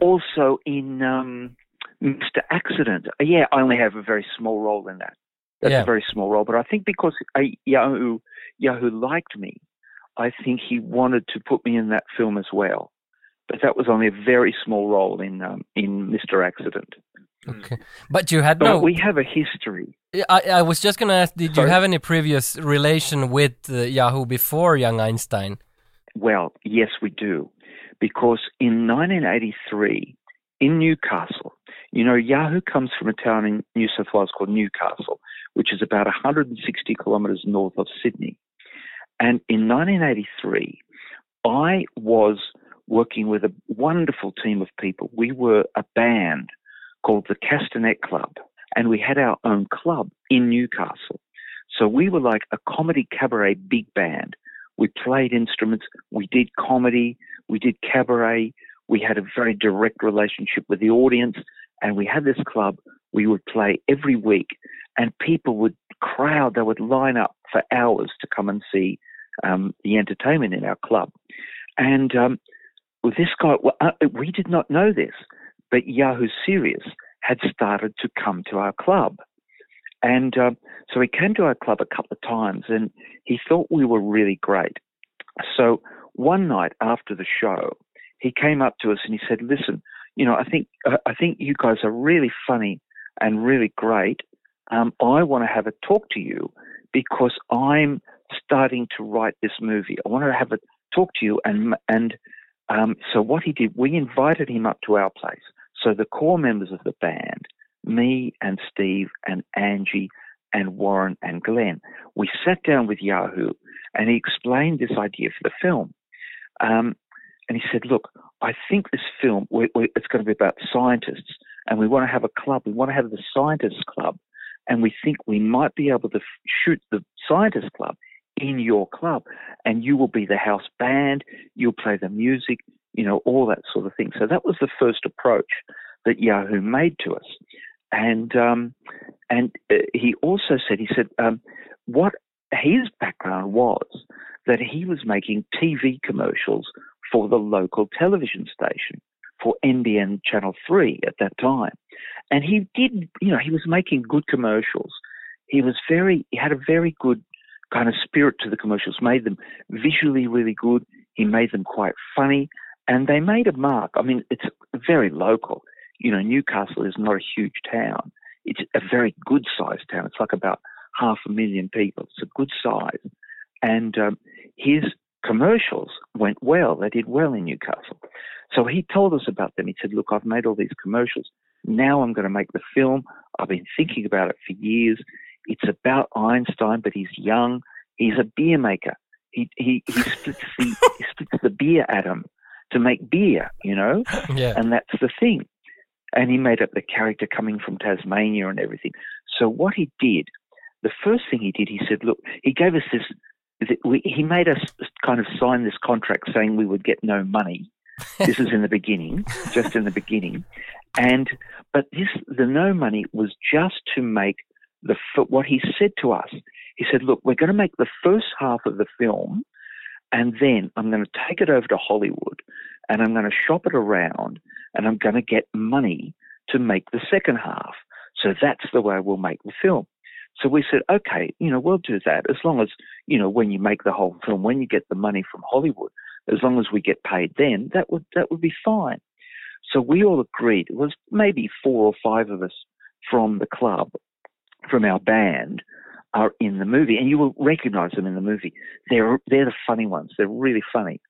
[SPEAKER 4] also in um, Mr. Accident. uh, Yeah, I only have a very small role in that. That's
[SPEAKER 1] Yeah.
[SPEAKER 4] a very small role, but I think because I, Yahoo Yahoo liked me, I think he wanted to put me in that film as well. But that was only a very small role in um, in Mr. Accident.
[SPEAKER 1] Okay. But you had
[SPEAKER 4] But
[SPEAKER 1] no.
[SPEAKER 4] we have a history.
[SPEAKER 1] I, I was just going to ask did you
[SPEAKER 4] Sorry?
[SPEAKER 1] have any previous relation with uh, Yahoo before Young Einstein?
[SPEAKER 4] Well, yes, we do, because in 1983 in Newcastle, you know, Yahoo comes from a town in New South Wales called Newcastle, which is about 160 kilometres north of Sydney. And in 1983, I was working with a wonderful team of people. We were a band called the Castanet Club, and we had our own club in Newcastle. So we were like a comedy cabaret big band. We played instruments, we did comedy, we did cabaret, we had a very direct relationship with the audience, and we had this club. We would play every week, and people would crowd, they would line up for hours to come and see um, the entertainment in our club. And um, well, this guy, well, uh, we did not know this, but Yahoo Serious had started to come to our club. And um, so he came to our club a couple of times and he thought we were really great. So one night after the show, he came up to us and he said, "Listen, you know, I think uh, I think you guys are really funny and really great. Um, I want to have a talk to you because I'm starting to write this movie. I want to have a talk to you." And and um, so what he did, we invited him up to our place. So the core members of the band, me and Steve and Angie and Warren and Glenn, we sat down with Yahoo and he explained this idea for the film. Um, and he said, "Look, I think this film we, we, it's going to be about scientists, and we want to have a club. We want to have the scientists club, and we think we might be able to f- shoot the scientists club in your club, and you will be the house band. You'll play the music, you know, all that sort of thing." So that was the first approach that Yahoo made to us, and um, and uh, he also said, he said, um, what his background was that he was making TV commercials for the local television station for NBN Channel 3 at that time. And he did, you know, he was making good commercials. He was very, he had a very good kind of spirit to the commercials, made them visually really good. He made them quite funny and they made a mark. I mean, it's very local. You know, Newcastle is not a huge town. It's a very good sized town. It's like about half a million people. It's a good size. And um, his commercials went well. They did well in Newcastle. So he told us about them. He said, Look, I've made all these commercials. Now I'm going to make the film. I've been thinking about it for years. It's about Einstein, but he's young. He's a beer maker. He, he, he, splits, the, he splits the beer atom to make beer, you know?
[SPEAKER 1] Yeah.
[SPEAKER 4] And that's the thing. And he made up the character coming from Tasmania and everything. So what he did, the first thing he did, he said, look, he gave us this. th- We, he made us kind of sign this contract saying we would get no money. this is in the beginning, just in the beginning, and but this the no money was just to make the f- what he said to us. He said, "Look, we're going to make the first half of the film, and then I'm going to take it over to Hollywood, and I'm going to shop it around, and I'm going to get money to make the second half. So that's the way we'll make the film. So we said, okay, you know, we'll do that as long as, you know, when you make the whole film, when you get the money from Hollywood, as long as we get paid then, that would that would be fine. So we all agreed. It was maybe four or five of us from the club, from our band, are in the movie, and you will recognise them in the movie. They're they're the funny ones. They're really funny,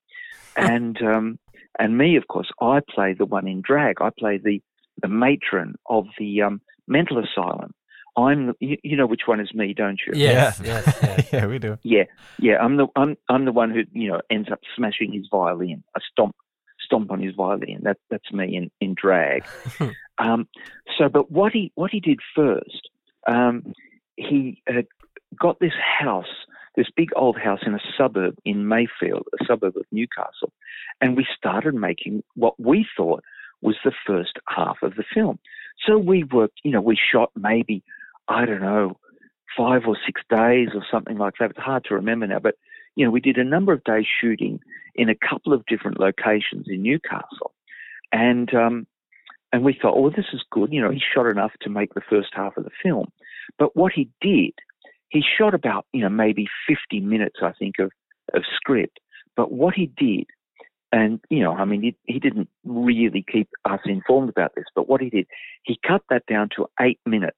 [SPEAKER 4] and um, and me, of course, I play the one in drag. I play the the matron of the um, mental asylum. I'm the, you, you know which one is me, don't you?
[SPEAKER 1] Yes, yes, yes.
[SPEAKER 2] yeah, we do.
[SPEAKER 4] Yeah, yeah. I'm the I'm I'm the one who you know ends up smashing his violin. I stomp stomp on his violin. That that's me in in drag. um, so, but what he what he did first, um, he uh, got this house, this big old house in a suburb in Mayfield, a suburb of Newcastle, and we started making what we thought was the first half of the film. So we worked, you know, we shot maybe I don't know five or six days or something like that. It's hard to remember now, but you know, we did a number of days shooting in a couple of different locations in Newcastle, and um, and we thought, oh, this is good. You know, he shot enough to make the first half of the film, but what he did, he shot about you know maybe fifty minutes, I think, of of script. But what he did, and you know, I mean, he, he didn't really keep us informed about this, but what he did, he cut that down to eight minutes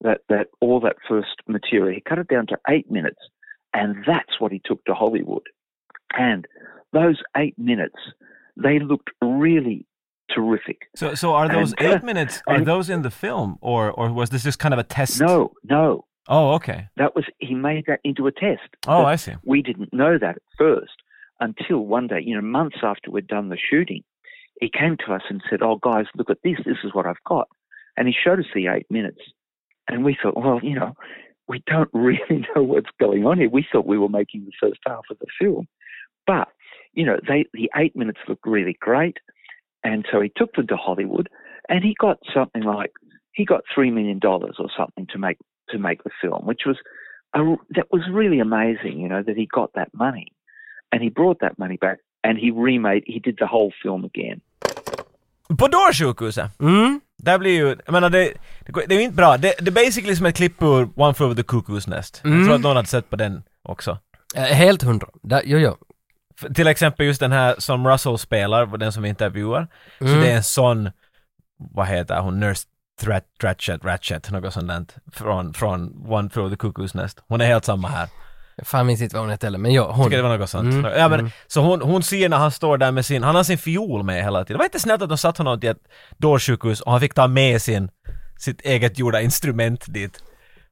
[SPEAKER 4] that, that all that first material. He cut it down to eight minutes, and that's what he took to Hollywood. And those eight minutes, they looked really terrific.
[SPEAKER 2] So, so are those
[SPEAKER 4] And-
[SPEAKER 2] eight minutes? Are
[SPEAKER 4] and-
[SPEAKER 2] those in the film, or or was this just kind of a test?
[SPEAKER 4] No, no,
[SPEAKER 2] Oh, okay.
[SPEAKER 4] that was he made that into a test.
[SPEAKER 2] Oh,
[SPEAKER 4] But
[SPEAKER 2] I see.
[SPEAKER 4] We didn't know that at first until one day, you know, months after we'd done the shooting, he came to us and said, "Oh, guys, look at this. This is what I've got," and he showed us the eight minutes, and we thought, well, you know, we don't really know what's going on here. We thought we were making the first half of the film, but you know, they the eight minutes looked really great, and so he took them to Hollywood, and he got something like he got three million dollars or something to make to make the film, which was a, that was really amazing. You know that he got that money, and he brought that money back, and he remade he did the whole film again.
[SPEAKER 2] På dårsjukhuset.
[SPEAKER 1] Mm?
[SPEAKER 2] Där blir ju, jag menar det, det, går- det är ju inte bra. Det, det är basically som ett klipp ur One Flew Over the Cuckoo's Nest. Jag tror att någon hade sett på den också.
[SPEAKER 1] Eh, Helt hundra. Da, jo, jo.
[SPEAKER 2] F- till exempel just den här som Russell spelar, den som vi intervjuar. Så
[SPEAKER 1] Mm.
[SPEAKER 2] det är en sån, vad heter hon, Nurse Thrat, Ratchet, Ratchet, något sånt där. Från, från One Flew Over the Cuckoo's Nest. Hon är helt samma här.
[SPEAKER 1] Jag fan minns inte vad hon hette heller, men jo, hon.
[SPEAKER 2] Tycker det var något sånt.
[SPEAKER 1] Mm,
[SPEAKER 2] Ja, men, Så hon, hon ser när han står där med sin, han har sin fiol med hela tiden. Det var inte snällt att de satt honom till ett dårsjukhus och han fick ta med sin, sitt eget gjorda instrument dit.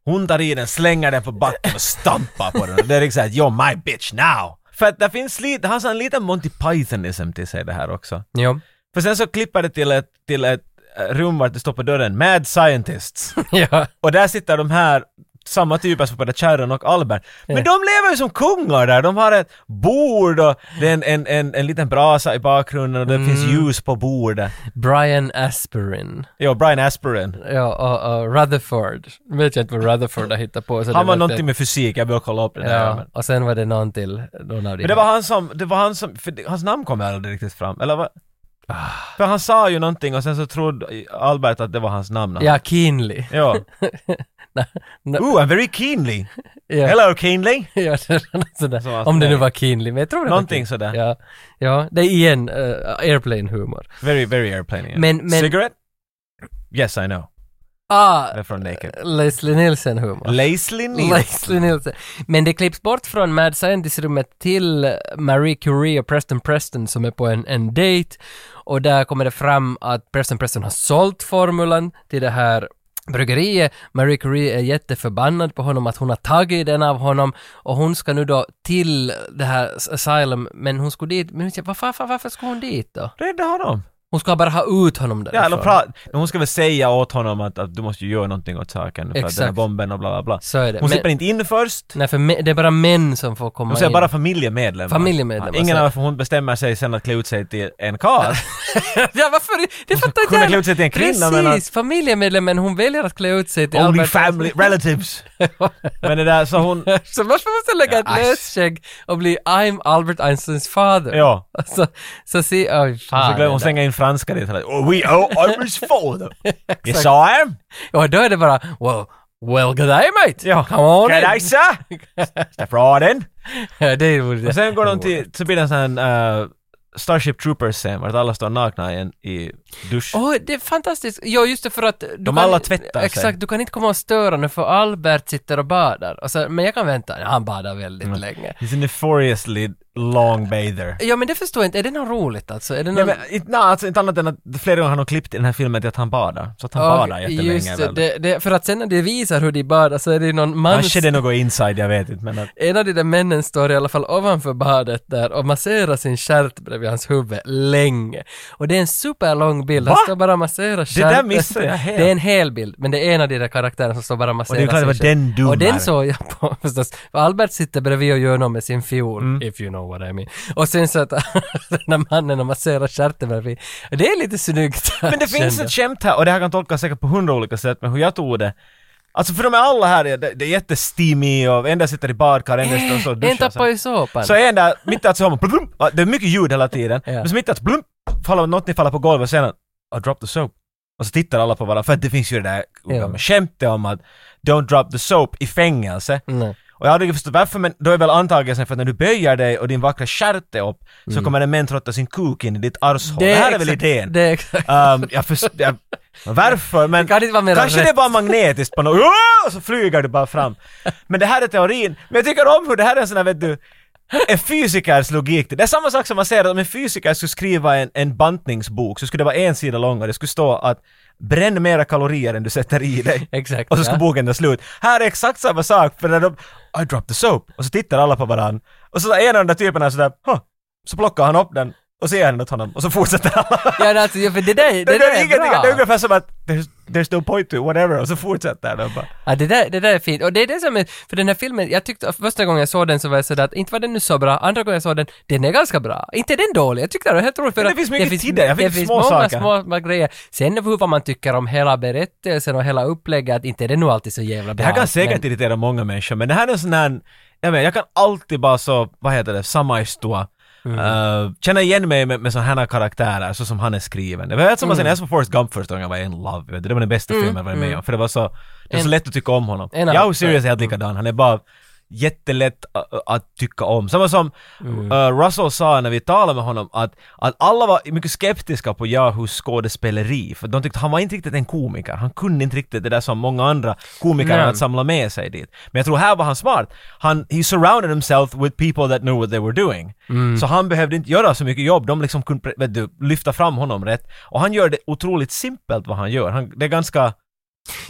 [SPEAKER 2] Hon tar i den, slänger den på backen och stampar på den. Det är liksom att you're my bitch now! För att det finns lite, han har en liten Monty Pythonism till sig det här också.
[SPEAKER 1] Jo.
[SPEAKER 2] För sen så klipper det till ett, till ett eh, rum vart det står på dörren, Mad Scientists.
[SPEAKER 1] ja.
[SPEAKER 2] Och där sitter de här, samma typ typer som både Charon och Albert. Men
[SPEAKER 1] Ja.
[SPEAKER 2] de lever ju som kungar där, de har ett bord och det är en, en, en, en liten brasa i bakgrunden och det
[SPEAKER 1] Mm.
[SPEAKER 2] finns ljus på bordet.
[SPEAKER 1] Brian Aspirin.
[SPEAKER 2] Jo, Brian Aspirin.
[SPEAKER 1] Ja, och, och Rutherford. Nu vet jag inte vad Rutherford har hittat på. Så
[SPEAKER 2] Han var
[SPEAKER 1] det
[SPEAKER 2] någonting
[SPEAKER 1] det-
[SPEAKER 2] med fysik, jag bör kolla upp det där.
[SPEAKER 1] Ja,
[SPEAKER 2] Men,
[SPEAKER 1] och sen var det någon till, någon av de
[SPEAKER 2] men det var han som, det var han som, för det, hans namn kom aldrig riktigt fram, eller vad?
[SPEAKER 1] Ah.
[SPEAKER 2] För han sa ju någonting och sen så trodde Albert att det var hans namn.
[SPEAKER 1] Ja, Keenly.
[SPEAKER 2] Ja.
[SPEAKER 1] Nej, nej,
[SPEAKER 2] Ooh, I'm very keenly.
[SPEAKER 1] ja.
[SPEAKER 2] Hello keenly.
[SPEAKER 1] Ja, det var något sådär.
[SPEAKER 2] Som att-
[SPEAKER 1] Om det nu
[SPEAKER 2] nej.
[SPEAKER 1] var Keenly, men jag tror det
[SPEAKER 2] Någonting
[SPEAKER 1] var Keenly.
[SPEAKER 2] sådär.
[SPEAKER 1] Ja. ja, det är igen eh, airplane-humor.
[SPEAKER 2] Very, very airplane. Yeah.
[SPEAKER 1] Men- men-
[SPEAKER 2] Cigarette? Yes, I know. Det
[SPEAKER 1] Ah,
[SPEAKER 2] är från Naked.
[SPEAKER 1] Leslie Nielsen-humor.
[SPEAKER 2] Leslie
[SPEAKER 1] Leslie Nielsen. Men det klipps bort från Mad Scientist-rummet till Marie Curie och Preston Preston som är på en, en dejt. Och där kommer det fram att Preston Preston har sålt formulan till det här bryggeriet. Marie Curie är jätteförbannad på honom att hon har tagit den av honom och hon ska nu då till det här asylum men hon skulle dit, men varför, varför, varför ska hon dit då?
[SPEAKER 2] Rädda honom!
[SPEAKER 1] Hon ska bara ha ut honom
[SPEAKER 2] Ja, eller
[SPEAKER 1] därifrån.
[SPEAKER 2] pra- men hon ska väl säga åt honom att, att du måste ju göra någonting åt saken för att den här
[SPEAKER 1] Exakt.
[SPEAKER 2] bomben och bla bla bla.
[SPEAKER 1] Så är det.
[SPEAKER 2] Hon
[SPEAKER 1] Men-
[SPEAKER 2] släpper inte in först.
[SPEAKER 1] Nej, för me- det är bara män som får komma
[SPEAKER 2] Hon säger
[SPEAKER 1] in.
[SPEAKER 2] bara familjemedlemmar.
[SPEAKER 1] Familjemedlemmar,
[SPEAKER 2] Ja, ingen
[SPEAKER 1] så-
[SPEAKER 2] av hon bestämmer sig sen att klä ut sig till en karl.
[SPEAKER 1] ja, varför? Det fattar inte
[SPEAKER 2] Kunde
[SPEAKER 1] jag.
[SPEAKER 2] klä ut sig till en kvinna, men
[SPEAKER 1] Precis, familjemedlemmen, hon väljer att klä ut sig till
[SPEAKER 2] Only
[SPEAKER 1] Albert-
[SPEAKER 2] family, relatives. Men det där, så hon...
[SPEAKER 1] Så varför måste jag lägga
[SPEAKER 2] Ja,
[SPEAKER 1] ett lösskägg och bli I'm Albert Einsteins father?
[SPEAKER 2] Ja.
[SPEAKER 1] Så, så se, oj
[SPEAKER 2] Så
[SPEAKER 1] fan.
[SPEAKER 2] glömmer hon
[SPEAKER 1] Ah, det där.
[SPEAKER 2] slänga in franska dit. Oh, we are Irish father. yes I am.
[SPEAKER 1] Och då är det bara, well, well good day mate.
[SPEAKER 2] Ja.
[SPEAKER 1] Come on
[SPEAKER 2] Can I
[SPEAKER 1] in.
[SPEAKER 2] sir? Step right in.
[SPEAKER 1] Ja, det vore det.
[SPEAKER 2] Och sen går de till, så blir det en sån här eh, Starship Troopers-scen vart alla står nakna i, en, i dusch.
[SPEAKER 1] Åh, det är fantastiskt. Jo, just det för att... Du
[SPEAKER 2] De alla tvättar sig.
[SPEAKER 1] Exakt, du kan inte komma och störa nu för Alltså,
[SPEAKER 2] Mm.
[SPEAKER 1] Albert sitter och badar. Och så, men jag kan vänta. Han badar väldigt länge.
[SPEAKER 2] He's in the furiously long bather.
[SPEAKER 1] Ja men det förstår jag inte, är det något roligt alltså? Är det
[SPEAKER 2] Nej
[SPEAKER 1] något...
[SPEAKER 2] men inte, nej, alltså, inte annat än att flera gånger har de klippt i den här filmen till att han badar. Så att han
[SPEAKER 1] Ja,
[SPEAKER 2] badar jättelänge
[SPEAKER 1] just det,
[SPEAKER 2] väl.
[SPEAKER 1] det, det, för att sen när de visar hur de badar så är det ju någon man
[SPEAKER 2] Kanske det är något inside, jag vet inte men att...
[SPEAKER 1] En av de där männen står i alla fall ovanför badet där och masserar sin stjärt bredvid hans huvud länge. Och det är en superlång bild, han
[SPEAKER 2] Va?
[SPEAKER 1] står bara och masserar
[SPEAKER 2] där
[SPEAKER 1] stjärten.
[SPEAKER 2] missade jag helt.
[SPEAKER 1] Det är en hel bild, men det är en av de där karaktärerna som står bara och masserar
[SPEAKER 2] Och det är klart det var
[SPEAKER 1] sin stjärt.
[SPEAKER 2] den dummare.
[SPEAKER 1] alltså, Och den såg jag på förstås. För Albert sitter bredvid och gör något med sin fiol,
[SPEAKER 2] Mm.
[SPEAKER 1] if you know what I mean. Och sen så att den där mannen och masserar stjärten bredvid. Och det är lite snyggt.
[SPEAKER 2] Men det finns ett skämt här, och det här kan tolkas säkert på hundra olika sätt, men hur jag tog det Alltså för de är alla här, det, det är jättesteamy och en där sitter i badkar, en där står så och
[SPEAKER 1] Eh, En
[SPEAKER 2] duschar.
[SPEAKER 1] tappar
[SPEAKER 2] sen.
[SPEAKER 1] ju såpan.
[SPEAKER 2] Så är en där, mitt i allt så hör man blum, det är mycket ljud hela tiden.
[SPEAKER 1] Ja.
[SPEAKER 2] Men så mitt i allt blum, faller något ni faller på golvet och sen I drop the soap. Och så tittar alla på varandra, för att det finns ju det där
[SPEAKER 1] Ja.
[SPEAKER 2] ja. skämtet om att don't drop the soap i fängelse.
[SPEAKER 1] Nej.
[SPEAKER 2] Och jag hade inte förstått varför, men då är väl antagelsen för att när du böjer dig och din vackra stjärt är upp, så kommer en man trotta sin kuk in i ditt arshål. Det, här är väl
[SPEAKER 1] exakt-
[SPEAKER 2] idén?
[SPEAKER 1] Mm. Det är exakt.
[SPEAKER 2] Ehm, jag först, jag, varför? Men
[SPEAKER 1] Det kan inte vara mera
[SPEAKER 2] kanske
[SPEAKER 1] rätt.
[SPEAKER 2] det är bara magnetiskt på något... Åh! Och så flyger du bara fram. Men det här är teorin. Men jag tycker om hur det här är en sån här, vet du, en fysikers logik. Det är samma sak som man säger att om en fysiker skulle skriva en, en bantningsbok så skulle det vara en sida lång och det skulle stå att bränn mera kalorier än du sätter i dig.
[SPEAKER 1] Exakt,
[SPEAKER 2] Och så skulle
[SPEAKER 1] ja.
[SPEAKER 2] boken ta slut. Här är exakt samma sak för när de I dropped the soap och så tittar alla på varandra. Och så är en av de där typerna sådär, huh. så plockar han upp den och så ger han den åt honom och så fortsätter alla.
[SPEAKER 1] Ja, alltså, ja, för det där, det
[SPEAKER 2] Det,
[SPEAKER 1] där är
[SPEAKER 2] är ingenting, det är
[SPEAKER 1] bra.
[SPEAKER 2] ungefär som att there's, there's no point to whatever och så fortsätter den bara.
[SPEAKER 1] Ja, det där, det där är fint. Och det är det som är, för den här filmen, jag tyckte första gången jag såg den så var jag sådär att inte var den nu så bra, andra gången jag såg den, den är ganska bra. Inte är den dålig, jag tyckte det var helt roligt för
[SPEAKER 2] Men det
[SPEAKER 1] att
[SPEAKER 2] finns mycket till det. Jag fick
[SPEAKER 1] det finns
[SPEAKER 2] små
[SPEAKER 1] många
[SPEAKER 2] saker.
[SPEAKER 1] små, små grejer. Sen hur vad man tycker om hela berättelsen och hela upplägget, inte är det nog alltid så jävla bra.
[SPEAKER 2] Det här kan säkert
[SPEAKER 1] men,
[SPEAKER 2] irritera många människor men det här är en sån här, jag menar jag kan alltid bara så, vad heter det, samaistua. Eh, känna igen mig med, med sådana här karaktärer så som han är skriven. Det var helt samma sak när jag såg Forrest Gump första gången, jag var in love, vet du. det var den bästa filmen jag varit med om för det var så, det var så
[SPEAKER 1] En-
[SPEAKER 2] lätt att tycka om honom.
[SPEAKER 1] en
[SPEAKER 2] Jag
[SPEAKER 1] annan-
[SPEAKER 2] och Sirius är helt likadan, han är bara jättelätt a- a- att tycka om. Samma som
[SPEAKER 1] Mm.
[SPEAKER 2] eh, Russell sa när vi talade med honom att, att alla var mycket skeptiska på Yahoos skådespeleri för de tyckte han var inte riktigt en komiker, han kunde inte riktigt det där som många andra komiker
[SPEAKER 1] Nej.
[SPEAKER 2] har att samla med sig dit. Men jag tror här var han smart. Han, he surrounded himself with people that knew what they were doing.
[SPEAKER 1] Mm.
[SPEAKER 2] Så han behövde inte göra så mycket jobb, de liksom kunde pre- vet du, lyfta fram honom rätt. Och han gör det otroligt simpelt vad han gör. Han, det är ganska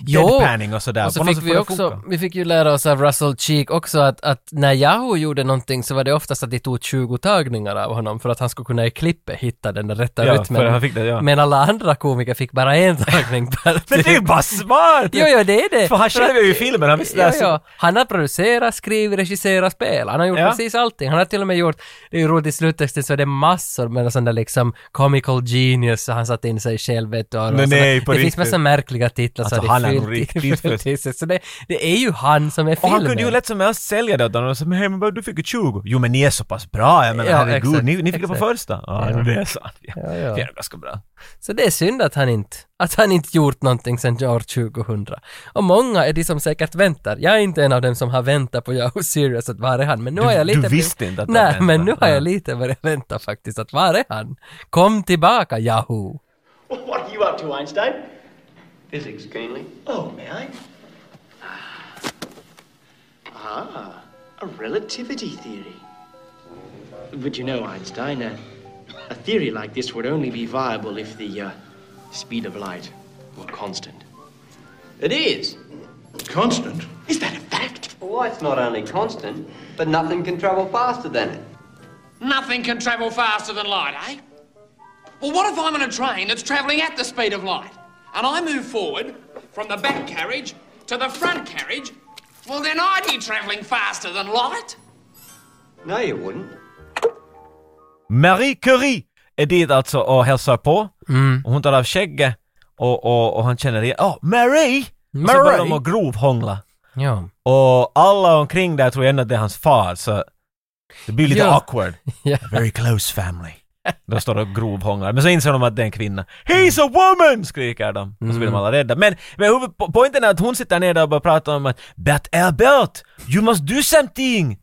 [SPEAKER 1] Jo.
[SPEAKER 2] deadpanning och sådär.
[SPEAKER 1] och så
[SPEAKER 2] På något
[SPEAKER 1] fick
[SPEAKER 2] sätt
[SPEAKER 1] vi
[SPEAKER 2] får det
[SPEAKER 1] också,
[SPEAKER 2] funka.
[SPEAKER 1] vi fick ju lära oss av Russell Cheek också att, att när Yahoo gjorde någonting så var det oftast att de tog 20 tagningar av honom för att han skulle kunna i klippet hitta den där rätta
[SPEAKER 2] Ja,
[SPEAKER 1] rytmen.
[SPEAKER 2] för han fick det, ja.
[SPEAKER 1] Men alla andra komiker fick bara en tagning per typ.
[SPEAKER 2] Men det är ju bara smart!
[SPEAKER 1] Jo, jo, det är det.
[SPEAKER 2] För han själv är ju i filmen, han visste det
[SPEAKER 1] jo,
[SPEAKER 2] här så-
[SPEAKER 1] jo. Han har producerat, skrivit, regisserat, spelat. Han har gjort
[SPEAKER 2] Ja.
[SPEAKER 1] precis allting. Han har till och med gjort, det är ju roligt i sluttexten så är det massor med sådana där liksom comical genius, så han satt in sig själv vet du. och
[SPEAKER 2] Nej,
[SPEAKER 1] sådana-
[SPEAKER 2] nej, på
[SPEAKER 1] Det
[SPEAKER 2] riktigt.
[SPEAKER 1] finns massa märkliga titlar
[SPEAKER 2] Alltså,
[SPEAKER 1] så
[SPEAKER 2] han
[SPEAKER 1] det
[SPEAKER 2] är nog
[SPEAKER 1] fyllt i-
[SPEAKER 2] riktigt
[SPEAKER 1] fyllt i sig. Så det, det är ju han som är
[SPEAKER 2] Och
[SPEAKER 1] filmen.
[SPEAKER 2] han kunde ju lätt som helst sälja det åt honom och säga men hej, men vad- du fick ju 20. Jo men ni är så pass bra, jag menar
[SPEAKER 1] Ja,
[SPEAKER 2] herregud,
[SPEAKER 1] exakt,
[SPEAKER 2] ni, ni fick det på
[SPEAKER 1] exakt.
[SPEAKER 2] första. Ja,
[SPEAKER 1] Ja.
[SPEAKER 2] det är sant. Ja.
[SPEAKER 1] Ja, ja.
[SPEAKER 2] Det är ganska bra.
[SPEAKER 1] Så det är synd att han inte, att han inte gjort någonting sedan år 2000. Och många är de som säkert väntar. Jag är inte en av dem som har väntat på Yahoo Serious att var är han? Men nu
[SPEAKER 2] Du-
[SPEAKER 1] har jag
[SPEAKER 2] du
[SPEAKER 1] lite...
[SPEAKER 2] visste inte att han
[SPEAKER 1] Nej,
[SPEAKER 2] väntar.
[SPEAKER 1] men nu har
[SPEAKER 2] Ja.
[SPEAKER 1] jag lite börjat vänta faktiskt att var är han? Kom tillbaka Yahoo!
[SPEAKER 5] What are you up to, Einstein?
[SPEAKER 7] Physics, Keenly.
[SPEAKER 5] Oh, may I? Ah, a relativity theory. But you know, Einstein, a, a theory like this would only be viable if the uh, speed of light were constant.
[SPEAKER 7] It is.
[SPEAKER 5] Constant? Is that a fact?
[SPEAKER 7] Well, light's not only constant, but nothing can travel faster than it.
[SPEAKER 8] Nothing can travel faster than light, eh? Well, what if I'm on a train that's traveling at the speed of light and I move forward from the back carriage to the front carriage? Well, then I'd be traveling faster than light.
[SPEAKER 7] No, you wouldn't.
[SPEAKER 2] Marie Curie är dit alltså och hälsar på.
[SPEAKER 1] Mm.
[SPEAKER 2] Och hon tar av skägget och, och, och han känner igen, åh, Marie! Och så börjar
[SPEAKER 1] Marie!
[SPEAKER 2] de att grovhångla.
[SPEAKER 1] Ja,
[SPEAKER 2] Och alla omkring där tror ändå att det är hans far, så det blir lite
[SPEAKER 1] Ja.
[SPEAKER 2] awkward.
[SPEAKER 1] Ja.
[SPEAKER 2] A Very close family. De står och grovhånglar, men så inser de att det är en kvinna. He's a woman! skriker de. Och så blir de alla rädda. Men, men huvud- po- poängen är att hon sitter nere och bara pratar om att But Albert, you must do something!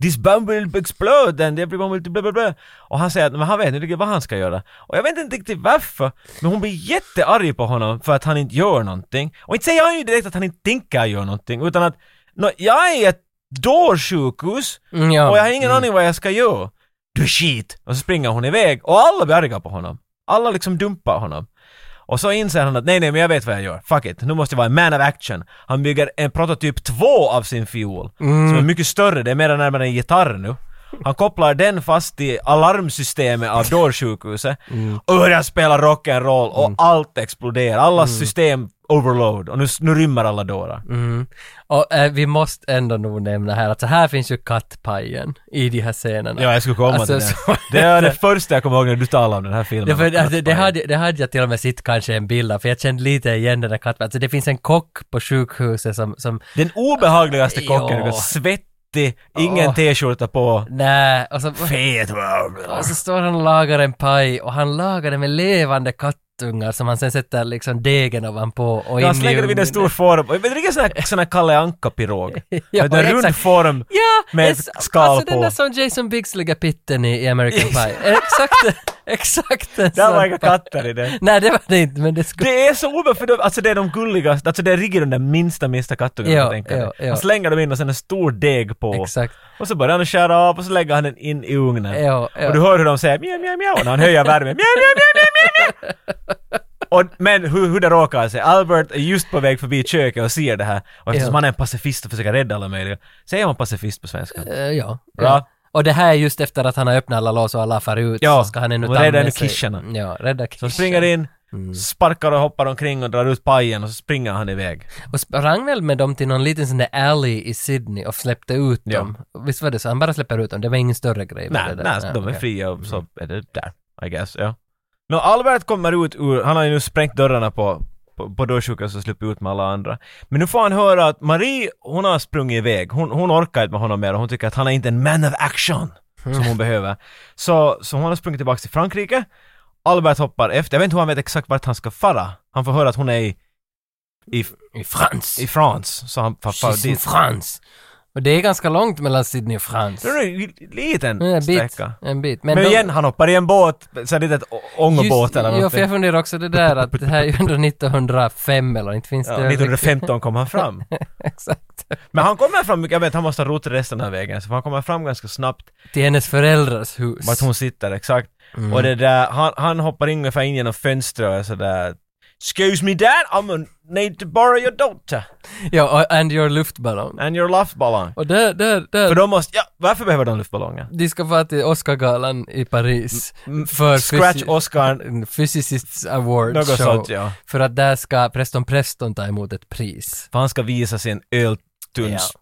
[SPEAKER 2] This bomb will explode and everyone will do blah blah blah. Och han säger att men han vet inte riktigt vad han ska göra. Och jag vet inte riktigt varför, men hon blir jättearg på honom för att han inte gör någonting. Och inte säger han ju direkt att han inte tänker göra någonting, utan att Nå, jag är ett dårsjukhus
[SPEAKER 1] Mm, ja.
[SPEAKER 2] och jag har ingen aning vad jag ska göra. Du är skit! Och så springer hon iväg och alla blir arga på honom. Alla liksom dumpar honom. Och så inser han att nej, nej, men jag vet vad jag gör. Fuck it. Nu måste jag vara en man of action. Han bygger en prototyp 2 av sin fiol. Som är mycket större. Det är mer närmare en gitarr nu. Han kopplar den fast till alarmsystemet av dårsjukhuset och börjar spela rock'n'roll och allt exploderar. Alla system overload och nu, nu rymmer alla dårar.
[SPEAKER 1] Och eh, vi måste ändå nog nämna här att så här finns ju kattpajen i de här scenerna.
[SPEAKER 2] Ja, jag skulle komma
[SPEAKER 1] Alltså,
[SPEAKER 2] till
[SPEAKER 1] så-
[SPEAKER 2] det. Det är det första jag kommer ihåg när du talade om den här filmen.
[SPEAKER 1] Det, för, alltså, det,
[SPEAKER 2] Kattpajen.
[SPEAKER 1] hade, det hade jag till och med sett kanske en bild av, för jag kände lite igen den där katten. Alltså det finns en kock på sjukhuset som, som
[SPEAKER 2] Den obehagligaste kocken, du
[SPEAKER 1] Ja.
[SPEAKER 2] vet, svettig, ingen
[SPEAKER 1] Ja.
[SPEAKER 2] t-skjorta på,
[SPEAKER 1] nej, och så,
[SPEAKER 2] fet.
[SPEAKER 1] och så står han och lagar en paj och han lagar den med levande kattungar som han sen sätter liksom degen ovanpå och in
[SPEAKER 2] Ja,
[SPEAKER 1] i
[SPEAKER 2] han slänger vid en
[SPEAKER 1] ugnen.
[SPEAKER 2] stor form. Men Det är en sån här, sån här Kalle Anka-pirog.
[SPEAKER 1] Ja,
[SPEAKER 2] ja, en rund
[SPEAKER 1] exakt.
[SPEAKER 2] form
[SPEAKER 1] Ja,
[SPEAKER 2] med
[SPEAKER 1] det
[SPEAKER 2] ett
[SPEAKER 1] är s-
[SPEAKER 2] skal
[SPEAKER 1] alltså den
[SPEAKER 2] på.
[SPEAKER 1] där som Jason Biggs lägger pitten i, i American Pie. exakt, exakt en
[SPEAKER 2] Där var
[SPEAKER 1] sån
[SPEAKER 2] inga
[SPEAKER 1] paj.
[SPEAKER 2] katter i den.
[SPEAKER 1] Nej, det var det inte, men det skulle...
[SPEAKER 2] Det är så obehagligt, för de, alltså det är de gulligaste, alltså det är riktigt de där minsta, minsta kattungarna
[SPEAKER 1] Ja,
[SPEAKER 2] jag tänker
[SPEAKER 1] ja,
[SPEAKER 2] mig.
[SPEAKER 1] ja.
[SPEAKER 2] Han slänger dem in och sen en stor deg på.
[SPEAKER 1] Exakt.
[SPEAKER 2] Och så börjar han skära av och så lägger han den in i ugnen.
[SPEAKER 1] Ja, ja.
[SPEAKER 2] Och du hör hur de säger mjau, mjau, mjau, och när han höjer värmen, mjau, mjau, mjau, mjau, mjau, mjau. Och, men hur, hur det råkar sig, Albert är just på väg förbi köket och ser det här. Och eftersom
[SPEAKER 1] Ja.
[SPEAKER 2] han är en pacifist och försöker rädda alla möjliga, säger man pacifist på svenska?
[SPEAKER 1] Eh, ja.
[SPEAKER 2] Bra.
[SPEAKER 1] ja. Och det här är just efter att han har öppnat alla lås och alla affärer ut.
[SPEAKER 2] Ja,
[SPEAKER 1] så ska han ännu
[SPEAKER 2] och
[SPEAKER 1] ta
[SPEAKER 2] rädda
[SPEAKER 1] med
[SPEAKER 2] ännu
[SPEAKER 1] sig-
[SPEAKER 2] kischerna.
[SPEAKER 1] Ja, Mm. rädda kischerna.
[SPEAKER 2] Så han springer in, sparkar och hoppar omkring och drar ut pajen och så springer han iväg.
[SPEAKER 1] Och sprang väl med dem till någon liten sån där alley i Sydney och släppte ut
[SPEAKER 2] Ja.
[SPEAKER 1] dem. Visst var det så? Han bara släpper ut dem, det var ingen större grej. med
[SPEAKER 2] Nej,
[SPEAKER 1] det där.
[SPEAKER 2] nej,
[SPEAKER 1] Ja,
[SPEAKER 2] de är
[SPEAKER 1] okej. Mm.
[SPEAKER 2] fria och så är det där, I guess, ja. Nå, Albert kommer ut ur, han har ju nu sprängt dörrarna på, på, på dörrsjukhuset och sluppit ut med alla andra. Men nu får han höra att Marie, hon har sprungit iväg, hon, hon orkar inte med honom mer och hon tycker att han är inte en man of action som hon behöver. Så, så hon har sprungit tillbaka till Frankrike, Albert hoppar efter, jag vet inte hur han vet exakt vart han ska fara. Han får höra att hon är i, i,
[SPEAKER 1] I Frans!
[SPEAKER 2] i France, så han far
[SPEAKER 1] She's in
[SPEAKER 2] dit.
[SPEAKER 1] France! Och det är ganska långt mellan Sydney och Frans.
[SPEAKER 2] Det är en liten
[SPEAKER 1] Men En bit.
[SPEAKER 2] sträcka.
[SPEAKER 1] En bit.
[SPEAKER 2] Men,
[SPEAKER 1] de-
[SPEAKER 2] igen, han hoppar i en båt, så här litet å- ångbåt eller
[SPEAKER 1] Ja, för jag
[SPEAKER 2] någonting.
[SPEAKER 1] funderar också det där att det här är ju ändå 1905 eller inte finns
[SPEAKER 2] Ja,
[SPEAKER 1] det...
[SPEAKER 2] 1915 kom han fram.
[SPEAKER 1] Exakt.
[SPEAKER 2] Men han kommer fram, jag vet han måste ha rott resten av vägen, så han kommer fram ganska snabbt
[SPEAKER 1] Till hennes föräldrars hus.
[SPEAKER 2] vart hon sitter exakt.
[SPEAKER 1] Mm.
[SPEAKER 2] Och det där, han, han hoppar in ungefär in genom fönstret och sådär Excuse me dad, I'm need to borrow your daughter
[SPEAKER 1] Ja, och- and your luftballong.
[SPEAKER 2] and your luftballong.
[SPEAKER 1] Och där, där, där.
[SPEAKER 2] För de måste, ja, varför behöver de luftballonger?
[SPEAKER 1] de ska vara till Oscargalan i Paris för
[SPEAKER 2] Mm, Scratch
[SPEAKER 1] fysi- Mm,
[SPEAKER 2] Oscar,
[SPEAKER 1] Physicists Award
[SPEAKER 2] Något
[SPEAKER 1] Show.
[SPEAKER 2] sånt, ja.
[SPEAKER 1] För att där ska Preston Preston ta emot ett pris.
[SPEAKER 2] för han ska visa sin öltunns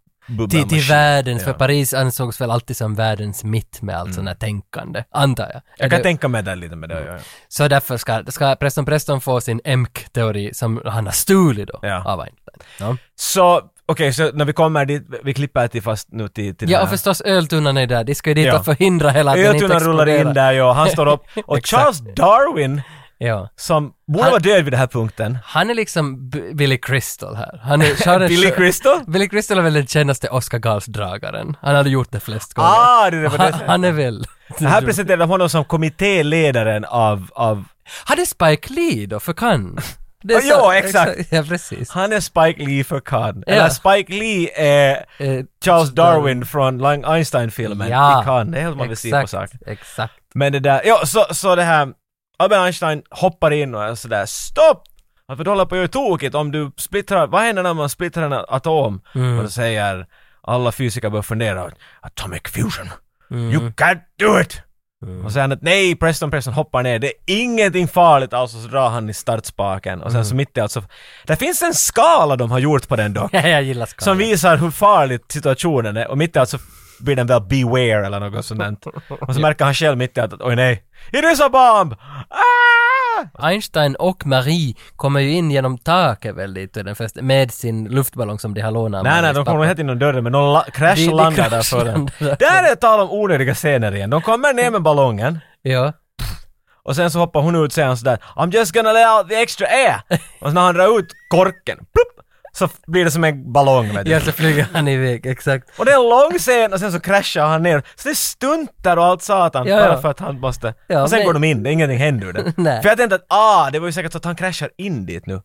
[SPEAKER 1] Till, till världens, för
[SPEAKER 2] Ja. Mm.
[SPEAKER 1] Paris ansågs väl alltid som världens mitt med allt sånt här tänkande, antar jag.
[SPEAKER 2] Jag
[SPEAKER 1] Eller-
[SPEAKER 2] kan tänka mig det lite med
[SPEAKER 1] Mm.
[SPEAKER 2] det. Ja. ja.
[SPEAKER 1] Så därför ska, ska Preston Preston få sin EMK-teori som han har stulit då
[SPEAKER 2] Ja.
[SPEAKER 1] av Einstein. Ja,
[SPEAKER 2] Så, okej, så när vi kommer dit, vi klippar till fast nu till, till
[SPEAKER 1] ja
[SPEAKER 2] den
[SPEAKER 1] och
[SPEAKER 2] här.
[SPEAKER 1] förstås öltunnan är där, de ska ju dit
[SPEAKER 2] Ja.
[SPEAKER 1] och förhindra hela att den inte
[SPEAKER 2] Öltunnan rullar in
[SPEAKER 1] exploderar.
[SPEAKER 2] där ja, han står upp. Och
[SPEAKER 1] Exakt.
[SPEAKER 2] Charles Darwin,
[SPEAKER 1] Ja.
[SPEAKER 2] som borde
[SPEAKER 1] Han-
[SPEAKER 2] vara död vid den här punkten.
[SPEAKER 1] Han är liksom B- Billy Crystal här. Han är Sharon
[SPEAKER 2] Billy
[SPEAKER 1] Sho-
[SPEAKER 2] Crystal?
[SPEAKER 1] Billy Crystal är väl den kändaste Oscargalsdragaren. Han hade gjort det flest gånger.
[SPEAKER 2] Ah, det är det på det
[SPEAKER 1] han,
[SPEAKER 2] sättet.
[SPEAKER 1] han är väl...
[SPEAKER 2] Här presenterar de honom som kommittéledaren av, av...
[SPEAKER 1] Hade Spike Lee då för Cannes? Det
[SPEAKER 2] Ah,
[SPEAKER 1] så-
[SPEAKER 2] ja, exakt.
[SPEAKER 1] Ja, precis.
[SPEAKER 2] Han är Spike Lee för Cannes.
[SPEAKER 1] Ja.
[SPEAKER 2] Eller Spike Lee är
[SPEAKER 1] Eh,
[SPEAKER 2] Charles Darwin från Lang Einstein-filmen
[SPEAKER 1] Ja.
[SPEAKER 2] i Cannes. Det är helt man vill se på
[SPEAKER 1] Exakt,
[SPEAKER 2] saker.
[SPEAKER 1] exakt.
[SPEAKER 2] Men det där, ja så, så det här, Albert Einstein hoppar in och är sådär stopp! Varför du håller på att göra tokigt om du splittrar, vad händer när man splittrar en atom? Och då säger alla fysiker börjar fundera, atomic fusion, you can't do it! Och sen att nej, Preston Preston hoppar ner, det är ingenting farligt alls och så drar han i startspaken och sen så mitt i allt så, det finns en skala de har gjort på den dock,
[SPEAKER 1] Ja, jag gillar skalet.
[SPEAKER 2] som visar hur farligt situationen är och mitt i allt så blir den väl beware eller något sånt där. Och så märker han själv mitt i allt att oj nej, it is a bomb! Ah!
[SPEAKER 1] Einstein och Marie kommer ju in genom taket väl dit till den första, med sin luftballong som de har lånat av
[SPEAKER 2] Nej nej,
[SPEAKER 1] Maries
[SPEAKER 2] de
[SPEAKER 1] pappa.
[SPEAKER 2] kommer helt inom dörren men de la-
[SPEAKER 1] De-
[SPEAKER 2] kraschlandar
[SPEAKER 1] de
[SPEAKER 2] där för den.
[SPEAKER 1] kraschlandar.
[SPEAKER 2] Där är det tal om onödiga scener igen. De kommer ner med ballongen
[SPEAKER 1] Ja.
[SPEAKER 2] och sen så hoppar hon ut sen sådär I'm just gonna let out the extra air! Och så när han drar ut korken, plupp, så f- blir det som en ballong vet du.
[SPEAKER 1] ja, så flyger han iväg, exakt.
[SPEAKER 2] Och det är en lång scen och sen så kraschar han ner. Så det är stuntar och allt satan
[SPEAKER 1] Ja,
[SPEAKER 2] bara
[SPEAKER 1] ja.
[SPEAKER 2] för att han måste...
[SPEAKER 1] Ja,
[SPEAKER 2] och sen
[SPEAKER 1] men-
[SPEAKER 2] går de in, det är ingenting händer ur det.
[SPEAKER 1] Nej.
[SPEAKER 2] För jag tänkte att ah, det var ju säkert så att han kraschar in dit nu.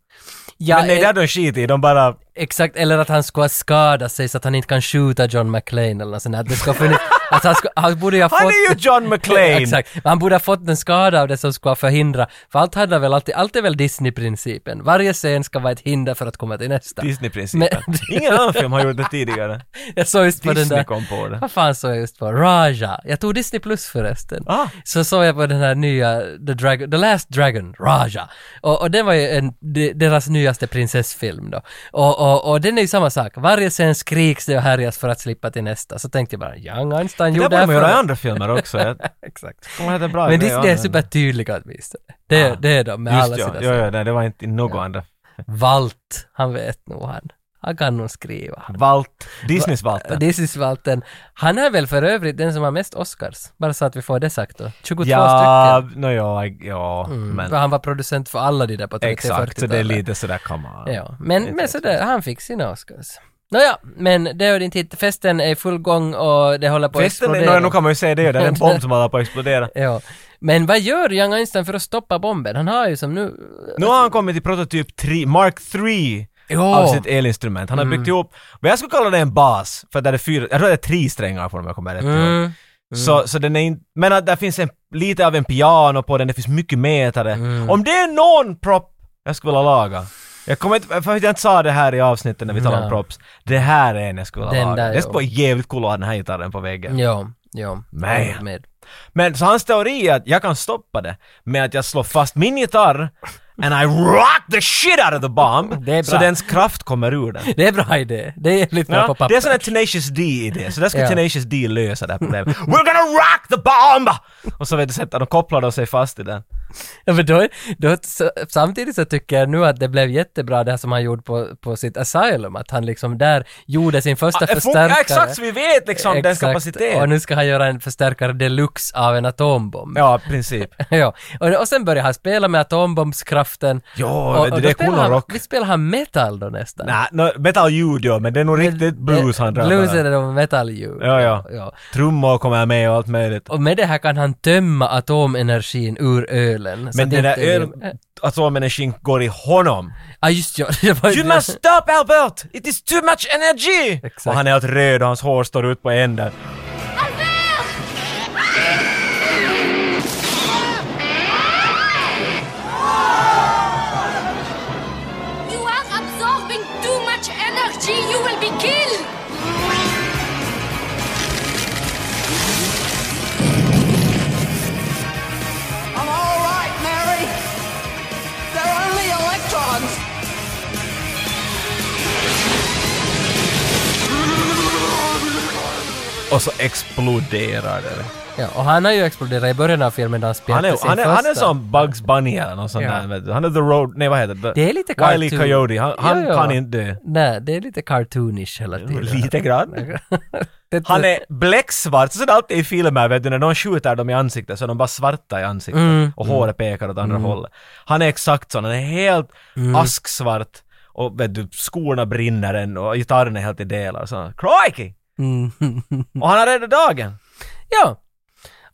[SPEAKER 1] Ja,
[SPEAKER 2] men nej,
[SPEAKER 1] eh,
[SPEAKER 2] det hade de skit i, de bara...
[SPEAKER 1] Exakt, eller att han skulle ha skadat sig så att han inte kan skjuta John McClane eller något sånt där. Det ska funnits, alltså han, skulle, han borde ju ha fått...
[SPEAKER 2] Han är ju John McClane!
[SPEAKER 1] Exakt, Men han borde ha fått en skada av det som skulle ha förhindrat, för allt handlar väl alltid, allt är väl Disney-principen. Varje scen ska vara ett hinder för att komma till nästa.
[SPEAKER 2] Disney-principen.
[SPEAKER 1] Men-
[SPEAKER 2] Ingen annan film har gjort det tidigare.
[SPEAKER 1] Jag såg just på den
[SPEAKER 2] Disney
[SPEAKER 1] där...
[SPEAKER 2] kom på det.
[SPEAKER 1] Vad fan såg jag just på? Raja. Jag tog Disney Plus förresten.
[SPEAKER 2] Ah.
[SPEAKER 1] Så såg jag på den här nya The, Dragon, The Last Dragon, Raja. Och, och den var ju en, de, deras nyaste prinsessfilm då. Och, och, och den är ju samma sak. Varje scen skriks det och härjas för att slippa till nästa. Så tänkte jag bara, Young Einstein
[SPEAKER 2] Det där
[SPEAKER 1] gjorde
[SPEAKER 2] borde man göra i
[SPEAKER 1] förut.
[SPEAKER 2] andra filmer också. Jag
[SPEAKER 1] Exakt.
[SPEAKER 2] kommer att det är bra
[SPEAKER 1] Men
[SPEAKER 2] grej
[SPEAKER 1] Disney
[SPEAKER 2] att
[SPEAKER 1] är
[SPEAKER 2] använda.
[SPEAKER 1] supertydliga åtminstone. Det, är-
[SPEAKER 2] Ah.
[SPEAKER 1] det är de med alla
[SPEAKER 2] Just ja,
[SPEAKER 1] sina
[SPEAKER 2] ja,
[SPEAKER 1] saker.
[SPEAKER 2] ja, nej, det var inte i något annat.
[SPEAKER 1] Valt, han vet nog han. Han kan nog skriva.
[SPEAKER 2] Valt, Disneys Valter.
[SPEAKER 1] This is Walten. Han är väl för övrigt den som har mest Oscars? Bara så att vi får det sagt då. 22
[SPEAKER 2] Ja, no, ja, ja
[SPEAKER 1] stycken.
[SPEAKER 2] men
[SPEAKER 1] För han var producent för alla de där på 30
[SPEAKER 2] exakt. Så det är
[SPEAKER 1] 40-talet.
[SPEAKER 2] lite sådär, come on.
[SPEAKER 1] Ja, men,
[SPEAKER 2] Lite
[SPEAKER 1] men sådär, han fick sina Oscars. Nåja, men det är din tid. Festen är i full gång och det håller på att
[SPEAKER 2] Festen,
[SPEAKER 1] explodera.
[SPEAKER 2] är- nu kan man ju säga det, det är en bomb som håller på att explodera.
[SPEAKER 1] Ja. Men vad gör Young Einstein för att stoppa bomben? Han har ju som nu...
[SPEAKER 2] Nu har han kommit till prototyp 3, Mark 3
[SPEAKER 1] Ja. Mm.
[SPEAKER 2] av sitt elinstrument. Han har byggt ihop, vad jag skulle kalla det en bas, för där det är fyra, jag tror det är tre strängar på dem, jag kommer rätt ihåg.
[SPEAKER 1] Mm.
[SPEAKER 2] Så, så den är inte, men att där finns en, lite av en piano på den, det finns mycket mätare.
[SPEAKER 1] Mm.
[SPEAKER 2] Om det är någon propp jag skulle vilja laga. Jag kommer inte, för att jag inte sa det här i avsnittet när vi talade om
[SPEAKER 1] Nej.
[SPEAKER 2] props. Det här är en jag skulle vilja
[SPEAKER 1] Den
[SPEAKER 2] laga.
[SPEAKER 1] där,
[SPEAKER 2] Det skulle
[SPEAKER 1] ja.
[SPEAKER 2] vara jävligt coolt att ha den här gitarren på väggen.
[SPEAKER 1] Ja, ja.
[SPEAKER 2] Man.
[SPEAKER 1] Med.
[SPEAKER 2] Men så hans teori är att jag kan stoppa det med att jag slår fast min gitarr and I rock the shit out of the bomb
[SPEAKER 1] Det är bra.
[SPEAKER 2] så dens kraft kommer ur den.
[SPEAKER 1] Det är bra idé. Det är jävligt bra
[SPEAKER 2] Ja,
[SPEAKER 1] på papper.
[SPEAKER 2] det är sån här Tenacious D-idé, så där skulle
[SPEAKER 1] Ja.
[SPEAKER 2] Tenacious D lösa det här problemet. We're gonna rock the bomb! Och så vet du, sätter de kopplar de sig fast i den.
[SPEAKER 1] Ja, men då, då, så, samtidigt så tycker jag nu att det blev jättebra det här som han gjorde på, på sitt Asylum, att han liksom där gjorde sin första
[SPEAKER 2] Ah, det funkar-
[SPEAKER 1] förstärkare.
[SPEAKER 2] Exakt, så vi vet liksom dens
[SPEAKER 1] Exakt. Och
[SPEAKER 2] kapacitet.
[SPEAKER 1] nu ska han göra en förstärkare deluxe av en atombomb.
[SPEAKER 2] Ja, i princip.
[SPEAKER 1] Ja. Och, och sen börjar han spela med atombombskraften. och,
[SPEAKER 2] Jo, det-
[SPEAKER 1] och
[SPEAKER 2] det
[SPEAKER 1] då
[SPEAKER 2] är
[SPEAKER 1] spelar
[SPEAKER 2] cool
[SPEAKER 1] han,
[SPEAKER 2] rock.
[SPEAKER 1] Vi spelar han metal då nästan.
[SPEAKER 2] Nej, no, metal ljud ja, men det är nog riktigt blues han drar.
[SPEAKER 1] Blues är
[SPEAKER 2] bara.
[SPEAKER 1] det då metalljud.
[SPEAKER 2] Ja, ja.
[SPEAKER 1] ja.
[SPEAKER 2] Trummor kommer med och allt möjligt.
[SPEAKER 1] Och med det här kan han tömma atomenergin ur ölen. Så
[SPEAKER 2] Men
[SPEAKER 1] det
[SPEAKER 2] den där
[SPEAKER 1] inte är-
[SPEAKER 2] öl... Atomenergin går i honom.
[SPEAKER 1] Ja, just ja. det var ju
[SPEAKER 2] You
[SPEAKER 1] det.
[SPEAKER 2] must stop Albert! It is too much energy!
[SPEAKER 1] Exakt.
[SPEAKER 2] Och han är helt röd och hans hår står ut på änden.
[SPEAKER 9] You are absorbing too much energy. You will be killed.
[SPEAKER 3] I'm all right, Mary. They're only electrons.
[SPEAKER 2] Och så exploderar det.
[SPEAKER 1] Ja, och han har ju exploderat i början av filmen när han spelade
[SPEAKER 2] Han är,
[SPEAKER 1] sin
[SPEAKER 2] han är, han är
[SPEAKER 1] första.
[SPEAKER 2] som Bugs Bunny eller något sånt
[SPEAKER 1] Ja.
[SPEAKER 2] där. vet du. Han är the road... Nej vad heter det?
[SPEAKER 1] Det är lite
[SPEAKER 2] Wile E.
[SPEAKER 1] cartoon.
[SPEAKER 2] Coyote. Han, han
[SPEAKER 1] Ja, ja.
[SPEAKER 2] kan inte dö.
[SPEAKER 1] Nej, det är lite cartoonish hela tiden.
[SPEAKER 2] Lite grann.
[SPEAKER 1] Det-
[SPEAKER 2] Han är bläcksvart, så är det alltid i filmer vet du, när någon skjuter dem i ansiktet så är de bara svarta i ansiktet
[SPEAKER 1] Mm.
[SPEAKER 2] och håret pekar åt andra hållet. Han är exakt sån, han är helt
[SPEAKER 1] Mm.
[SPEAKER 2] asksvart och vet du, skorna brinner än och gitarren är helt i delar. Så, Crikey!
[SPEAKER 1] Mm.
[SPEAKER 2] Och han har räddat dagen!
[SPEAKER 1] Ja.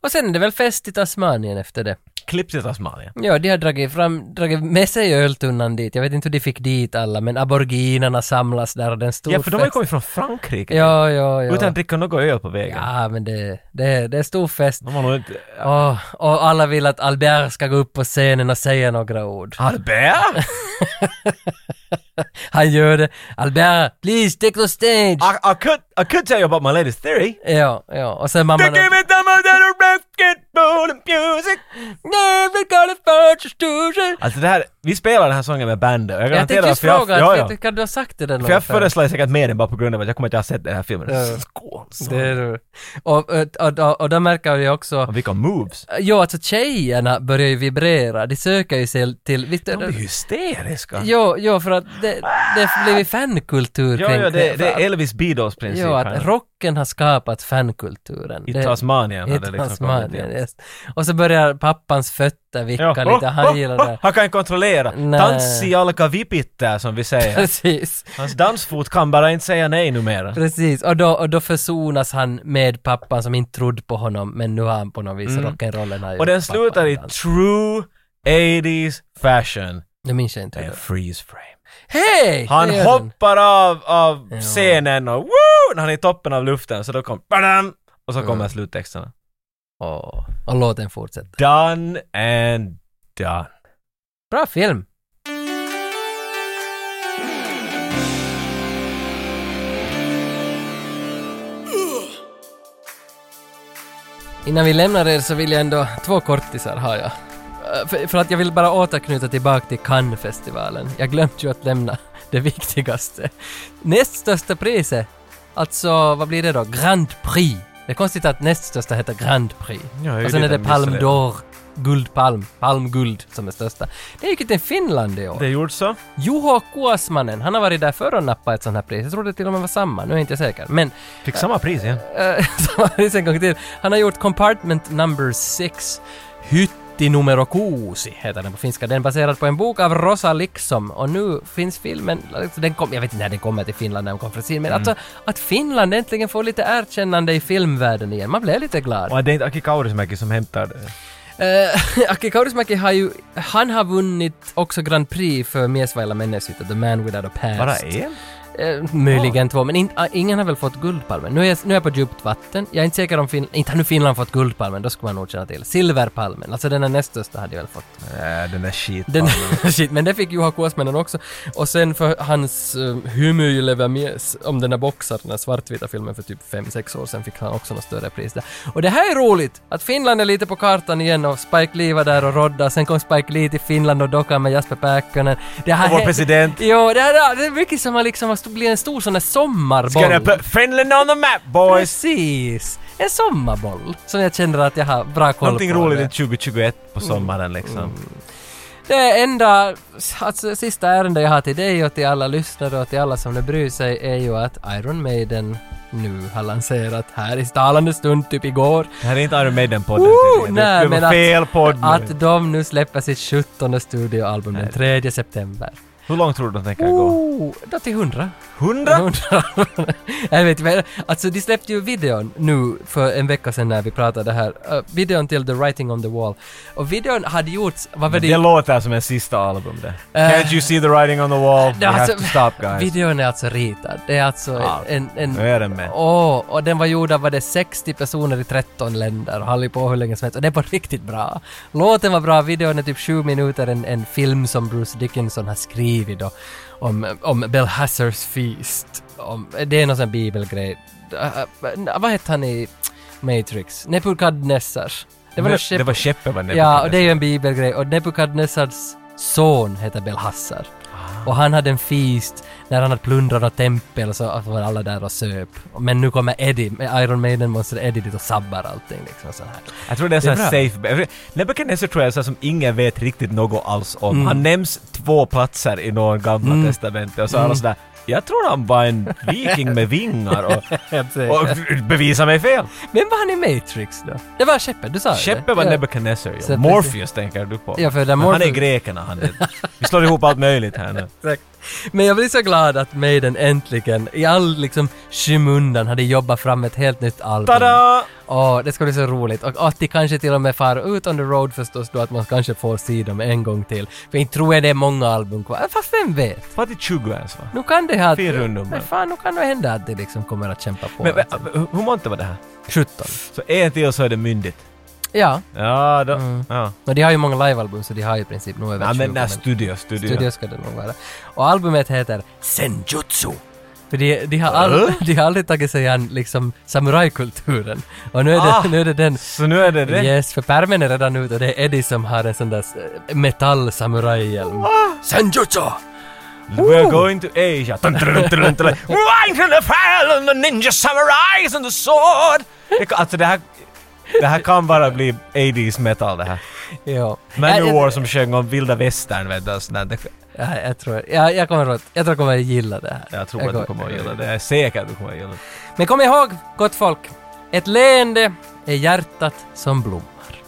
[SPEAKER 1] Och sen är det väl fest i Tasmanien efter det.
[SPEAKER 2] Klipps i Tasmanien.
[SPEAKER 1] Ja, de har dragit, fram, dragit med sig öltunnan dit. Jag vet inte hur de fick dit alla, men aboriginerna samlas där och den stor
[SPEAKER 2] Ja, för de har ju
[SPEAKER 1] fest.
[SPEAKER 2] kommit från Frankrike.
[SPEAKER 1] Ja, ja, ja.
[SPEAKER 2] Utan att dricka något öl på vägen.
[SPEAKER 1] Ja, men det, det, det är stor fest.
[SPEAKER 2] De var nog inte...
[SPEAKER 1] Åh, och alla vill att Albert ska gå upp på scenen och säga några ord.
[SPEAKER 2] Albert!
[SPEAKER 1] Han gör det. Albert, please take the stage!
[SPEAKER 2] I, I, could, I could tell you about my latest theory.
[SPEAKER 1] Ja, ja. Och sen mamma...
[SPEAKER 2] They gave me the modern basketball and music.
[SPEAKER 1] Never gonna fight your student.
[SPEAKER 2] Alltså det här, vi spelar den här sången med bandet och jag
[SPEAKER 1] Jag
[SPEAKER 2] garanterar
[SPEAKER 1] tänkte just
[SPEAKER 2] för jag,
[SPEAKER 1] fråga,
[SPEAKER 2] ja,
[SPEAKER 1] att-
[SPEAKER 2] ja.
[SPEAKER 1] vet du, kan du ha sagt det där någon
[SPEAKER 2] För jag
[SPEAKER 1] gång?
[SPEAKER 2] föreslår säkert mer än bara på grund av att jag kommer inte ha sett den här filmen.
[SPEAKER 1] Ja.
[SPEAKER 2] Skål! så.
[SPEAKER 1] Det är du. Och, eh, och, och, och där märker vi också,
[SPEAKER 2] Och vilka moves!
[SPEAKER 1] jo alltså tjejerna börjar ju vibrera, de söker ju sig till, visst
[SPEAKER 2] De blir hysteriska!
[SPEAKER 1] Jo, jo, för att det, det blir ju fankultur
[SPEAKER 2] Ja,
[SPEAKER 1] kring
[SPEAKER 2] ja, det, det
[SPEAKER 1] för
[SPEAKER 2] är
[SPEAKER 1] att-
[SPEAKER 2] Elvis Beatles princip.
[SPEAKER 1] Jo,
[SPEAKER 2] här.
[SPEAKER 1] att rocken har skapat fankulturen.
[SPEAKER 2] I
[SPEAKER 1] Det-
[SPEAKER 2] Tasmanien
[SPEAKER 1] I
[SPEAKER 2] hade det liksom kommit
[SPEAKER 1] Tasmanien,
[SPEAKER 2] igen.
[SPEAKER 1] yes. Och så börjar pappans fötter vicka
[SPEAKER 2] Ja. Oh,
[SPEAKER 1] lite, han gillar det.
[SPEAKER 2] Han kan inte kontrollera.
[SPEAKER 1] Nej.
[SPEAKER 2] Tanssialka vipittää som vi säger.
[SPEAKER 1] Precis.
[SPEAKER 2] Hans dansfot kan bara inte säga nej numera.
[SPEAKER 1] Precis, och då, och då försonas han med pappan som inte trodde på honom, men nu har han på något vis rock'n'rollen har
[SPEAKER 2] Och den slutar i true 80s fashion.
[SPEAKER 1] Det minns jag inte.
[SPEAKER 2] Det är en freeze frame.
[SPEAKER 1] Hej!
[SPEAKER 2] Han
[SPEAKER 1] Det är den.
[SPEAKER 2] hoppar av, av scenen och woo! När han är i toppen av luften så då kom badam, och så kommer sluttexterna.
[SPEAKER 1] Åh, Och låten fortsätter.
[SPEAKER 2] Done and done.
[SPEAKER 1] Bra film! Innan vi lämnar er så vill jag ändå, två kortisar har jag. Eh, För, för att jag vill bara återknyta tillbaka till Cannes-festivalen. Jag glömde ju att lämna det viktigaste. Näst största priset, alltså vad blir det då? Grand Prix. Det är konstigt att näst största heter Grand Prix.
[SPEAKER 2] Ja, jag är
[SPEAKER 1] Och sen är
[SPEAKER 2] lite
[SPEAKER 1] det Palme
[SPEAKER 2] missnöjd.
[SPEAKER 1] d'Or, Guldpalm, Palmguld som är största. Det gick ju till Finland i år.
[SPEAKER 2] Det är gjort så.
[SPEAKER 1] Juho Kuosmanen, han har varit där förr och nappat ett sånt här pris. Jag trodde till och med var samma, nu är jag inte säker. Men
[SPEAKER 2] Fick samma pris igen.
[SPEAKER 1] Eh, som han en gång till. Han har gjort Compartment Number 6, Hytti numero kuusi heter den på finska. Den är baserad på en bok av Rosa Liksom och nu finns filmen, alltså den kom, jag vet inte när den kommer till Finland när den kom från Sverige, men alltså att Finland äntligen får lite erkännande i filmvärlden igen, man blev lite glad.
[SPEAKER 2] Och det är inte Aki Kaurismäki som hämtar det.
[SPEAKER 1] Uh, Aki Kaurismäki har ju, han har vunnit också Grand Prix för Mies vailla mennesytä, The Man Without a Past.
[SPEAKER 2] Bara en?
[SPEAKER 1] Eh, möjligen två, men in, ah, ingen har väl fått Guldpalmen. Nu är, jag, nu är jag på djupt vatten. Jag är inte säker om Finland... Inte har nu Finland fått Guldpalmen, då skulle man nog känna till. Silverpalmen, alltså den här näst största hade jag väl fått.
[SPEAKER 2] Nej, den där shit.
[SPEAKER 1] Äh, Den, shit, men det fick Juha Kuosmanen också. Och sen för hans uh, Hymyilevämies, om den där boxaren, den där svartvita filmen för typ fem sex år sedan fick han också något större pris där. Och det här är roligt! Att Finland är lite på kartan igen och Spike Lee var där och rodda. Sen kom Spike Lee till Finland och dockade med Jasper Pääkkönen. Det här
[SPEAKER 2] Och vår
[SPEAKER 1] hä-
[SPEAKER 2] president.
[SPEAKER 1] Jo, det, här, det är mycket som har liksom har blivit en stor sån där sommarboll.
[SPEAKER 2] Ska jag put Finland on the map boys!
[SPEAKER 1] Precis! En sommarboll som jag känner att jag har bra koll
[SPEAKER 2] Någonting
[SPEAKER 1] på. Mm.
[SPEAKER 2] roligt i 2021 på sommaren liksom.
[SPEAKER 1] Det enda, alltså sista ärende jag har till dig och till alla lyssnare och till alla som nu bryr sig är ju att Iron Maiden nu har lanserat här i talande stund, typ igår.
[SPEAKER 2] Det här är inte Iron Maiden-podden
[SPEAKER 1] Woo!
[SPEAKER 2] tydligen. Det-
[SPEAKER 1] Nej,
[SPEAKER 2] Det var
[SPEAKER 1] men
[SPEAKER 2] fel podd nu.
[SPEAKER 1] Att de nu släpper sitt 17 studioalbum den 3 september.
[SPEAKER 2] Hur långt tror du de tänker gå?
[SPEAKER 1] Oh, då till 100.
[SPEAKER 2] 100?
[SPEAKER 1] 100. jag vet inte, alltså de släppte ju videon nu för en vecka sedan när vi pratade här. Uh, videon till The Writing on the Wall. Och videon hade gjorts, vad var det? Eh,
[SPEAKER 2] Det låter som en sista album det. Can't you see the writing on the wall?
[SPEAKER 1] Det är
[SPEAKER 2] We have
[SPEAKER 1] alltså-
[SPEAKER 2] to stop guys.
[SPEAKER 1] Videon är alltså ritad. Det är alltså
[SPEAKER 2] Ja,
[SPEAKER 1] en... en
[SPEAKER 2] nu är den med.
[SPEAKER 1] Åh, och den var gjord av var det 60 personer i 13 länder och höll på hur länge som helst. Och det var riktigt bra. Låten var bra, videon är typ 7 minuter, en, en film som Bruce Dickinson har skrivit då, om, om Belhazars Feast. Om, det är någon sån bibelgrej. Äh, äh, vad hette han i Matrix? Nebukadnessar. Det var något skepp-
[SPEAKER 2] Det var skeppet var
[SPEAKER 1] Ja, och det är ju en bibelgrej. Och Nebukadnessars son heter Belhassar.
[SPEAKER 2] Ah.
[SPEAKER 1] Och han hade en feast när han hade plundrat något tempel så att var alla där och söp. Men nu kommer Eddie, med Iron Maiden monster Eddie dit och sabbar allting liksom och sån här.
[SPEAKER 2] Jag tror det är sån
[SPEAKER 1] Det är
[SPEAKER 2] här
[SPEAKER 1] bra.
[SPEAKER 2] safe... Nebukadnessar tror jag är sån som ingen vet riktigt något alls om.
[SPEAKER 1] Mm.
[SPEAKER 2] Han nämns två platser i någon gamla testamentet och så
[SPEAKER 1] Mm.
[SPEAKER 2] är alla sådär jag tror han var en viking med vingar och, och bevisa mig fel.
[SPEAKER 1] Men var han i Matrix då? Det var skeppet, du sa det?
[SPEAKER 2] Skeppet var
[SPEAKER 1] Ja.
[SPEAKER 2] Nebukadnessar
[SPEAKER 1] Så
[SPEAKER 2] ja.
[SPEAKER 1] precis.
[SPEAKER 2] Morpheus tänker du på.
[SPEAKER 1] Ja, för det
[SPEAKER 2] Men Han är
[SPEAKER 1] Morpheus- Mm.
[SPEAKER 2] grekerna han. är- Vi slår ihop allt möjligt här nu.
[SPEAKER 1] Exakt. Men jag blir så glad att Maiden äntligen, i all liksom skymundan, hade jobbat fram ett helt nytt album.
[SPEAKER 2] Tada!
[SPEAKER 1] Åh, det ska bli så roligt. Och att de kanske till och med far ut on the road förstås då att man kanske får se dem en gång till. För inte tror jag det är många album kvar. Fast vem vet?
[SPEAKER 2] Vad är 20 ens va?
[SPEAKER 1] Nu kan det här...
[SPEAKER 2] Fyra nummer.
[SPEAKER 1] Men fan, nu kan det hända att det liksom kommer att kämpa på.
[SPEAKER 2] Men,
[SPEAKER 1] Men,
[SPEAKER 2] men, hur många var det här?
[SPEAKER 1] 17.
[SPEAKER 2] Så en till så är det myndigt.
[SPEAKER 1] Ja.
[SPEAKER 2] Ja, då.
[SPEAKER 1] Mm.
[SPEAKER 2] Ja.
[SPEAKER 1] Och de har ju många livealbum så de har ju i princip nog över
[SPEAKER 2] Nej,
[SPEAKER 1] 20.
[SPEAKER 2] men nej, studio, studio.
[SPEAKER 1] studio ska det nog vara. Och albumet heter Senjutsu. För de, de, har
[SPEAKER 2] Äh?
[SPEAKER 1] all, de har aldrig tagit sig an liksom samurajkulturen. Och nu är det,
[SPEAKER 2] Ah.
[SPEAKER 1] nu är det den
[SPEAKER 2] Så nu är det det.
[SPEAKER 1] Yes, för pärmen är redan ute och det är Eddie som har en sån där eh,
[SPEAKER 2] Ah!
[SPEAKER 1] metall-samurajhjälm. Senjutsu!
[SPEAKER 2] We're going to Asia. Dun, dun, dun, dun, dun. Wine from the fire and the ninja samurais and the sword. Det, kan- alltså det här, det här kan bara bli 80s metal det här.
[SPEAKER 1] Ja.
[SPEAKER 2] Manowar
[SPEAKER 1] jag,
[SPEAKER 2] som sjöng om vilda västern vet du. och sånt där. Det-
[SPEAKER 1] jag, jag, tror, jag, jag, kommer att, jag tror jag kommer att gilla det här.
[SPEAKER 2] Jag tror att du kommer att gilla det. Jag är säker att du kommer att gilla det.
[SPEAKER 1] Men kom ihåg, gott folk. Ett leende är hjärtat som blommar.